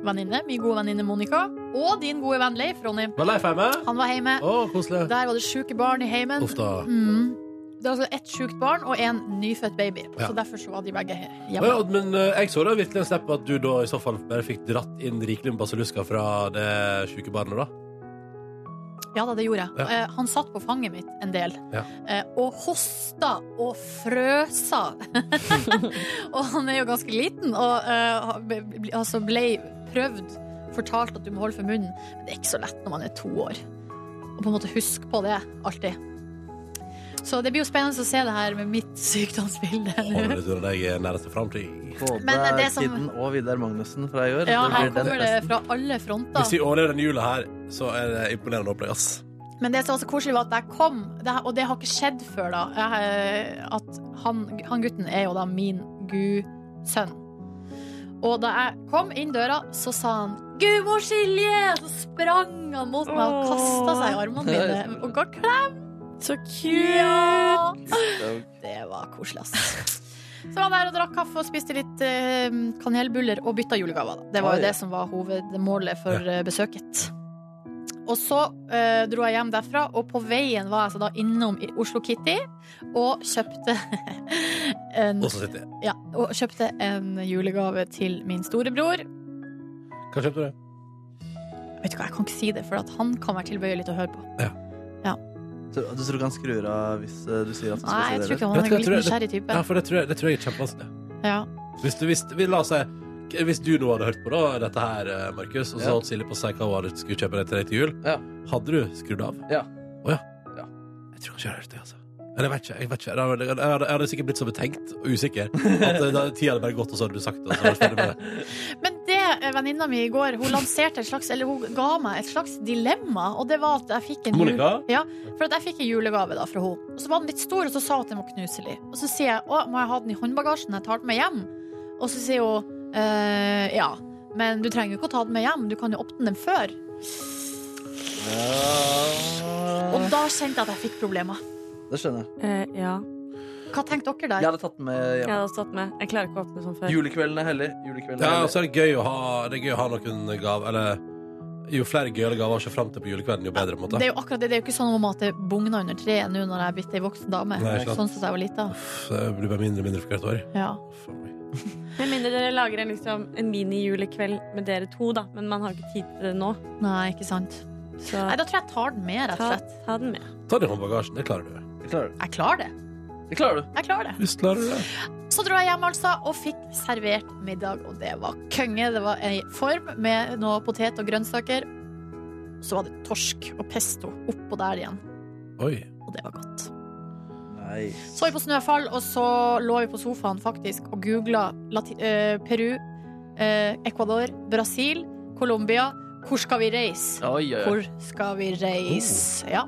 S5: venninne, min gode venninne Monica, og din gode venn Leif, Ronny.
S2: Var Leif hjemme?
S5: Han var hjemme.
S2: Å, koselig.
S5: Der var det sjuke barn i heimen.
S2: Uff da.
S5: Mm. Det var altså ett sjukt barn og en nyfødt baby.
S2: Ja.
S5: Så derfor så var de begge
S2: Ja,
S5: hjemme.
S2: ja, men eh, jeg så da virkelig en snap på at du da i så fall bare fikk dratt inn rikelig med basillusker fra det sjuke barnet, da.
S5: Ja da, det gjorde jeg.
S2: Ja.
S5: Eh, Han satt på fanget mitt en del.
S2: Ja.
S5: eh, og hosta og frøsa. [laughs] og han er jo ganske liten, og eh, ble, ble- altså ble prøvd fortalt at du må holde for munnen. Men det er ikke så lett når man er to år. Og på en måte huske på det alltid. Så det blir jo spennende å se det her med mitt sykdomsbilde. nå.
S2: Håper det tror jeg er nærmeste framtid.
S5: Men eh, det som-
S3: Kidden og Vidar Magnussen fra i år.
S5: Ja,
S3: Det
S5: her
S3: blir den
S5: kommer det
S3: festen.
S5: fra alle fronter.
S2: Hvis vi overlever denne jula her, så er det imponerende opplegg, ass.
S5: Men det som var så koselig var at jeg kom, det, og det har ikke skjedd før da, eh, at han, han gutten er jo da min gudsønn. Og da jeg kom inn døra, så sa han 'Gudmor Silje!' Så sprang han mot meg og kasta seg i armene mine og ga klem.
S13: Så
S5: Ja. Det var koselig, ass. Så var han der og drakk kaffe og spiste litt eh, kanelbuller og bytta julegaver. da. Det var
S13: Oi.
S5: jo det som var hovedmålet for eh, besøket. Og så eh, dro jeg hjem derfra, og på veien var jeg altså da innom i Oslo Kitty og kjøpte [laughs] en,
S2: Oslo City.
S5: Ja, og kjøpte en julegave til min storebror.
S2: Hva kjøpte du?
S5: Vet du hva, Jeg kan ikke si det, for at han kan være tilbøyelig til å høre på.
S3: [laughs] Så, du tror ikke han skrur av hvis eh, du sier at han skal
S5: Nei,
S3: si
S5: jeg
S3: det?
S5: tror ikke
S3: eller?
S5: han er en
S2: Vet du hva, jeg
S5: litt
S2: tror-
S5: nysgjerrig type.
S2: Ja, for det tror jeg, det tror jeg er kjempevanskelig.
S5: Ja.
S2: Hvis du, hvis, vi la oss si hvis du nå hadde hørt på da, dette her, eh, Markus, og så holdt Silje på å si hva hun hadde- skulle kjøpe deg til deg til jul, hadde du skrudd av?
S3: Ja.
S2: Å ja. Jeg tror ikke jeg hadde hørt det, altså. Eller jeg vet ikke. Jeg, vet ikke. Jeg, hadde, jeg, hadde, jeg hadde sikkert blitt så betenkt og usikker at eh, da tida hadde bare gått, og så hadde du sagt det. Og så hadde jeg ferdig med det.
S5: Men det eh, venninna mi i går, hun lanserte et slags Eller hun ga meg et slags dilemma, og det var at jeg fikk en
S2: [laughs]
S5: jul-
S2: Monica?
S5: Ja, for at jeg fikk en julegave da fra hun Og så var den litt stor, og så sa hun at den var knuselig. Og så sier jeg å, må jeg ha den i håndbagasjen når jeg tar den med hjem? Og så sier hun eh, ja, men du trenger jo ikke å ta den med hjem, du kan jo åpne den før. Og da kjente jeg at jeg fikk problemer.
S3: Det skjønner jeg.
S13: Eh, ja.
S5: Hva tenkte dere
S3: Jeg
S5: der?
S3: hadde tatt den med
S13: Jeg
S3: hjem.
S13: hadde stått med. Jeg klarer ikke å åpne sånn før.
S3: Julekvelden er hellig. Julekvelden er
S2: Ja, og
S3: hellig.
S2: så er det gøy å ha, det er gøy å ha noen gaver, eller jo flere gøyale gaver å se fram til på julekvelden, jo bedre, på en måte.
S5: Det er jo akkurat det, det er jo ikke sånn om at det bugner under treet nå når jeg er blitt ei voksen dame.
S2: Nei, ikke sant.
S5: sånn som jeg var lita.
S2: Så det blir bare mindre og mindre for hvert år.
S5: Ja.
S13: Med mindre dere lager en, liksom, en mini-julekveld med dere to, da. Men man har jo ikke tid til det nå.
S5: Nei, ikke sant. Nei, da tror jeg jeg tar den med, rett og
S13: Ta-
S5: slett.
S13: Ta den med.
S2: Ta det i håndbagasjen, det klarer du.
S3: Det klarer
S5: Jeg klarer det.
S3: du.
S5: Jeg klarer det.
S2: Visst klarer du det.
S5: Så dro jeg hjem altså og fikk servert middag, og det var konge. Det var ei form med noe potet og grønnsaker. Så var det torsk og pesto oppå der igjen.
S2: Oi.
S5: Og det var godt.
S3: Nei.
S5: Så vi på snøfall, og så lå vi på sofaen faktisk og googla Lati eh, Peru, eh, Ecuador, Brasil, Colombia. Hvor skal vi reise?
S2: Oi, oi, oi.
S5: Hvor skal vi reise? Ja,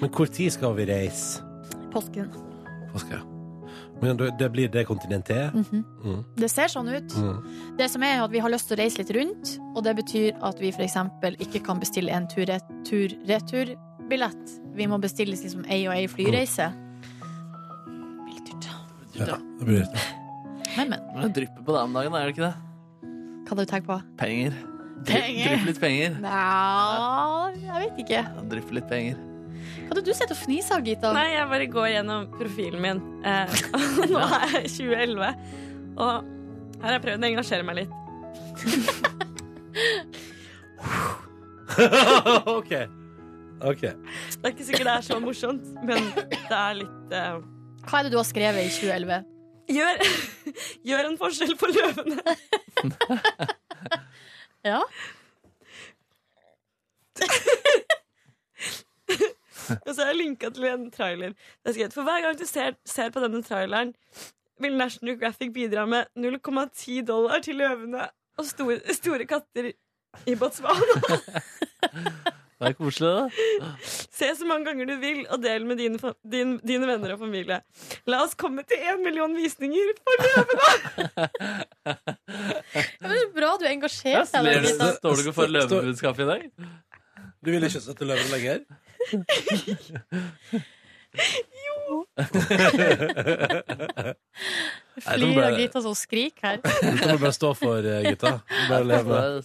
S2: Men hvor tid skal vi reise?
S5: påsken.
S2: Hva skal jeg? Men det det blir det kontinentet?
S5: Mhm.
S2: Mm.
S5: Det ser sånn ut.
S2: Mm.
S5: Det som er er at Vi har lyst til å reise litt rundt, og det betyr at vi f.eks. ikke kan bestille en tur-retur-billett. Vi må bestille liksom ei og ei flyreise.
S2: Ja, det blir det.
S5: Men, men.
S3: Men det drypper på deg om dagen, er det ikke det?
S5: Hva hadde du tenkt på?
S3: Penger.
S5: Penger.
S3: Drypper litt penger.
S5: Nja, jeg vet ikke.
S3: Ja, Drypper litt penger.
S5: Hva hadde du sett og fnise av, Gita?
S13: Nei, jeg bare går gjennom profilen min. Eh, [laughs] og nå er jeg 2011, og her har jeg prøvd å engasjere meg litt.
S2: [laughs] OK. OK.
S13: Det er ikke sikkert det er så morsomt, men det er litt eh,
S5: Hva er det du har skrevet i 2011?
S13: gjør, [laughs] gjør en forskjell på løvene.
S5: Ja.
S13: Og så har jeg linka til en trailer. Det er skrevet, For hver gang du ser, ser på denne traileren, vil National Geographic bidra med 0,10 dollar til løvene og store, store katter i Botswana. [laughs]
S3: Det er koselig, det.
S13: Se så mange ganger du vil, og del med dine, fa- din, dine venner og familie. La oss komme til én million visninger for løvene!
S5: Det er bra du engasjerer deg.
S3: Ler
S5: der,
S3: du,
S5: Gita.
S3: står du ikke for løvebudskapet i dag?
S2: Du vil ikke støtte løven lenger?
S5: Jo!
S2: Nei, da må
S5: Flyr
S2: bare-
S5: av Gita som skriker
S2: Dette må
S5: her.
S2: du bare stå for, eh, Gita. Du Bare leve [laughs] med.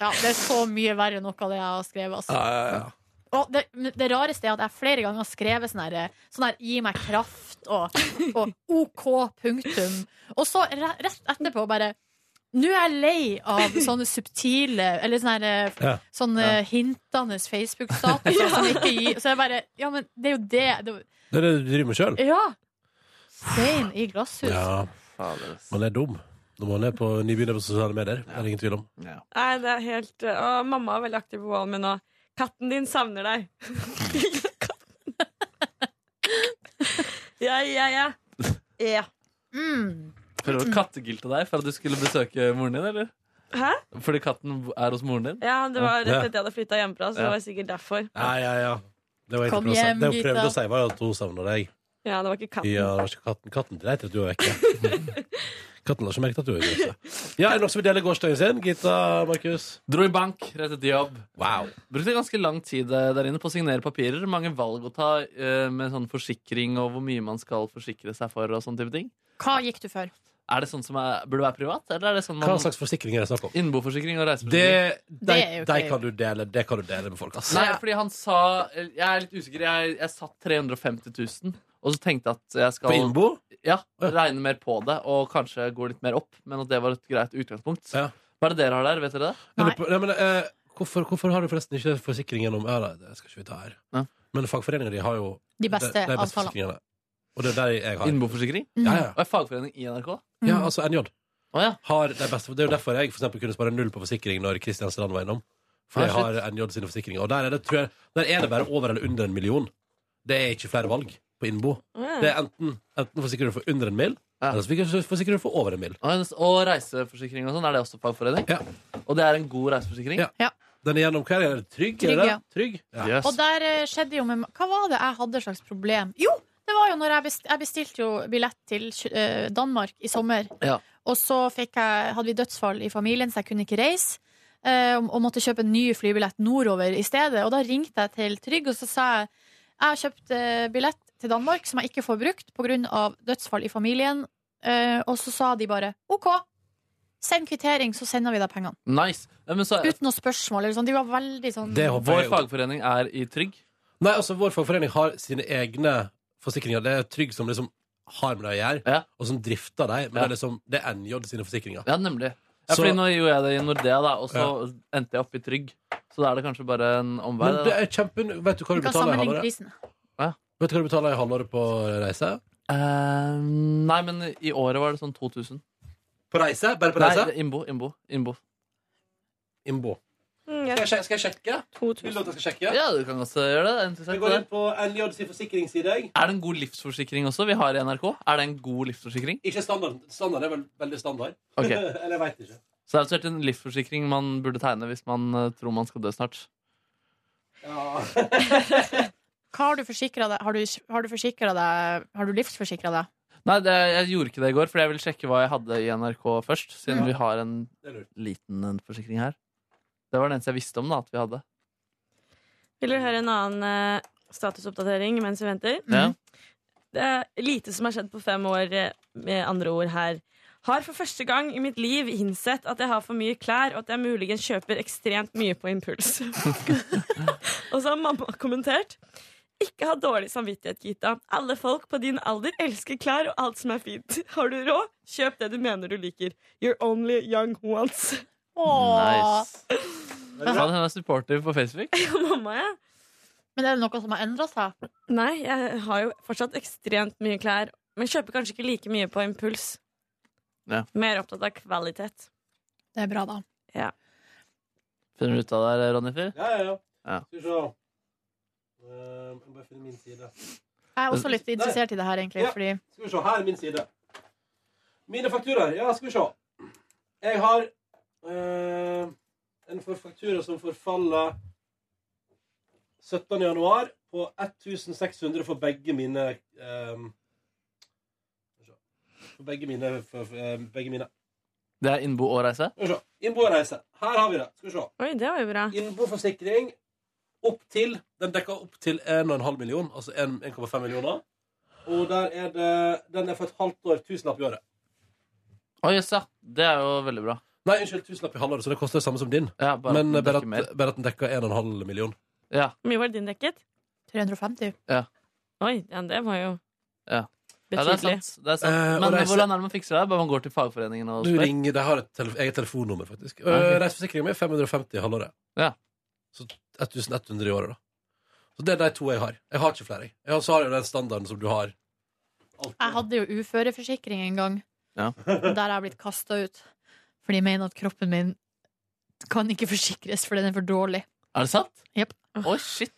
S5: Ja, det er så mye verre enn noe av det jeg har skrevet. Altså.
S2: Ja, ja, ja.
S5: Og det, men det rareste er at jeg flere ganger har skrevet sånn her, sånn her 'gi meg kraft' og, og 'OK', punktum. Og så re- rett etterpå bare Nå er jeg lei av sånne subtile Eller sånne, her, eh,
S9: Ja.
S5: sånne
S2: Ja.
S5: hintende Facebook-statuser som ikke gir Så jeg bare Ja, men det er jo det. det
S2: Det er det du driver med sjøl?
S5: ja! Stein i glasshus.
S2: Ja. Man er dum når man er på nybegynner på sosiale medier. Det er det ingen tvil om.
S13: Nei, det er helt eh, Å, mamma er veldig aktiv på wallen min nå. Katten din savner deg. [laughs] ja, ja, ja. Ja.
S5: Mm.
S3: Føler du kattegilt av deg for at du skulle besøke moren din, eller?
S13: Hæ?
S3: Fordi katten er hos moren din?
S13: Ja, det var rett
S3: Ja.
S13: etter jeg hadde flytta hjemmefra, så
S3: Ja.
S13: det var sikkert derfor.
S2: Ja, ja, ja. Det var egentlig
S13: Kom
S2: prøvd å si-
S13: hjem,
S2: Det hun prøvde
S13: Gita.
S2: å si, var jo at hun savner deg.
S13: Ja, det var ikke katten.
S2: Ja, det var ikke katten. Katten dreit i at du var vekke. katten la ikke merke til at du var vekke. Ja, er det noen som vil dele gårsdagen sin? Gita, Markus?
S3: Dro i bank, rett etter jobb. Brukte ganske lang tid eh, der inne på å signere papirer. Mange valg å ta eh, med sånn forsikring og hvor mye man skal forsikre seg for. og sånne type ting.
S5: Hva gikk du for?
S3: Er det sånn som er, burde være privat? eller er det sånn man...
S2: Hva slags forsikring er det snakk om?
S3: Innboforsikring og reiseforsikring.
S2: Det, de,
S3: Det er jo
S2: de
S3: ikke-
S2: kan du dele, det kan du dele med folk, ass.
S3: Nei, fordi han sa Jeg er litt usikker. Jeg, jeg satt 350 000, og så tenkte jeg at jeg skal
S2: På innbo?
S3: Ja, Regne mer på det og kanskje gå litt mer opp. Men at det var et greit utgangspunkt. Hva er det dere har der? Vet dere det?
S2: Jeg lurer på- Nei, men, eh, hvorfor, hvorfor har du forresten ikke forsikring gjennom Ja, nei, det skal ikke vi ta her. Men fagforeninga di har jo
S5: De beste
S2: de, de beste
S5: avtalene.
S2: forsikringene. Og det er der jeg har.
S3: Innboforsikring?
S2: Ja, ja.
S3: Og er fagforening i NRK?
S2: ja, altså NJ. Har de beste, det er jo derfor jeg for eksempel, kunne spare null på forsikring når Kristian Strand var innom. Fordi
S3: Ah,
S2: jeg har NJ sine forsikringer. Og der er, det, tror jeg, der er det bare over eller under en million. Det er ikke flere valg på innbo.
S3: Ah.
S2: Det er enten, enten forsikrer du for under en mil, eller så forsikrer du- forsikrer du for over en mil.
S3: Og, og reiseforsikring og sånn, er det også fagforening? Og det er en god reiseforsikring?
S2: Ja. Den er gjennom hva? Er det trygg?
S5: Trygg,
S2: er det?
S5: ja.
S2: det? trygg? Ja.
S5: Og der eh, skjedde jo med Hva var det jeg hadde slags problem? Jo, det var jo når jeg, best, jeg bestilte jo billett til eh, Danmark i sommer.
S3: Ja.
S5: Og så fikk jeg, hadde vi dødsfall i familien, så jeg kunne ikke reise. eh, og- og måtte kjøpe en ny flybillett nordover i stedet. Og da ringte jeg til Trygg, og så sa jeg jeg har kjøpt eh, billett til Danmark som jeg ikke får brukt pga. dødsfall i familien. Eh, og så sa de bare OK, send kvittering, så sender vi deg pengene.
S3: Nice. Ja, men så,
S5: Uten noe spørsmål. Eller sånn. De var veldig sånn
S3: vår fagforening er i Trygg.
S2: Nei, altså Vår fagforening har sine egne forsikringer. Det er Trygg som liksom har med det å gjøre, og som drifter deg. Men
S3: Ja.
S2: det er liksom det er NJ sine forsikringer.
S3: Ja, nemlig. Ja,
S2: Så-
S3: fordi nå gjorde jeg det i Nordea, da, og så endte jeg opp i Trygg. Så da er det kanskje bare en omvei.
S2: Men det er kjempen Vet du hva du betaler i halvåret? Vet du hva du betaler i halvåret på reise?
S3: Eh, nei, men i året var det sånn 2000.
S2: På reise? Bare på reise?
S3: Nei, det er innbo. Innbo. innbo.
S2: innbo.
S13: Skal
S2: jeg, sjekke- skal jeg sjekke? Vil du at jeg skal sjekke?
S3: Ja, du kan også gjøre det. det. er interessant,
S2: Vi går
S3: det.
S2: inn på NJ sin forsikringsside. jeg.
S3: Er det en god livsforsikring også vi har i NRK? Er det en god livsforsikring?
S2: Ikke standard. Standard er vel veldig standard.
S3: Ok.
S2: [laughs] Eller jeg veit ikke.
S3: Så det er altså en livsforsikring man burde tegne hvis man eh, tror man skal dø snart.
S5: Hva har du forsikra deg? Har du, har du forsikret deg? Har du livsforsikra deg?
S3: Nei, det, jeg gjorde ikke det i går, fordi jeg ville sjekke hva jeg hadde i NRK først. Siden
S5: Mm.
S3: vi har en liten eh, forsikring her. Det var den eneste jeg visste om da, at vi hadde.
S13: Vil du høre en annen eh, statusoppdatering mens vi venter? Mhm.
S3: Ja.
S13: Det er lite som har skjedd på fem år, eh, med andre ord her. Har for første gang i mitt liv innsett at jeg har for mye klær, og at jeg muligens kjøper ekstremt mye på impuls. [laughs] og så har mamma kommentert. Ikke ha dårlig samvittighet, Gita. Alle folk på din alder elsker klær og alt som er fint. Har du råd, kjøp det du mener du liker. You're only young once. [laughs]
S3: Nice. Faen, hun er supportive på Facebook.
S13: Mamma, ja.
S5: Men er det noe som har endra seg?
S13: Nei, jeg har jo fortsatt ekstremt mye klær. Men kjøper kanskje ikke like mye på impuls.
S3: Ja.
S13: Mer opptatt av kvalitet.
S5: Det er bra, da.
S13: Ja.
S3: Finner du ut av det, Ronnifer?
S2: Ja, ja, ja.
S3: Ja.
S2: Skal vi se. Eh, jeg må bare finne min side.
S5: Jeg er også litt
S2: Nei.
S5: interessert i det her, egentlig.
S2: Ja.
S5: Fordi
S2: Skal vi se, her er min side. Mine fakturaer. Ja, skal vi se. Jeg har eh, en for faktura som forfaller 17. januar på 1600 for begge mine eh, For begge mine, for, for, eh, begge mine.
S3: Det er innbo og reise?
S2: Skal vi se. Innbo og reise. Her har vi det. Skal vi se.
S13: Oi, det var jo bra.
S2: Innboforsikring opp til Den dekker opp til 1,5 million, altså 1 1,5 millioner. Og der er det Den er for et halvt år. Tusenlapp i året.
S3: Å, jøss, ja. Det er jo veldig bra.
S2: Nei, unnskyld. Tusenlapp i halvåret, så det koster det samme som din.
S3: Ja, bare at
S2: Men eh,
S3: den
S2: bare
S3: dekker
S2: at, bare at den dekker 1,5 million.
S3: Ja.
S13: Hvor mye var det din dekket?
S5: 350.
S3: Ja.
S13: Oi, ja, det var jo
S3: Ja. Ja, det er
S13: Betydelig.
S3: sant. Det er sant.
S2: Eh, og
S3: Men
S2: reise-
S3: hvordan er det man fikser det? Bare man går til fagforeningen og
S2: Du
S3: spør?
S2: ringer, De har et telef eget telefonnummer, faktisk.
S3: Ja, ok.
S2: Okay. Reiseforsikringen min er 550 i halvåret.
S3: Ja.
S2: Så 1100 i året, da. Så det er de to jeg har. Jeg har ikke flere. jeg. Jeg har, så har jeg jo den standarden som du har.
S5: Jeg hadde jo uføreforsikring en gang.
S3: Ja.
S5: Og der har jeg blitt kasta ut. For de mener at kroppen min kan ikke forsikres, for den er for dårlig.
S3: Er det sant?
S5: Jepp.
S3: Å, shit.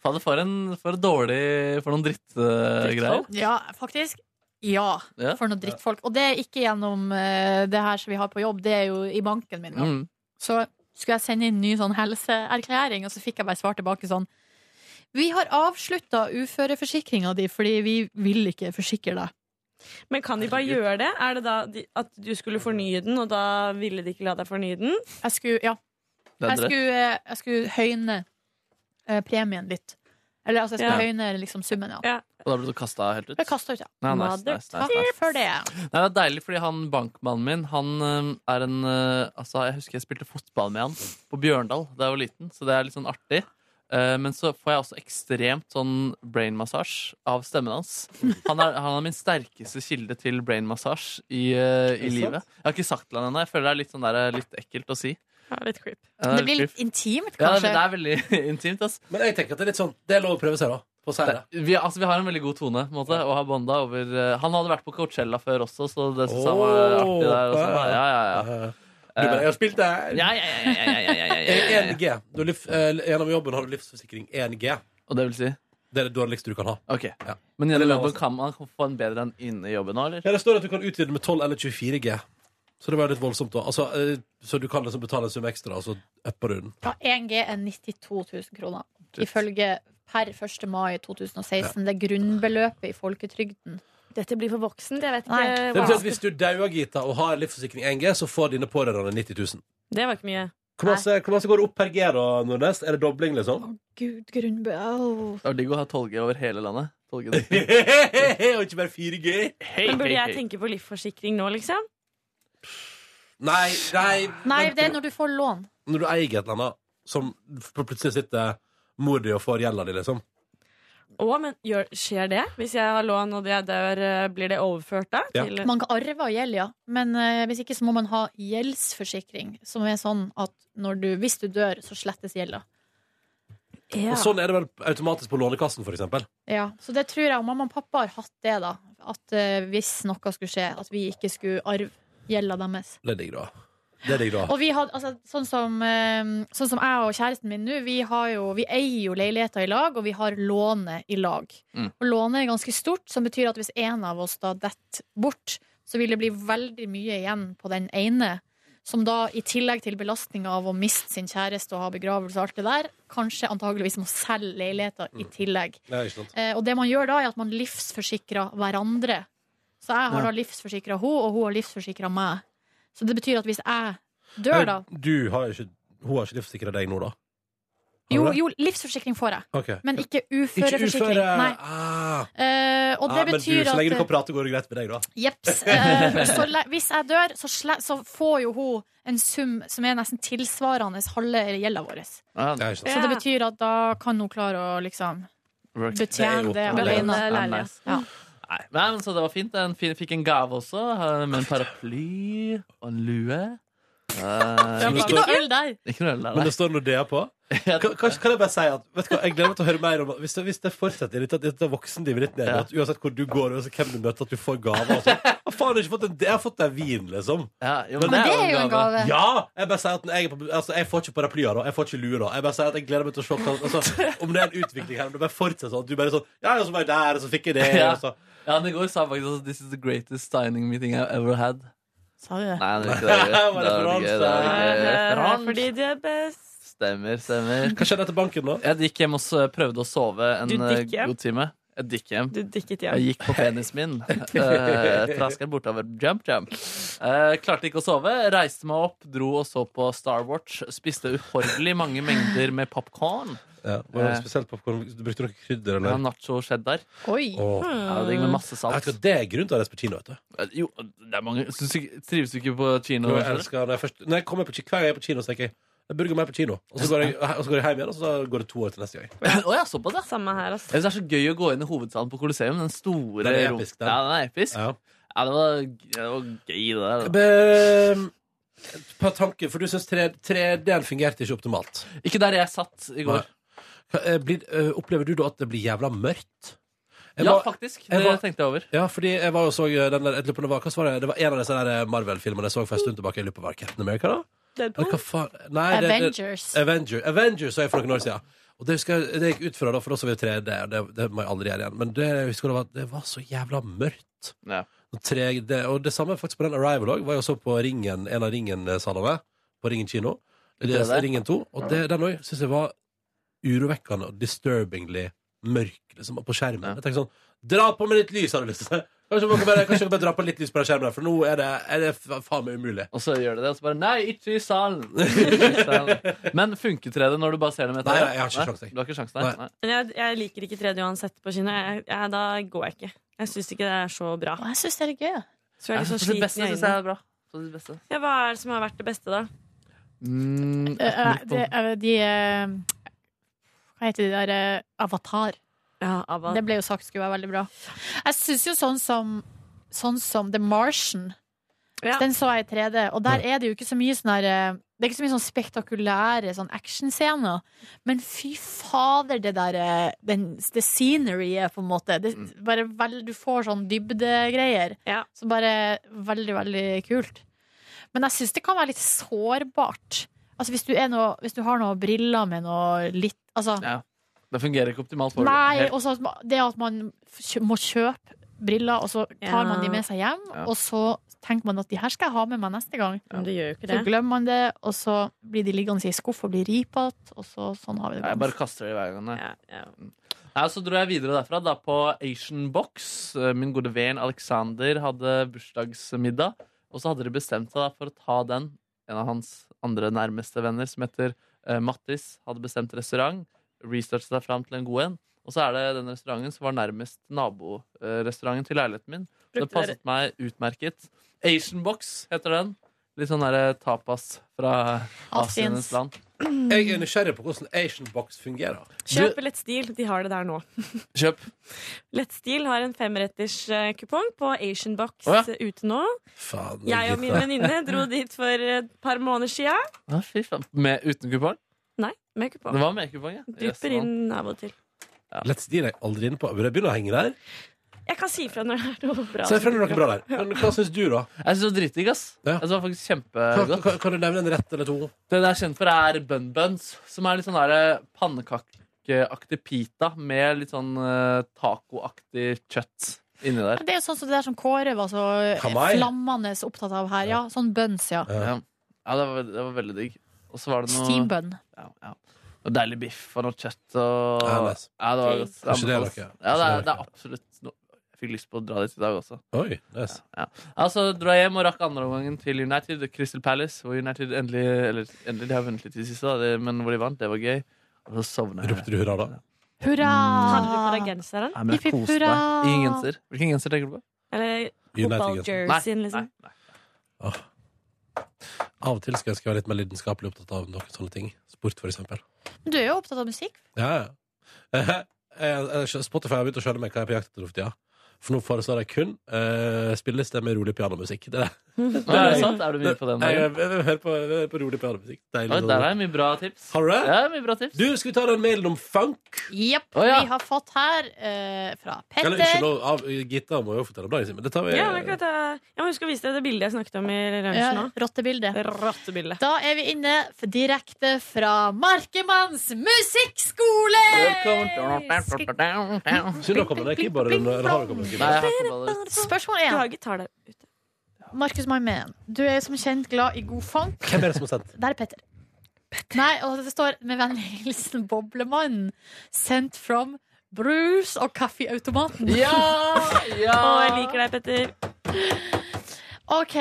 S3: Fader, for en for en dårlig For noen drittgreier.
S5: Ja, faktisk. Ja,
S3: Ja.
S5: for noen drittfolk. Og det er ikke gjennom eh, det her som vi har på jobb, det er jo i banken min. da.
S3: Mm.
S5: Så skulle jeg sende inn ny sånn helseerklæring, og så fikk jeg bare svar tilbake sånn Vi har avslutta uføreforsikringa di fordi vi vil ikke forsikre deg.
S13: Men kan de bare gjøre det? Er det da de, at du skulle fornye den, og da ville de ikke la deg fornye den?
S5: Jeg skulle, ja. Jeg skulle, eh, jeg skulle høyne eh, premien litt. Eller altså, jeg skulle høyne liksom summen, ja.
S3: Og da ble du kasta helt ut?
S5: Jeg kasta ut, ja.
S3: Nei, nice, nice, nice,
S5: Takk
S3: nice.
S5: for det.
S3: Nei, det er deilig, fordi han bankmannen min Han øhm, er en øh, Altså, jeg husker jeg spilte fotball med han på Bjørndal da jeg var liten, så det er litt sånn artig. Eh, Men så får jeg også ekstremt sånn brain massage av stemmen hans. Han er, han er min sterkeste kilde til brain massage i, eh,
S5: Er
S3: i
S5: det
S3: livet. Jeg har ikke sagt til han ennå. Jeg føler det er litt, sånn der, eh, litt ekkelt å si.
S13: Ja, litt creep.
S3: Ja,
S5: Det blir
S3: creep.
S5: litt intimt,
S3: Ja, det,
S5: kanskje.
S3: det er veldig [laughs] intimt. ass.
S2: Men jeg tenker at det er litt sånn Det er lov å prøve seg, da. På seire.
S3: Det- Vi, altså, vi har en veldig god tone på en måte, og har bonda over eh, Han hadde vært på Coachella før også, så det synes han var
S2: Åh,
S3: artig der. Og sånn, da. ja, ja, ja.
S2: Eh, Du bare 'Jeg har spilt der'.
S3: Ja, ja, ja, ja, ja, ja, ja, ja, ja.
S2: 1G. Du har liv, eh, gjennom jobben har du livsforsikring 1G.
S3: Og det vil si?
S2: Det er det dårligste du kan ha.
S3: Ok.
S2: Ja.
S3: Men
S2: Eller
S3: gjennom
S2: lavest.
S3: jobben kan man få en bedre enn inne i jobben nå, eller?
S2: Ja, det står at du kan utvide med 12 eller 24G. Så det var jo litt voldsomt, da. Altså, eh, så du kan liksom betale en sum ekstra, og så upper du den.
S5: Ja, 1G er 92 000 kroner. Ifølge per 1. mai 2016. Det er grunnbeløpet i folketrygden.
S13: Dette blir for voksent. Jeg vet ikke
S5: Nei.
S2: Det betyr at hvis du dauer, Gita, og har livsforsikring 1G, så får dine pårørende 90 000.
S13: Det var ikke mye.
S2: Hvor masse, hvor masse går det opp per G, da, Nordnes? Er det dobling, liksom?
S5: Gud, grunnbø... Au.
S3: Det er digg å ha tolge over hele landet.
S2: [laughs]
S3: Tolge det.
S2: og ikke bare 4G?
S13: Men burde jeg tenke på livsforsikring nå, liksom?
S2: Nei, nei,
S5: Nei, det er når du får lån.
S2: når du eier et eller annet som pl- plutselig sitter mor di og får gjelda di, liksom.
S13: Å, men gjør, skjer det? Hvis jeg har lån og jeg dør, eh, blir det overført da?
S2: Ja.
S13: Til,
S5: [laughs] Man kan arve og gjeld, ja. Men eh, hvis ikke så må man ha gjeldsforsikring, som er sånn at når du, hvis du dør, så slettes gjelda.
S2: Og sånn er det vel automatisk på Lånekassen, for eksempel.
S5: Ja, så det tror jeg. og Mamma og pappa har hatt det, da. At eh, hvis noe skulle skje, at vi ikke skulle arve gjelda deres.
S2: Det er digg, da. Det er digg, da.
S5: Og vi hadde, altså, sånn, som, eh, sånn som jeg og kjæresten min nå, vi, har jo, vi eier jo leiligheter i lag, og vi har lånet i lag.
S3: Mm.
S5: Og lånet er ganske stort, som betyr at hvis en av oss da detter bort, så vil det bli veldig mye igjen på den ene. Som da, i tillegg til belastninga av å miste sin kjæreste og ha begravelse og alt det der, kanskje antageligvis må selge leiligheter i tillegg.
S2: Ja, ikke sant.
S5: Eh, og det man gjør da, er at man livsforsikrer hverandre. Så jeg har
S2: Ja.
S5: da livsforsikra henne, og hun har livsforsikra meg. Så det betyr at hvis jeg dør, da
S2: Men Eh, Du har jo ikke, hun har ikke livssikra deg nå, da? Har
S5: Jo,
S2: du det?
S5: jo livsforsikring får jeg,
S2: Ok.
S5: men ikke
S2: Ikke
S5: uføreforsikring.
S2: uføre.
S5: Nei.
S2: Ah.
S5: Eh, og det
S2: Ah, men du,
S5: betyr
S2: så lenge du kan
S5: at eh,
S2: prate, går det greit med deg, da? [laughs]
S5: Jepps. Eh, så le- hvis jeg dør, så, sle så får jo hun en sum som er nesten tilsvarende halve gjelda vår.
S2: Ja,
S5: Så det betyr at da kan hun klare å liksom
S3: Work.
S5: betjene det alene.
S3: Ja, nice.
S5: Ja.
S3: Nei, nei, men så det var fint. En fin, fikk en gave også, eh, med en paraply og en lue. Eh,
S5: Ikke noe øl der!
S3: Ikke noe øl der,
S2: Men
S3: nei.
S2: det står Nordea på. Kan, kan kan jeg bare si at vet du hva, Jeg gleder meg til å høre mer om Hvis det, hvis det fortsetter litt, at dette voksenlivet ditt ned, at Uansett hvor du går, og hvem du møter, at du får gaver og sånn. Jeg har faen ikke fått en, jeg har fått deg vin, liksom.
S3: jo, men Men det det er er jo jo en en gave. gave.
S2: Ja! Jeg bare sier at når jeg, er på, altså, jeg får ikke paraplyer da. Jeg får ikke lue da. Jeg bare sier at jeg gleder meg til å se hva- altså, om det er en utvikling her. Om det bare fortsetter sånn. at Du bare sånn Ja, og så var jeg der, og så fikk jeg det.
S3: Ja.
S2: Og så.
S3: Ja, men i går sa han faktisk at This is the greatest signing meeting I've ever had.
S5: Sa du det?
S3: Nei, det er ikke det. Det er
S2: Var det
S3: ikke det. Det
S13: Eh,
S3: er ikke det.
S13: fordi de er best.
S3: Stemmer, stemmer.
S2: Hva skjedde etter banken, da?
S3: Jeg gikk hjem og s- prøvde å sove en
S13: Du
S3: eh,
S13: gikk hjem?
S3: god time. Jeg Jeg dikk hjem.
S13: Du dikket hjem.
S3: Jeg gikk på penisen min. [laughs] Uh, Trasker bortover. Jump, jump. Eh, klarte ikke å sove. Reiste meg opp, dro og så på Star Watch. Spiste uhorvelig mange mengder med [laughs] popkorn.
S2: Ja, var det spesielt popcorn? Du brukte noe krydder, eller?
S3: Ja, nacho cheddar.
S5: Oi.
S2: Åh.
S3: Ja, digg med masse salt.
S2: Jeg vet ikke, det er grunnen til å reise på kino, vet du.
S3: Eh, Jo, det er mange Syns du ikke- Trives du ikke på kino?
S2: Jo, jeg elsker når jeg først Når jeg kommer på, ki- hver gang jeg er på kino, så tenker jeg jeg burger meg på kino. Og så går jeg, og så går jeg hjem igjen, og så går det to år til neste gang.
S3: Å ja, såpass, ja.
S13: Samme her,
S3: Jeg
S13: altså.
S3: synes det er så gøy å gå inn i hovedsalen på Colosseum. Den store
S2: Den er
S3: rom-
S2: episk, den.
S3: Ja, den er episk.
S2: Ja.
S3: Ja, det, var, det var gøy, det der. altså. da.
S2: Be- På tanke, for du syns 3D-en fungerte ikke optimalt.
S3: Ikke der jeg satt i går.
S2: Nei. Eh, Blir, eh, opplever du da at det blir jævla mørkt? Jeg
S3: Ja,
S2: var-
S3: faktisk.
S2: jeg
S3: Det
S2: var-
S3: tenkte jeg over.
S2: Ja, fordi jeg var og så eh, den der, jeg lurer på om det var, hva var det? det var en av disse der eh, Marvel-filmene jeg så for en stund tilbake. Jeg lurer på hva Captain America da? Eller hva faen? Nei, det-
S5: Avengers.
S2: Det, Avenger, Avengers så jeg for noen år siden. Og det husker jeg, det gikk ut fra da, for da så vi 3D, og det, det må jeg aldri gjøre igjen. Men det, jeg husker det var, det var så jævla mørkt.
S3: Ja.
S2: Og 3D, og det samme faktisk på den Arrival òg, var jeg og så på Ringen, eh, en av Ringen-salene. På Ringen kino.
S3: I
S2: Det,
S3: 3D?
S2: Ringen 2. Og det, den òg syns jeg var urovekkende og disturbingly mørk liksom, på skjermen. Jeg tenker sånn Dra på med litt lys, har du lyst til. Kanskje dere bare, kanskje dere bare dra på litt lys på den skjermen, der, for nå er det, er det fa- faen meg umulig.
S3: Og så gjør det det, og så bare Nei, ikke i
S2: [laughs]
S3: salen! Ikke i salen. Men funket 3D når du bare ser dem etter?
S2: Nei, nei, jeg har ikke sjans, jeg.
S3: Du har ikke sjans, nei? nei.
S13: Men jeg, jeg liker ikke 3D uansett på kino. Jeg, jeg, da går jeg ikke. Jeg syns ikke det er så bra.
S5: Og jeg syns det er litt gøy. da.
S13: Så jeg er litt
S3: Ja,
S13: sånn
S3: på sitt beste
S13: sliten i
S3: synes jeg det er
S13: øynene.
S3: bra. På sitt beste.
S13: Ja, hva er det som har vært det beste, da?
S3: Mm,
S5: Eh, eh, det, eh, de eh, Hva heter de der? eh, Avatar. Det ble jo sagt skulle være veldig bra. Jeg syns jo sånn som Sånn som The Martian. Den så jeg i 3D, og der er det jo ikke så mye sånn her eh, det er ikke så mye sånn spektakulære sånn actionscener, men fy fader, det der eh, den, Det sceneryet, på en måte. Det, bare vel, du får sånn dybdegreier.
S13: Ja.
S5: Så bare veldig, veldig kult. Men jeg syns det kan være litt sårbart. Altså Hvis du, er noe, hvis du har noen briller med noe litt Altså,
S3: Ja. Det fungerer ikke optimalt for
S5: nei.
S3: Helt-
S5: Og så at ma- det at man kjø- må kjøpe briller, og så
S13: Ja.
S5: tar man de med seg hjem,
S13: Ja.
S5: og så tenker man at de her skal jeg ha med meg neste gang.
S13: Men du gjør jo ikke
S5: Så
S13: det.
S5: glemmer man det, og så blir de liggende i skuff og blir ripete, og så sånn har vi det.
S3: Jeg bare kaster det hver gang. jeg. Nei, og så dro jeg videre derfra, da på Asian Box. Eh, Min gode venn Alexander hadde bursdagsmiddag, og så hadde de bestemt seg da for å ta den. En av hans andre nærmeste venner, som heter eh, Mattis, hadde bestemt restaurant. Researchet seg fram til en god en. Og så er det den restauranten som var nærmest naborestauranten til leiligheten min. Så det
S13: Brukte dere-
S3: passet meg utmerket. Asian Box heter den. Litt sånn der tapas fra
S13: Asiens.
S3: Asiens land.
S2: Jeg er nysgjerrig på hvordan Asian Box fungerer.
S13: Kjøp Lett Stil. De har det der nå.
S3: Kjøp.
S13: Lett Stil har en femretters eh, kupong på Asian Box
S3: Å, ja.
S13: eh, ute nå.
S2: Faen,
S13: Jeg og min venninne dro dit for et par måneder sia.
S3: Ja, fy faen. Med, uten kupong?
S13: Nei, med kupong.
S3: Det var med kupong, ja. Yes,
S13: Drypper
S3: man.
S13: inn av og til.
S2: Let's deal er jeg aldri inne på. Burde jeg begynne å henge der?
S13: Jeg kan si fra når det er noe bra.
S2: Se frem til noe bra der. Men hva syns du, da?
S3: Jeg syns det var dritdigg, ass. Jeg synes det var faktisk
S2: [laughs]
S3: kjempegodt.
S2: Kan, kan, kan du nevne en rett eller to?
S3: Det det er kjent for, er bun buns, som er litt sånn der pannekakeaktig pita med litt sånn eh, tacoaktig kjøtt inni der.
S5: Det er jo sånn som det der som Kåre var så eh,
S3: Kamai.
S5: flammende opptatt av her. Ja, sånn buns, ja.
S3: Ja, ja det, var, det var veldig digg. Og så var det noe
S5: Steambønn.
S3: Ja, ja. Og deilig biff og noe kjøtt og
S2: Ja, nice.
S3: Ja, det var
S2: Digg.
S3: godt.
S2: Er ikke det
S3: Anbefales.
S2: dere-
S3: Ja, det
S2: er
S3: er,
S2: ikke
S3: det er absolutt noe Jeg fikk lyst på å dra dit i dag også.
S2: Oi, nice.
S3: Ja. Ja, så Altså, dro jeg hjem og rakk andreomgangen til United, Crystal Palace, hvor United endelig Eller endelig, de har vunnet litt i det siste, da, det- men hvor de vant. Det var gøy. Og så sovna jeg.
S2: Ropte du hurra, da?
S5: Hurra!
S13: Mm. Hadde du
S5: Ah.
S13: på deg genseren?
S3: Nei, men jeg koste meg. Ingen genser. Hvilken genser tenker du på?
S13: Eller
S2: United-genser.
S13: fotball-jerseyen, liksom.
S2: Ah. Av og til skal jeg ønske jeg var litt mer lidenskapelig opptatt av noen sånne ting. Sport, for eksempel.
S5: Men Du er jo opptatt av musikk.
S2: Ja, [laughs] ja. Eh, eh, Spotify har begynt å skjønne meg hva jeg er på jakt etter for tida. For nå foreslår jeg kun uh, spilleliste med rolig pianomusikk. Det er
S13: [laughs]
S2: det.
S3: Ja, er det sant? Er du mye på den
S2: Jeg,
S3: dagen?
S2: jeg, jeg, hører på, jeg hører på rolig pianomusikk. Deilig.
S3: Oi, der er mye bra tips.
S2: Har du det?
S3: Ja, mye bra tips.
S2: Du, skal vi ta den mailen om funk?
S5: Jepp.
S2: Å, ja.
S5: Vi har fått her eh, fra
S2: Eller ikke
S5: Petter.
S2: lov, av, Gitta må jo fortelle om dagen sin, men det tar vi
S13: Ja, men akkurat det. Jeg må huske å vise deg det bildet jeg snakket om i lunsjen nå.
S5: Ja, Rottebilde.
S13: Rottebilde.
S5: Da er vi inne f- direkte fra Markemanns musikkskole!
S2: Synd det kommer den keyboarden, eller har det kommet en keyboard?
S5: Spørsmål
S13: Du har
S5: 1.
S13: gitar der.
S5: Markus My Man, du er som kjent glad i god funk.
S2: Hvem er det som har sendt?
S5: Der er Petter. Nei, og det står med vennlig hilsen Boblemann. Sent from brus- og kaffeautomaten.
S9: Ja, ja.
S5: Og jeg liker deg, Petter. OK.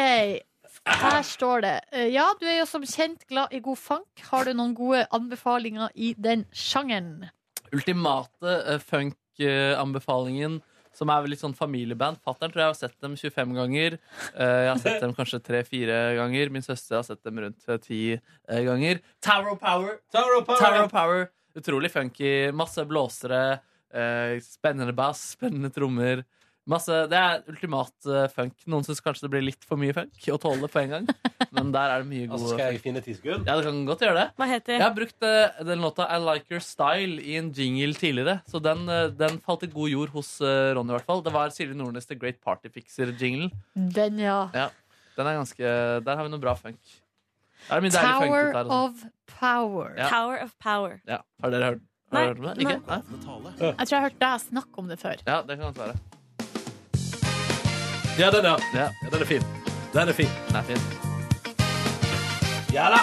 S5: Her står det eh, Ja, du er jo som kjent glad i god funk. Har du noen gode anbefalinger i den sjangeren?
S3: ultimate eh, funk-anbefalingen, som er vel litt sånn familieband. Fattern tror jeg har sett dem 25 ganger. Eh, Jeg har sett dem kanskje 3-4 ganger. Min søster har sett dem rundt eh, 10 eh, ganger. Tower of Power!
S2: Tower of Power!
S3: Utrolig funky. Masse blåsere. eh, Spennende bass, spennende trommer. Masse, det er ultimat eh, funk. Noen syns kanskje det blir litt for mye funk å tåle på en gang.
S2: [laughs]
S3: Men der er det mye
S2: Altså,
S3: gode
S2: skal jeg
S3: funk.
S2: finne ti sekunder?
S3: Ja, du kan godt gjøre det.
S13: Hva heter
S3: Jeg har brukt eh, den låta I Like Your Style i en jingle tidligere, så den, eh, den falt i god jord hos eh, Ronny i hvert fall. Det var Silje Nordnes' The Great Party Fixer-jinglen.
S5: Den, ja.
S3: Ja. Den er ganske Der har vi noe bra funk. Det er mye deilig funk ute
S5: Tower
S3: her, altså.
S5: of Power.
S3: Ja.
S13: Tower of Power.
S3: ja. Har dere hørt, har
S5: Nei,
S3: dere hørt om det? Ikke? Nei?
S5: Jeg tror jeg har hørt deg snakke om det før.
S3: Ja, det kan godt være.
S2: Ja, den, ja. ja. Den er fin. Den er fin.
S3: Den er fin.
S2: Ja da!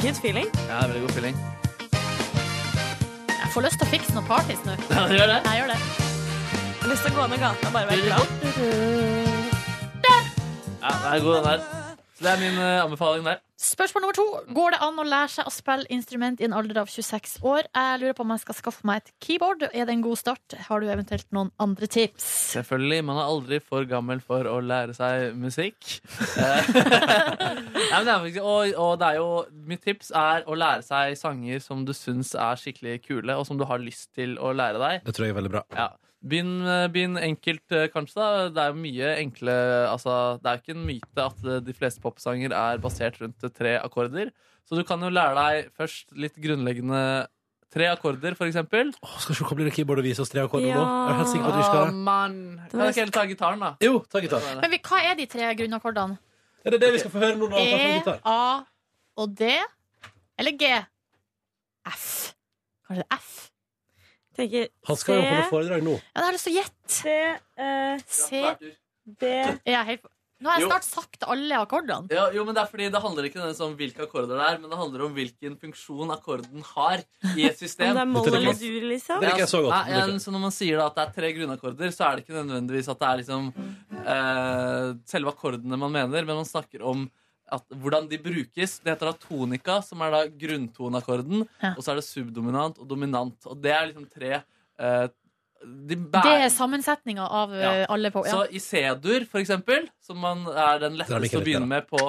S13: Good feeling.
S3: Ja, veldig god feeling.
S5: Jeg får lyst til å fikse noen parties nå.
S3: [laughs] Ja, du gjør det?
S5: Jeg gjør det.
S13: Jeg har lyst til å gå ned gata og bare være glad.
S3: Ja, den er god, den der. Så det er min eh, anbefaling der.
S5: Spørsmål nummer to. Går det an å lære seg å spille instrument i en alder av 26 år? Jeg lurer på om jeg skal skaffe meg et keyboard. Er det en god start? Har du eventuelt noen andre tips?
S3: Selvfølgelig. Man er aldri for gammel for å lære seg musikk. Eh, Nei, men det er faktisk, og, og det er jo Mitt tips er å lære seg sanger som du syns er skikkelig kule, og som du har lyst til å lære deg.
S2: Det tror jeg er veldig bra.
S3: Ja. Begynn, begynn enkelt, eh, kanskje. da Det er jo mye enkle altså, Det er jo ikke en myte at eh, de fleste popsanger er basert rundt eh, tre akkorder. Så du kan jo lære deg først litt grunnleggende tre akkorder, for eksempel.
S2: Skal se hva blir det keyboard å vise oss tre akkorder nå?
S3: Ja.
S2: Er du helt sikker på at du ikke skal
S3: Å, mann. Kan jeg ikke heller ta gitaren, da?
S2: Jo, ta gitar.
S5: Men vi, hva er de tre grunnakkordene?
S2: Er det det vi skal få høre nå? når han tar
S5: E,
S2: sin gitar?
S5: A og D? Eller G? F. Kanskje det er F?
S13: Tenker
S2: Han skal jo holde foredrag nå.
S5: Ja, det har jeg lyst til å gjette.
S13: C, eh,
S5: C, D er jeg helt... Nå har jeg
S3: Jo.
S5: snart sagt alle akkordene.
S3: Ja, jo, men Det er fordi det handler ikke nødvendigvis om hvilke akkorder det er, men det handler om hvilken funksjon akkorden har i et system.
S13: Om det er moll
S3: Dette
S13: eller
S3: liker
S13: dur,
S3: jeg.
S13: liksom.
S3: Ja, Nei, ja, så når man sier da at det er tre grunnakkorder, så er det ikke nødvendigvis at det er liksom eh, selve akkordene man mener, men man snakker om at, hvordan de brukes. Det heter da tonika, som er da grunntoneakkorden, og så er det subdominant og dominant. Og det er liksom tre eh, de
S5: Det
S3: bærer-
S5: er sammensetninga av eh, alle på. Ja.
S3: så i C-dur, for eksempel, som man er den
S2: Dra
S3: letteste
S2: mikken
S3: å
S2: litt
S3: begynne med på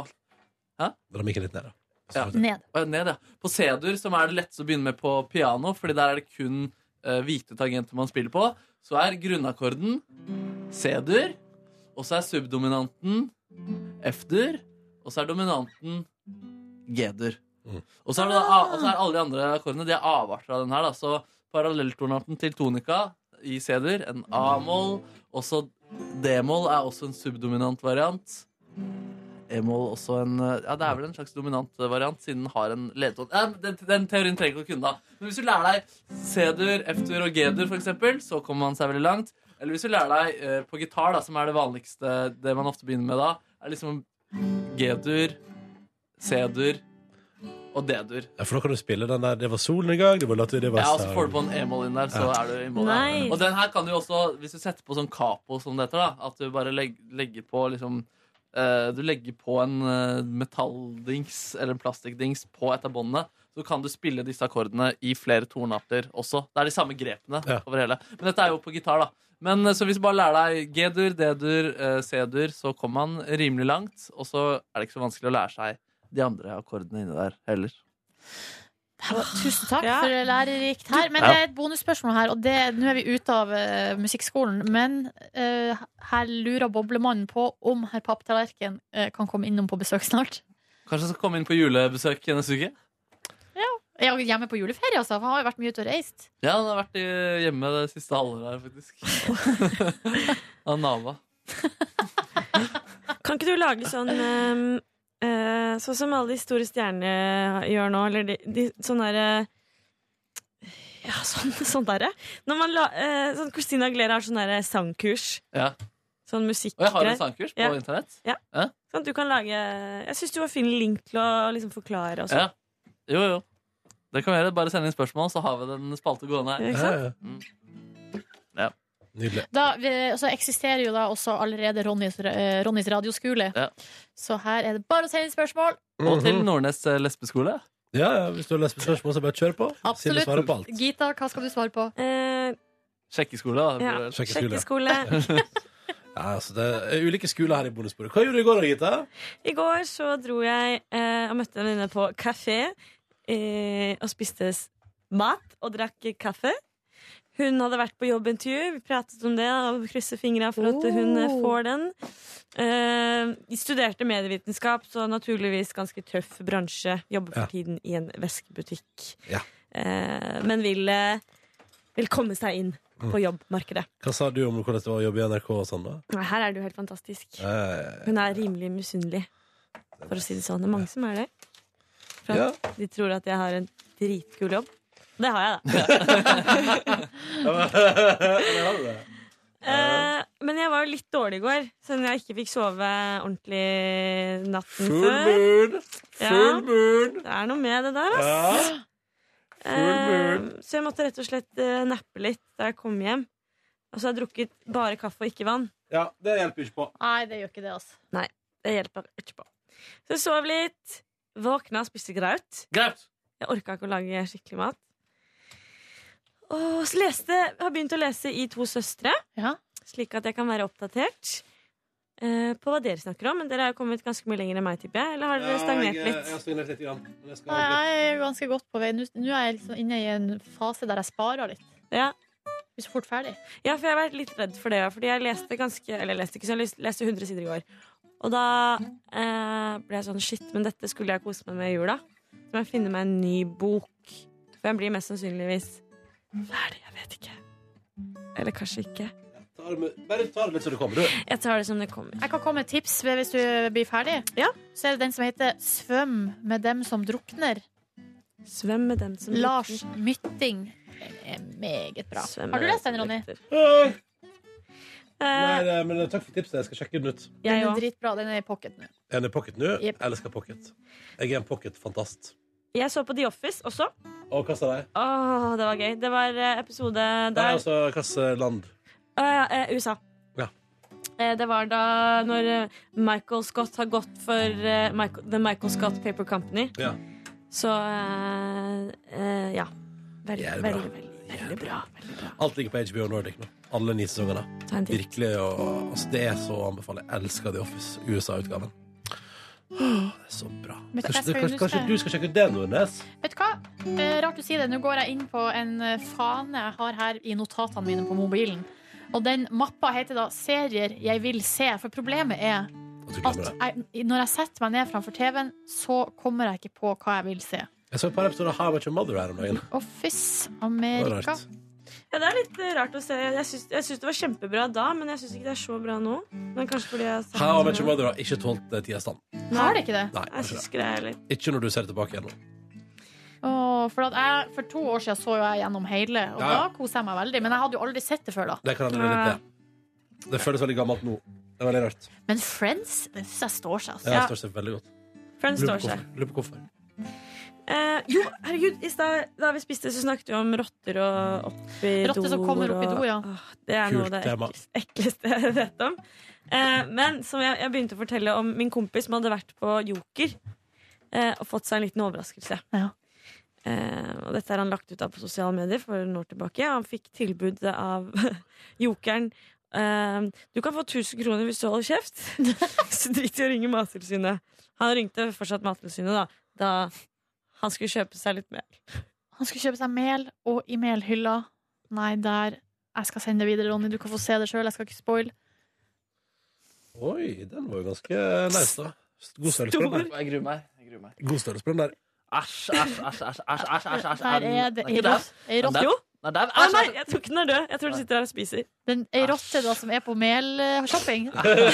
S3: Hæ?
S2: Dra mikken litt ned, da.
S3: Ja.
S5: Ned.
S3: Å, ja, ned, ja. På C-dur, som er det letteste å begynne med på piano, fordi der er det kun eh, hvite tangenter man spiller på, så er grunnakkorden C-dur, og så er subdominanten F-dur, og så er dominanten G-dur. Og så er, det da, A- og så er alle de andre akkordene De er avarter av den her. Da. Så parallelltonarten til tonika i C-dur, en A-moll. Også D-moll er også en subdominant variant. E-moll også en eh, Ja, det er vel en slags dominant eh, variant, siden den har en ledetone. Ja, den, den teorien trenger ikke å kunne, da. Men hvis du lærer deg C-dur, F-dur og G-dur, for eksempel, så kommer man seg veldig langt. Eller hvis du lærer deg eh, på gitar, da, som er det vanligste, det man ofte begynner med da, er liksom G-dur, C-dur og D-dur.
S2: Ja, for da kan du spille den der 'Det var solen i gang', det var latter, det var
S3: Ja, og så
S2: sang.
S3: får du på en e-moll inn der, så
S2: Ja.
S3: er du i mål.
S2: Nice.
S3: Og den her kan du jo også, hvis du setter på sånn capo som det heter, da, at du bare legg, legger på liksom eh, Du legger på en eh, metalldings eller en plastikkdings på et av båndene, så kan du spille disse akkordene i flere tornarter også. Det er de samme grepene
S2: Ja.
S3: over hele. Men dette er jo på gitar, da. Men eh, Så hvis du bare lærer deg G-dur, D-dur, eh, C-dur, så kommer man rimelig langt. Og så er det ikke så vanskelig å lære seg de andre akkordene inni der heller.
S5: Tusen takk for lærerikt her. Men
S3: Ja.
S5: det er et bonusspørsmål her, og det, nå er vi ute av eh, musikkskolen. Men eh, her lurer boblemannen på om herr Papptallerken eh, kan komme innom på besøk snart.
S3: Kanskje jeg skal komme inn på julebesøk neste uke?
S5: Er han hjemme på juleferie, altså? For han har jo vært mye ute og reist.
S3: Ja, han har vært i- hjemme det siste halvåret her,
S13: [laughs]
S3: faktisk. Han nava.
S13: Kan ikke du lage sånn ehm, eh, Sånn som alle de store stjernene gjør nå, eller de, de sånn derre Ja, sånn, sånn derre. Når man la, eh, sånn Christina Aguilera har sånn derre sangkurs.
S3: Ja.
S13: Sånn musikk.
S3: Og jeg har en sangkurs på
S13: Ja.
S3: internett.
S13: Ja.
S3: Ja.
S13: Sånn at du kan lage Jeg syns du har fin link til å liksom forklare og
S3: Ja.
S13: sånn.
S3: Jo, jo. Det kan vi gjøre. Bare send inn spørsmål, så har vi den spalte gående her.
S2: Ikke sant?
S3: Mm. Ja.
S2: Nydelig.
S5: Da, vi- så eksisterer jo da også allerede Ronnys, eh, Ronnys radioskole.
S3: Ja.
S5: Så her er det bare å sende inn spørsmål.
S3: Og til
S13: Mhm.
S3: Nordnes eh, lesbeskole.
S2: Mhm. Ja, ja, hvis du har lesbespørsmål, så bare kjør på. Silje svarer på alt.
S5: Absolutt. Gita, hva skal du svare på?
S13: Eh,
S3: Sjekkeskole, da.
S5: Ja,
S3: blir det vel.
S13: sjekkeskole.
S2: ja, altså, det er ulike skoler her i bonusbordet. Hva gjorde du i går, da, Gita?
S13: I går så dro jeg eh, og møtte en venninne på kafé eh, og spiste s- mat og drakk kaffe. Hun hadde vært på jobbintervju, vi pratet om det og krysset fingra for at hun eh,
S10: Oh.
S13: får den. Eh, de studerte medievitenskap, så naturligvis ganske tøff bransje. Jobber for tiden i en veskebutikk.
S2: Ja.
S13: Eh, men vil, eh, vil komme seg inn på jobbmarkedet.
S2: Hva sa du om hvordan det var å jobbe i NRK og sånn, da?
S13: Nei, Her er det jo helt fantastisk.
S2: Eh,
S13: Hun er rimelig misunnelig, for å si det sånn. Det er mange som er det. For at De tror at jeg har en dritkul jobb. Det har
S9: [laughs]
S13: jeg, da. Eh, Men jeg var jo litt dårlig i går, siden jeg ikke fikk sove ordentlig natten
S9: Full
S13: før.
S9: moon! Full
S13: moon! Det er noe med det der, ass.
S9: Ja.
S13: Eh,
S9: moon.
S13: så jeg måtte rett og slett eh, nappe litt da jeg kom hjem. Og så har jeg drukket bare kaffe og ikke vann.
S2: Ja, det hjelper ikke på.
S5: Nei, det gjør ikke det, altså.
S13: Nei, det hjelper ikke på. Så jeg sov litt, våkna og spiste graut. Jeg orka ikke å lage skikkelig mat. Og så leste, har begynt å lese I to søstre, slik at jeg kan være oppdatert eh, på hva dere snakker om. Men dere har jo kommet ganske mye lenger enn meg, tipper jeg. Eller har dere stagnert litt?
S2: Jeg har stagnert litt, grann. Men jeg skal...
S5: Nei, jeg er ganske godt på vei. Nå nå er jeg liksom inne i en fase der jeg sparer litt.
S13: Ja.
S5: Blir så fort ferdig.
S13: Ja, for jeg har vært litt redd for det. ja, Fordi jeg leste ganske Eller jeg leste ikke så jeg leste 100 sider i går. Og da eh, ble jeg sånn Shit, men dette skulle jeg kose meg med i jula. Så må jeg finne meg en ny bok. For jeg blir mest sannsynligvis ferdig. Jeg vet ikke. Eller kanskje ikke.
S2: Ta det med- Bare ta det litt så det kommer, du.
S13: Jeg tar det som det kommer.
S5: Jeg kan komme med et tips hvis du blir ferdig. Så er det den som heter 'Svøm med dem som drukner'.
S13: Svøm med dem som
S5: Lars Mytting. er meget bra.
S13: Svøm
S5: Har du
S13: med
S5: lest den, Ronny?
S13: Eh,
S2: Nei, det, men eh, takk for tipset. Jeg skal sjekke den ut.
S5: Den er dritbra. Den er i pocket nå.
S2: Er den i pocket nå?
S5: Jep.
S2: Elsker pocket. Jeg er en pocket-fantast.
S13: Jeg så på The Office også.
S2: Og hva sa de?
S13: Åh, det var gøy. Det var eh, episode
S2: Nei,
S13: der.
S2: altså, hvilket land?
S13: Åh, ja, eh, USA.
S2: Ja.
S13: Eh, Det var da når eh, Michael Scott har gått for eh, Michael, The Michael Scott Paper Company.
S2: Ja.
S13: Så eh, eh, ja. Veldig,
S2: Jævlig bra.
S13: veldig, veldig, veldig bra.
S2: Alt ligger på HBO Nordic nå. Alle ni sesongene.
S13: Ta en titt.
S2: Virkelig. Og, altså, det er så å anbefale. Jeg elsker The Office, USA-utgaven. Det er så bra.
S5: Men jeg
S2: Kanskje,
S5: skal
S2: det, kanskje,
S5: jo
S2: kanskje
S5: se.
S2: du skal sjekke ut det, Nordnes?
S5: Vet du hva? Eh, Rart du sier det. Nå går jeg inn på en eh, fane jeg har her i notatene mine på mobilen. Og den mappa heter da 'Serier jeg vil se'. For problemet er at jeg, når jeg setter meg ned framfor TV-en, så kommer jeg ikke på hva jeg vil se.
S2: Jeg så et par episoder av How I Met Your Mother her om dagen.
S5: Office
S2: Det var
S5: Amerika.
S2: rart.
S13: Ja, det er litt eh, rart å se. Jeg syns, jeg syns det var kjempebra da, men jeg syns ikke det er så bra nå. Men kanskje fordi jeg har sett
S2: How I
S13: det
S2: Met
S13: så
S2: Your
S13: bra.
S2: Mother har ikke tålt eh, tidas stand.
S5: Har det ikke det?
S2: Nei,
S13: Jeg
S2: kanskje
S13: syns ikke det heller.
S2: Ikke når du ser tilbake igjen nå.
S5: Åh, for, at jeg, for to år siden så jo jeg gjennom hele, og
S2: Ja, ja.
S5: da koste jeg meg veldig. Men jeg hadde jo aldri sett det før da.
S2: Det kan hende det er litt det. Det føles veldig gammelt nå. Det er veldig rart.
S5: Men Friends det syns jeg står seg.
S2: Ja,
S5: Altså.
S2: det står seg veldig godt.
S13: Friends
S2: Lurer på
S13: står seg.
S2: hvorfor. Lurer på hvorfor.
S13: Eh, jo, herregud, i stad da vi spiste, så snakket vi om rotter og oppi do.
S5: Rotter som kommer opp i do, ja.
S13: det er noe
S5: Kult
S13: av det
S5: tema.
S13: ekleste, ekleste jeg vet om. Eh, men som jeg, jeg begynte å fortelle om min kompis som hadde vært på Joker eh, og fått seg en liten overraskelse. Eh, og dette har han lagt ut av på sosiale medier for noen år tilbake. og Han fikk tilbud av [laughs] jokeren eh, Du kan få 1000 kroner hvis du holder kjeft. [laughs] Så drit i å ringe Mattilsynet. Han ringte fortsatt Mattilsynet da, da han skulle kjøpe seg litt mer.
S5: Han skulle kjøpe seg mel, og i melhylla Nei, der. Jeg skal sende det videre, Ronny. Du kan få se det sjøl. Jeg skal ikke spoile.
S2: Oi, den var jo ganske nice, da. God størrelse på den der.
S3: Jeg gruer meg. Jeg gruer meg.
S2: God størrelse på den der.
S3: Æsj, æsj, æsj. æsj, æsj, æsj, æsj, æsj.
S5: Der er det ei
S3: ikke
S5: rot-
S3: dau?
S5: ei
S3: Er den
S5: rotte.
S3: dau?
S5: Jo.
S3: Er den dau?
S13: Å
S3: Æsj,
S13: nei,
S3: æsj, æsj.
S13: jeg tror ikke den er død. Jeg tror den sitter her og spiser.
S5: Den, ei rotte da som er på melshopping.
S2: Den er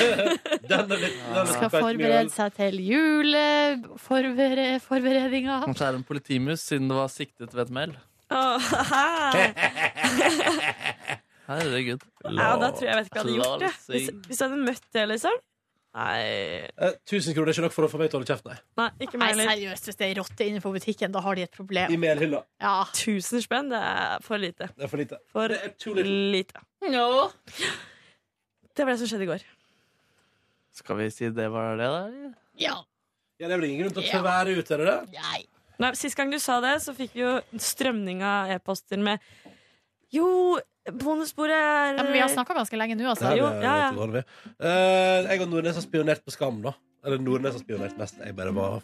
S2: litt, den er
S5: Skal forberede seg til juleforberedninger. Forberedinga
S3: Kanskje er det en politimus siden det var siktet ved et mel.
S13: [laughs]
S3: Herregud.
S13: Ja, da tror jeg jeg vet ikke hva jeg hadde gjort. Det. Hvis,
S3: Klarsing.
S13: hvis jeg hadde møtt det, liksom. Nei.
S2: Eh, 1000 kroner er ikke nok for å få meg til å holde kjeft, nei.
S13: Nei, ikke meg heller.
S5: seriøst, hvis det er rotte innenfor butikken, da har de et
S2: I
S5: problem.
S2: melhylla.
S5: Ja.
S13: Tusen spenn, det er for lite.
S2: Det er for lite.
S13: For
S2: det er too little.
S13: lite. Det var det som skjedde i går.
S3: Skal vi si det var det, da?
S5: Ja.
S2: Ja, det er vel ingen grunn til å
S13: Ja.
S2: tvære ut, er det det?
S13: Nei, Sist gang du sa det, så fikk vi jo strømning av e-poster med Jo, bonusbordet er
S5: Ja, men vi har snakka ganske lenge nå, altså.
S2: Det
S13: Jo,
S2: er det,
S13: ja, ja.
S2: eh, det holder vi. Eh, jeg og Nordnes har spionert på Skam, da. Eller Nordnes har spionert mest. Jeg bare var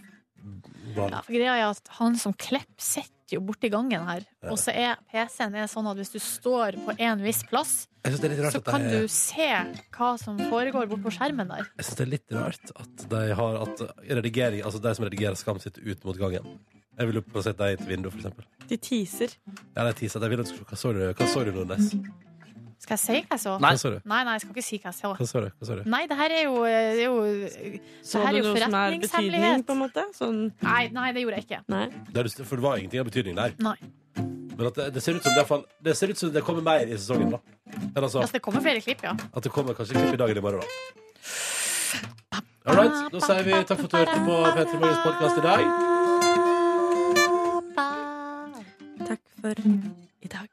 S2: var-
S5: Ja, for greia er at han som Klepp sitter jo borti gangen her, og så er PC-en er sånn at hvis du står på en viss plass,
S2: Jeg syns det er litt rart
S5: så
S2: at
S5: kan
S2: de,
S5: du se hva som foregår bortpå skjermen der.
S2: jeg synes det er litt rart at de har at redigering, altså de som redigerer Skam, sitter ut mot gangen. Jeg ville plassert deg i et vindu, for eksempel.
S13: De teaser.
S2: Ja, det er teaset. Jeg vil at du skulle- Hva så du, hva så du Nordnes?
S5: Skal jeg si hva jeg så?
S2: Nei. Hva så du?
S5: nei, nei, jeg skal ikke si hva jeg så.
S2: Hva så du? Hva så du?
S5: Nei, det her er jo, det er jo,
S13: Så
S5: det her
S13: du
S5: er jo
S13: noe som er betydning,
S5: forretningshemmelighet.
S13: på en måte? Sånn
S5: Nei, nei, det gjorde jeg ikke.
S13: Nei.
S2: Det er du- for det var ingenting av betydning der.
S5: Nei.
S2: Men at det, det, ser ut som det, er fall- det ser ut som det kommer mer i sesongen, da. Eller altså,
S5: Altså, det kommer flere klipp, ja.
S2: at det kommer kanskje klipp i dag eller i morgen, da. All right, da sier vi takk for at du hørte på P3 Morgens podkast i dag.
S13: Takk for i dag.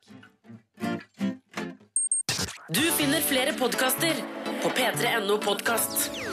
S1: Du finner flere podkaster på p3.no podkast.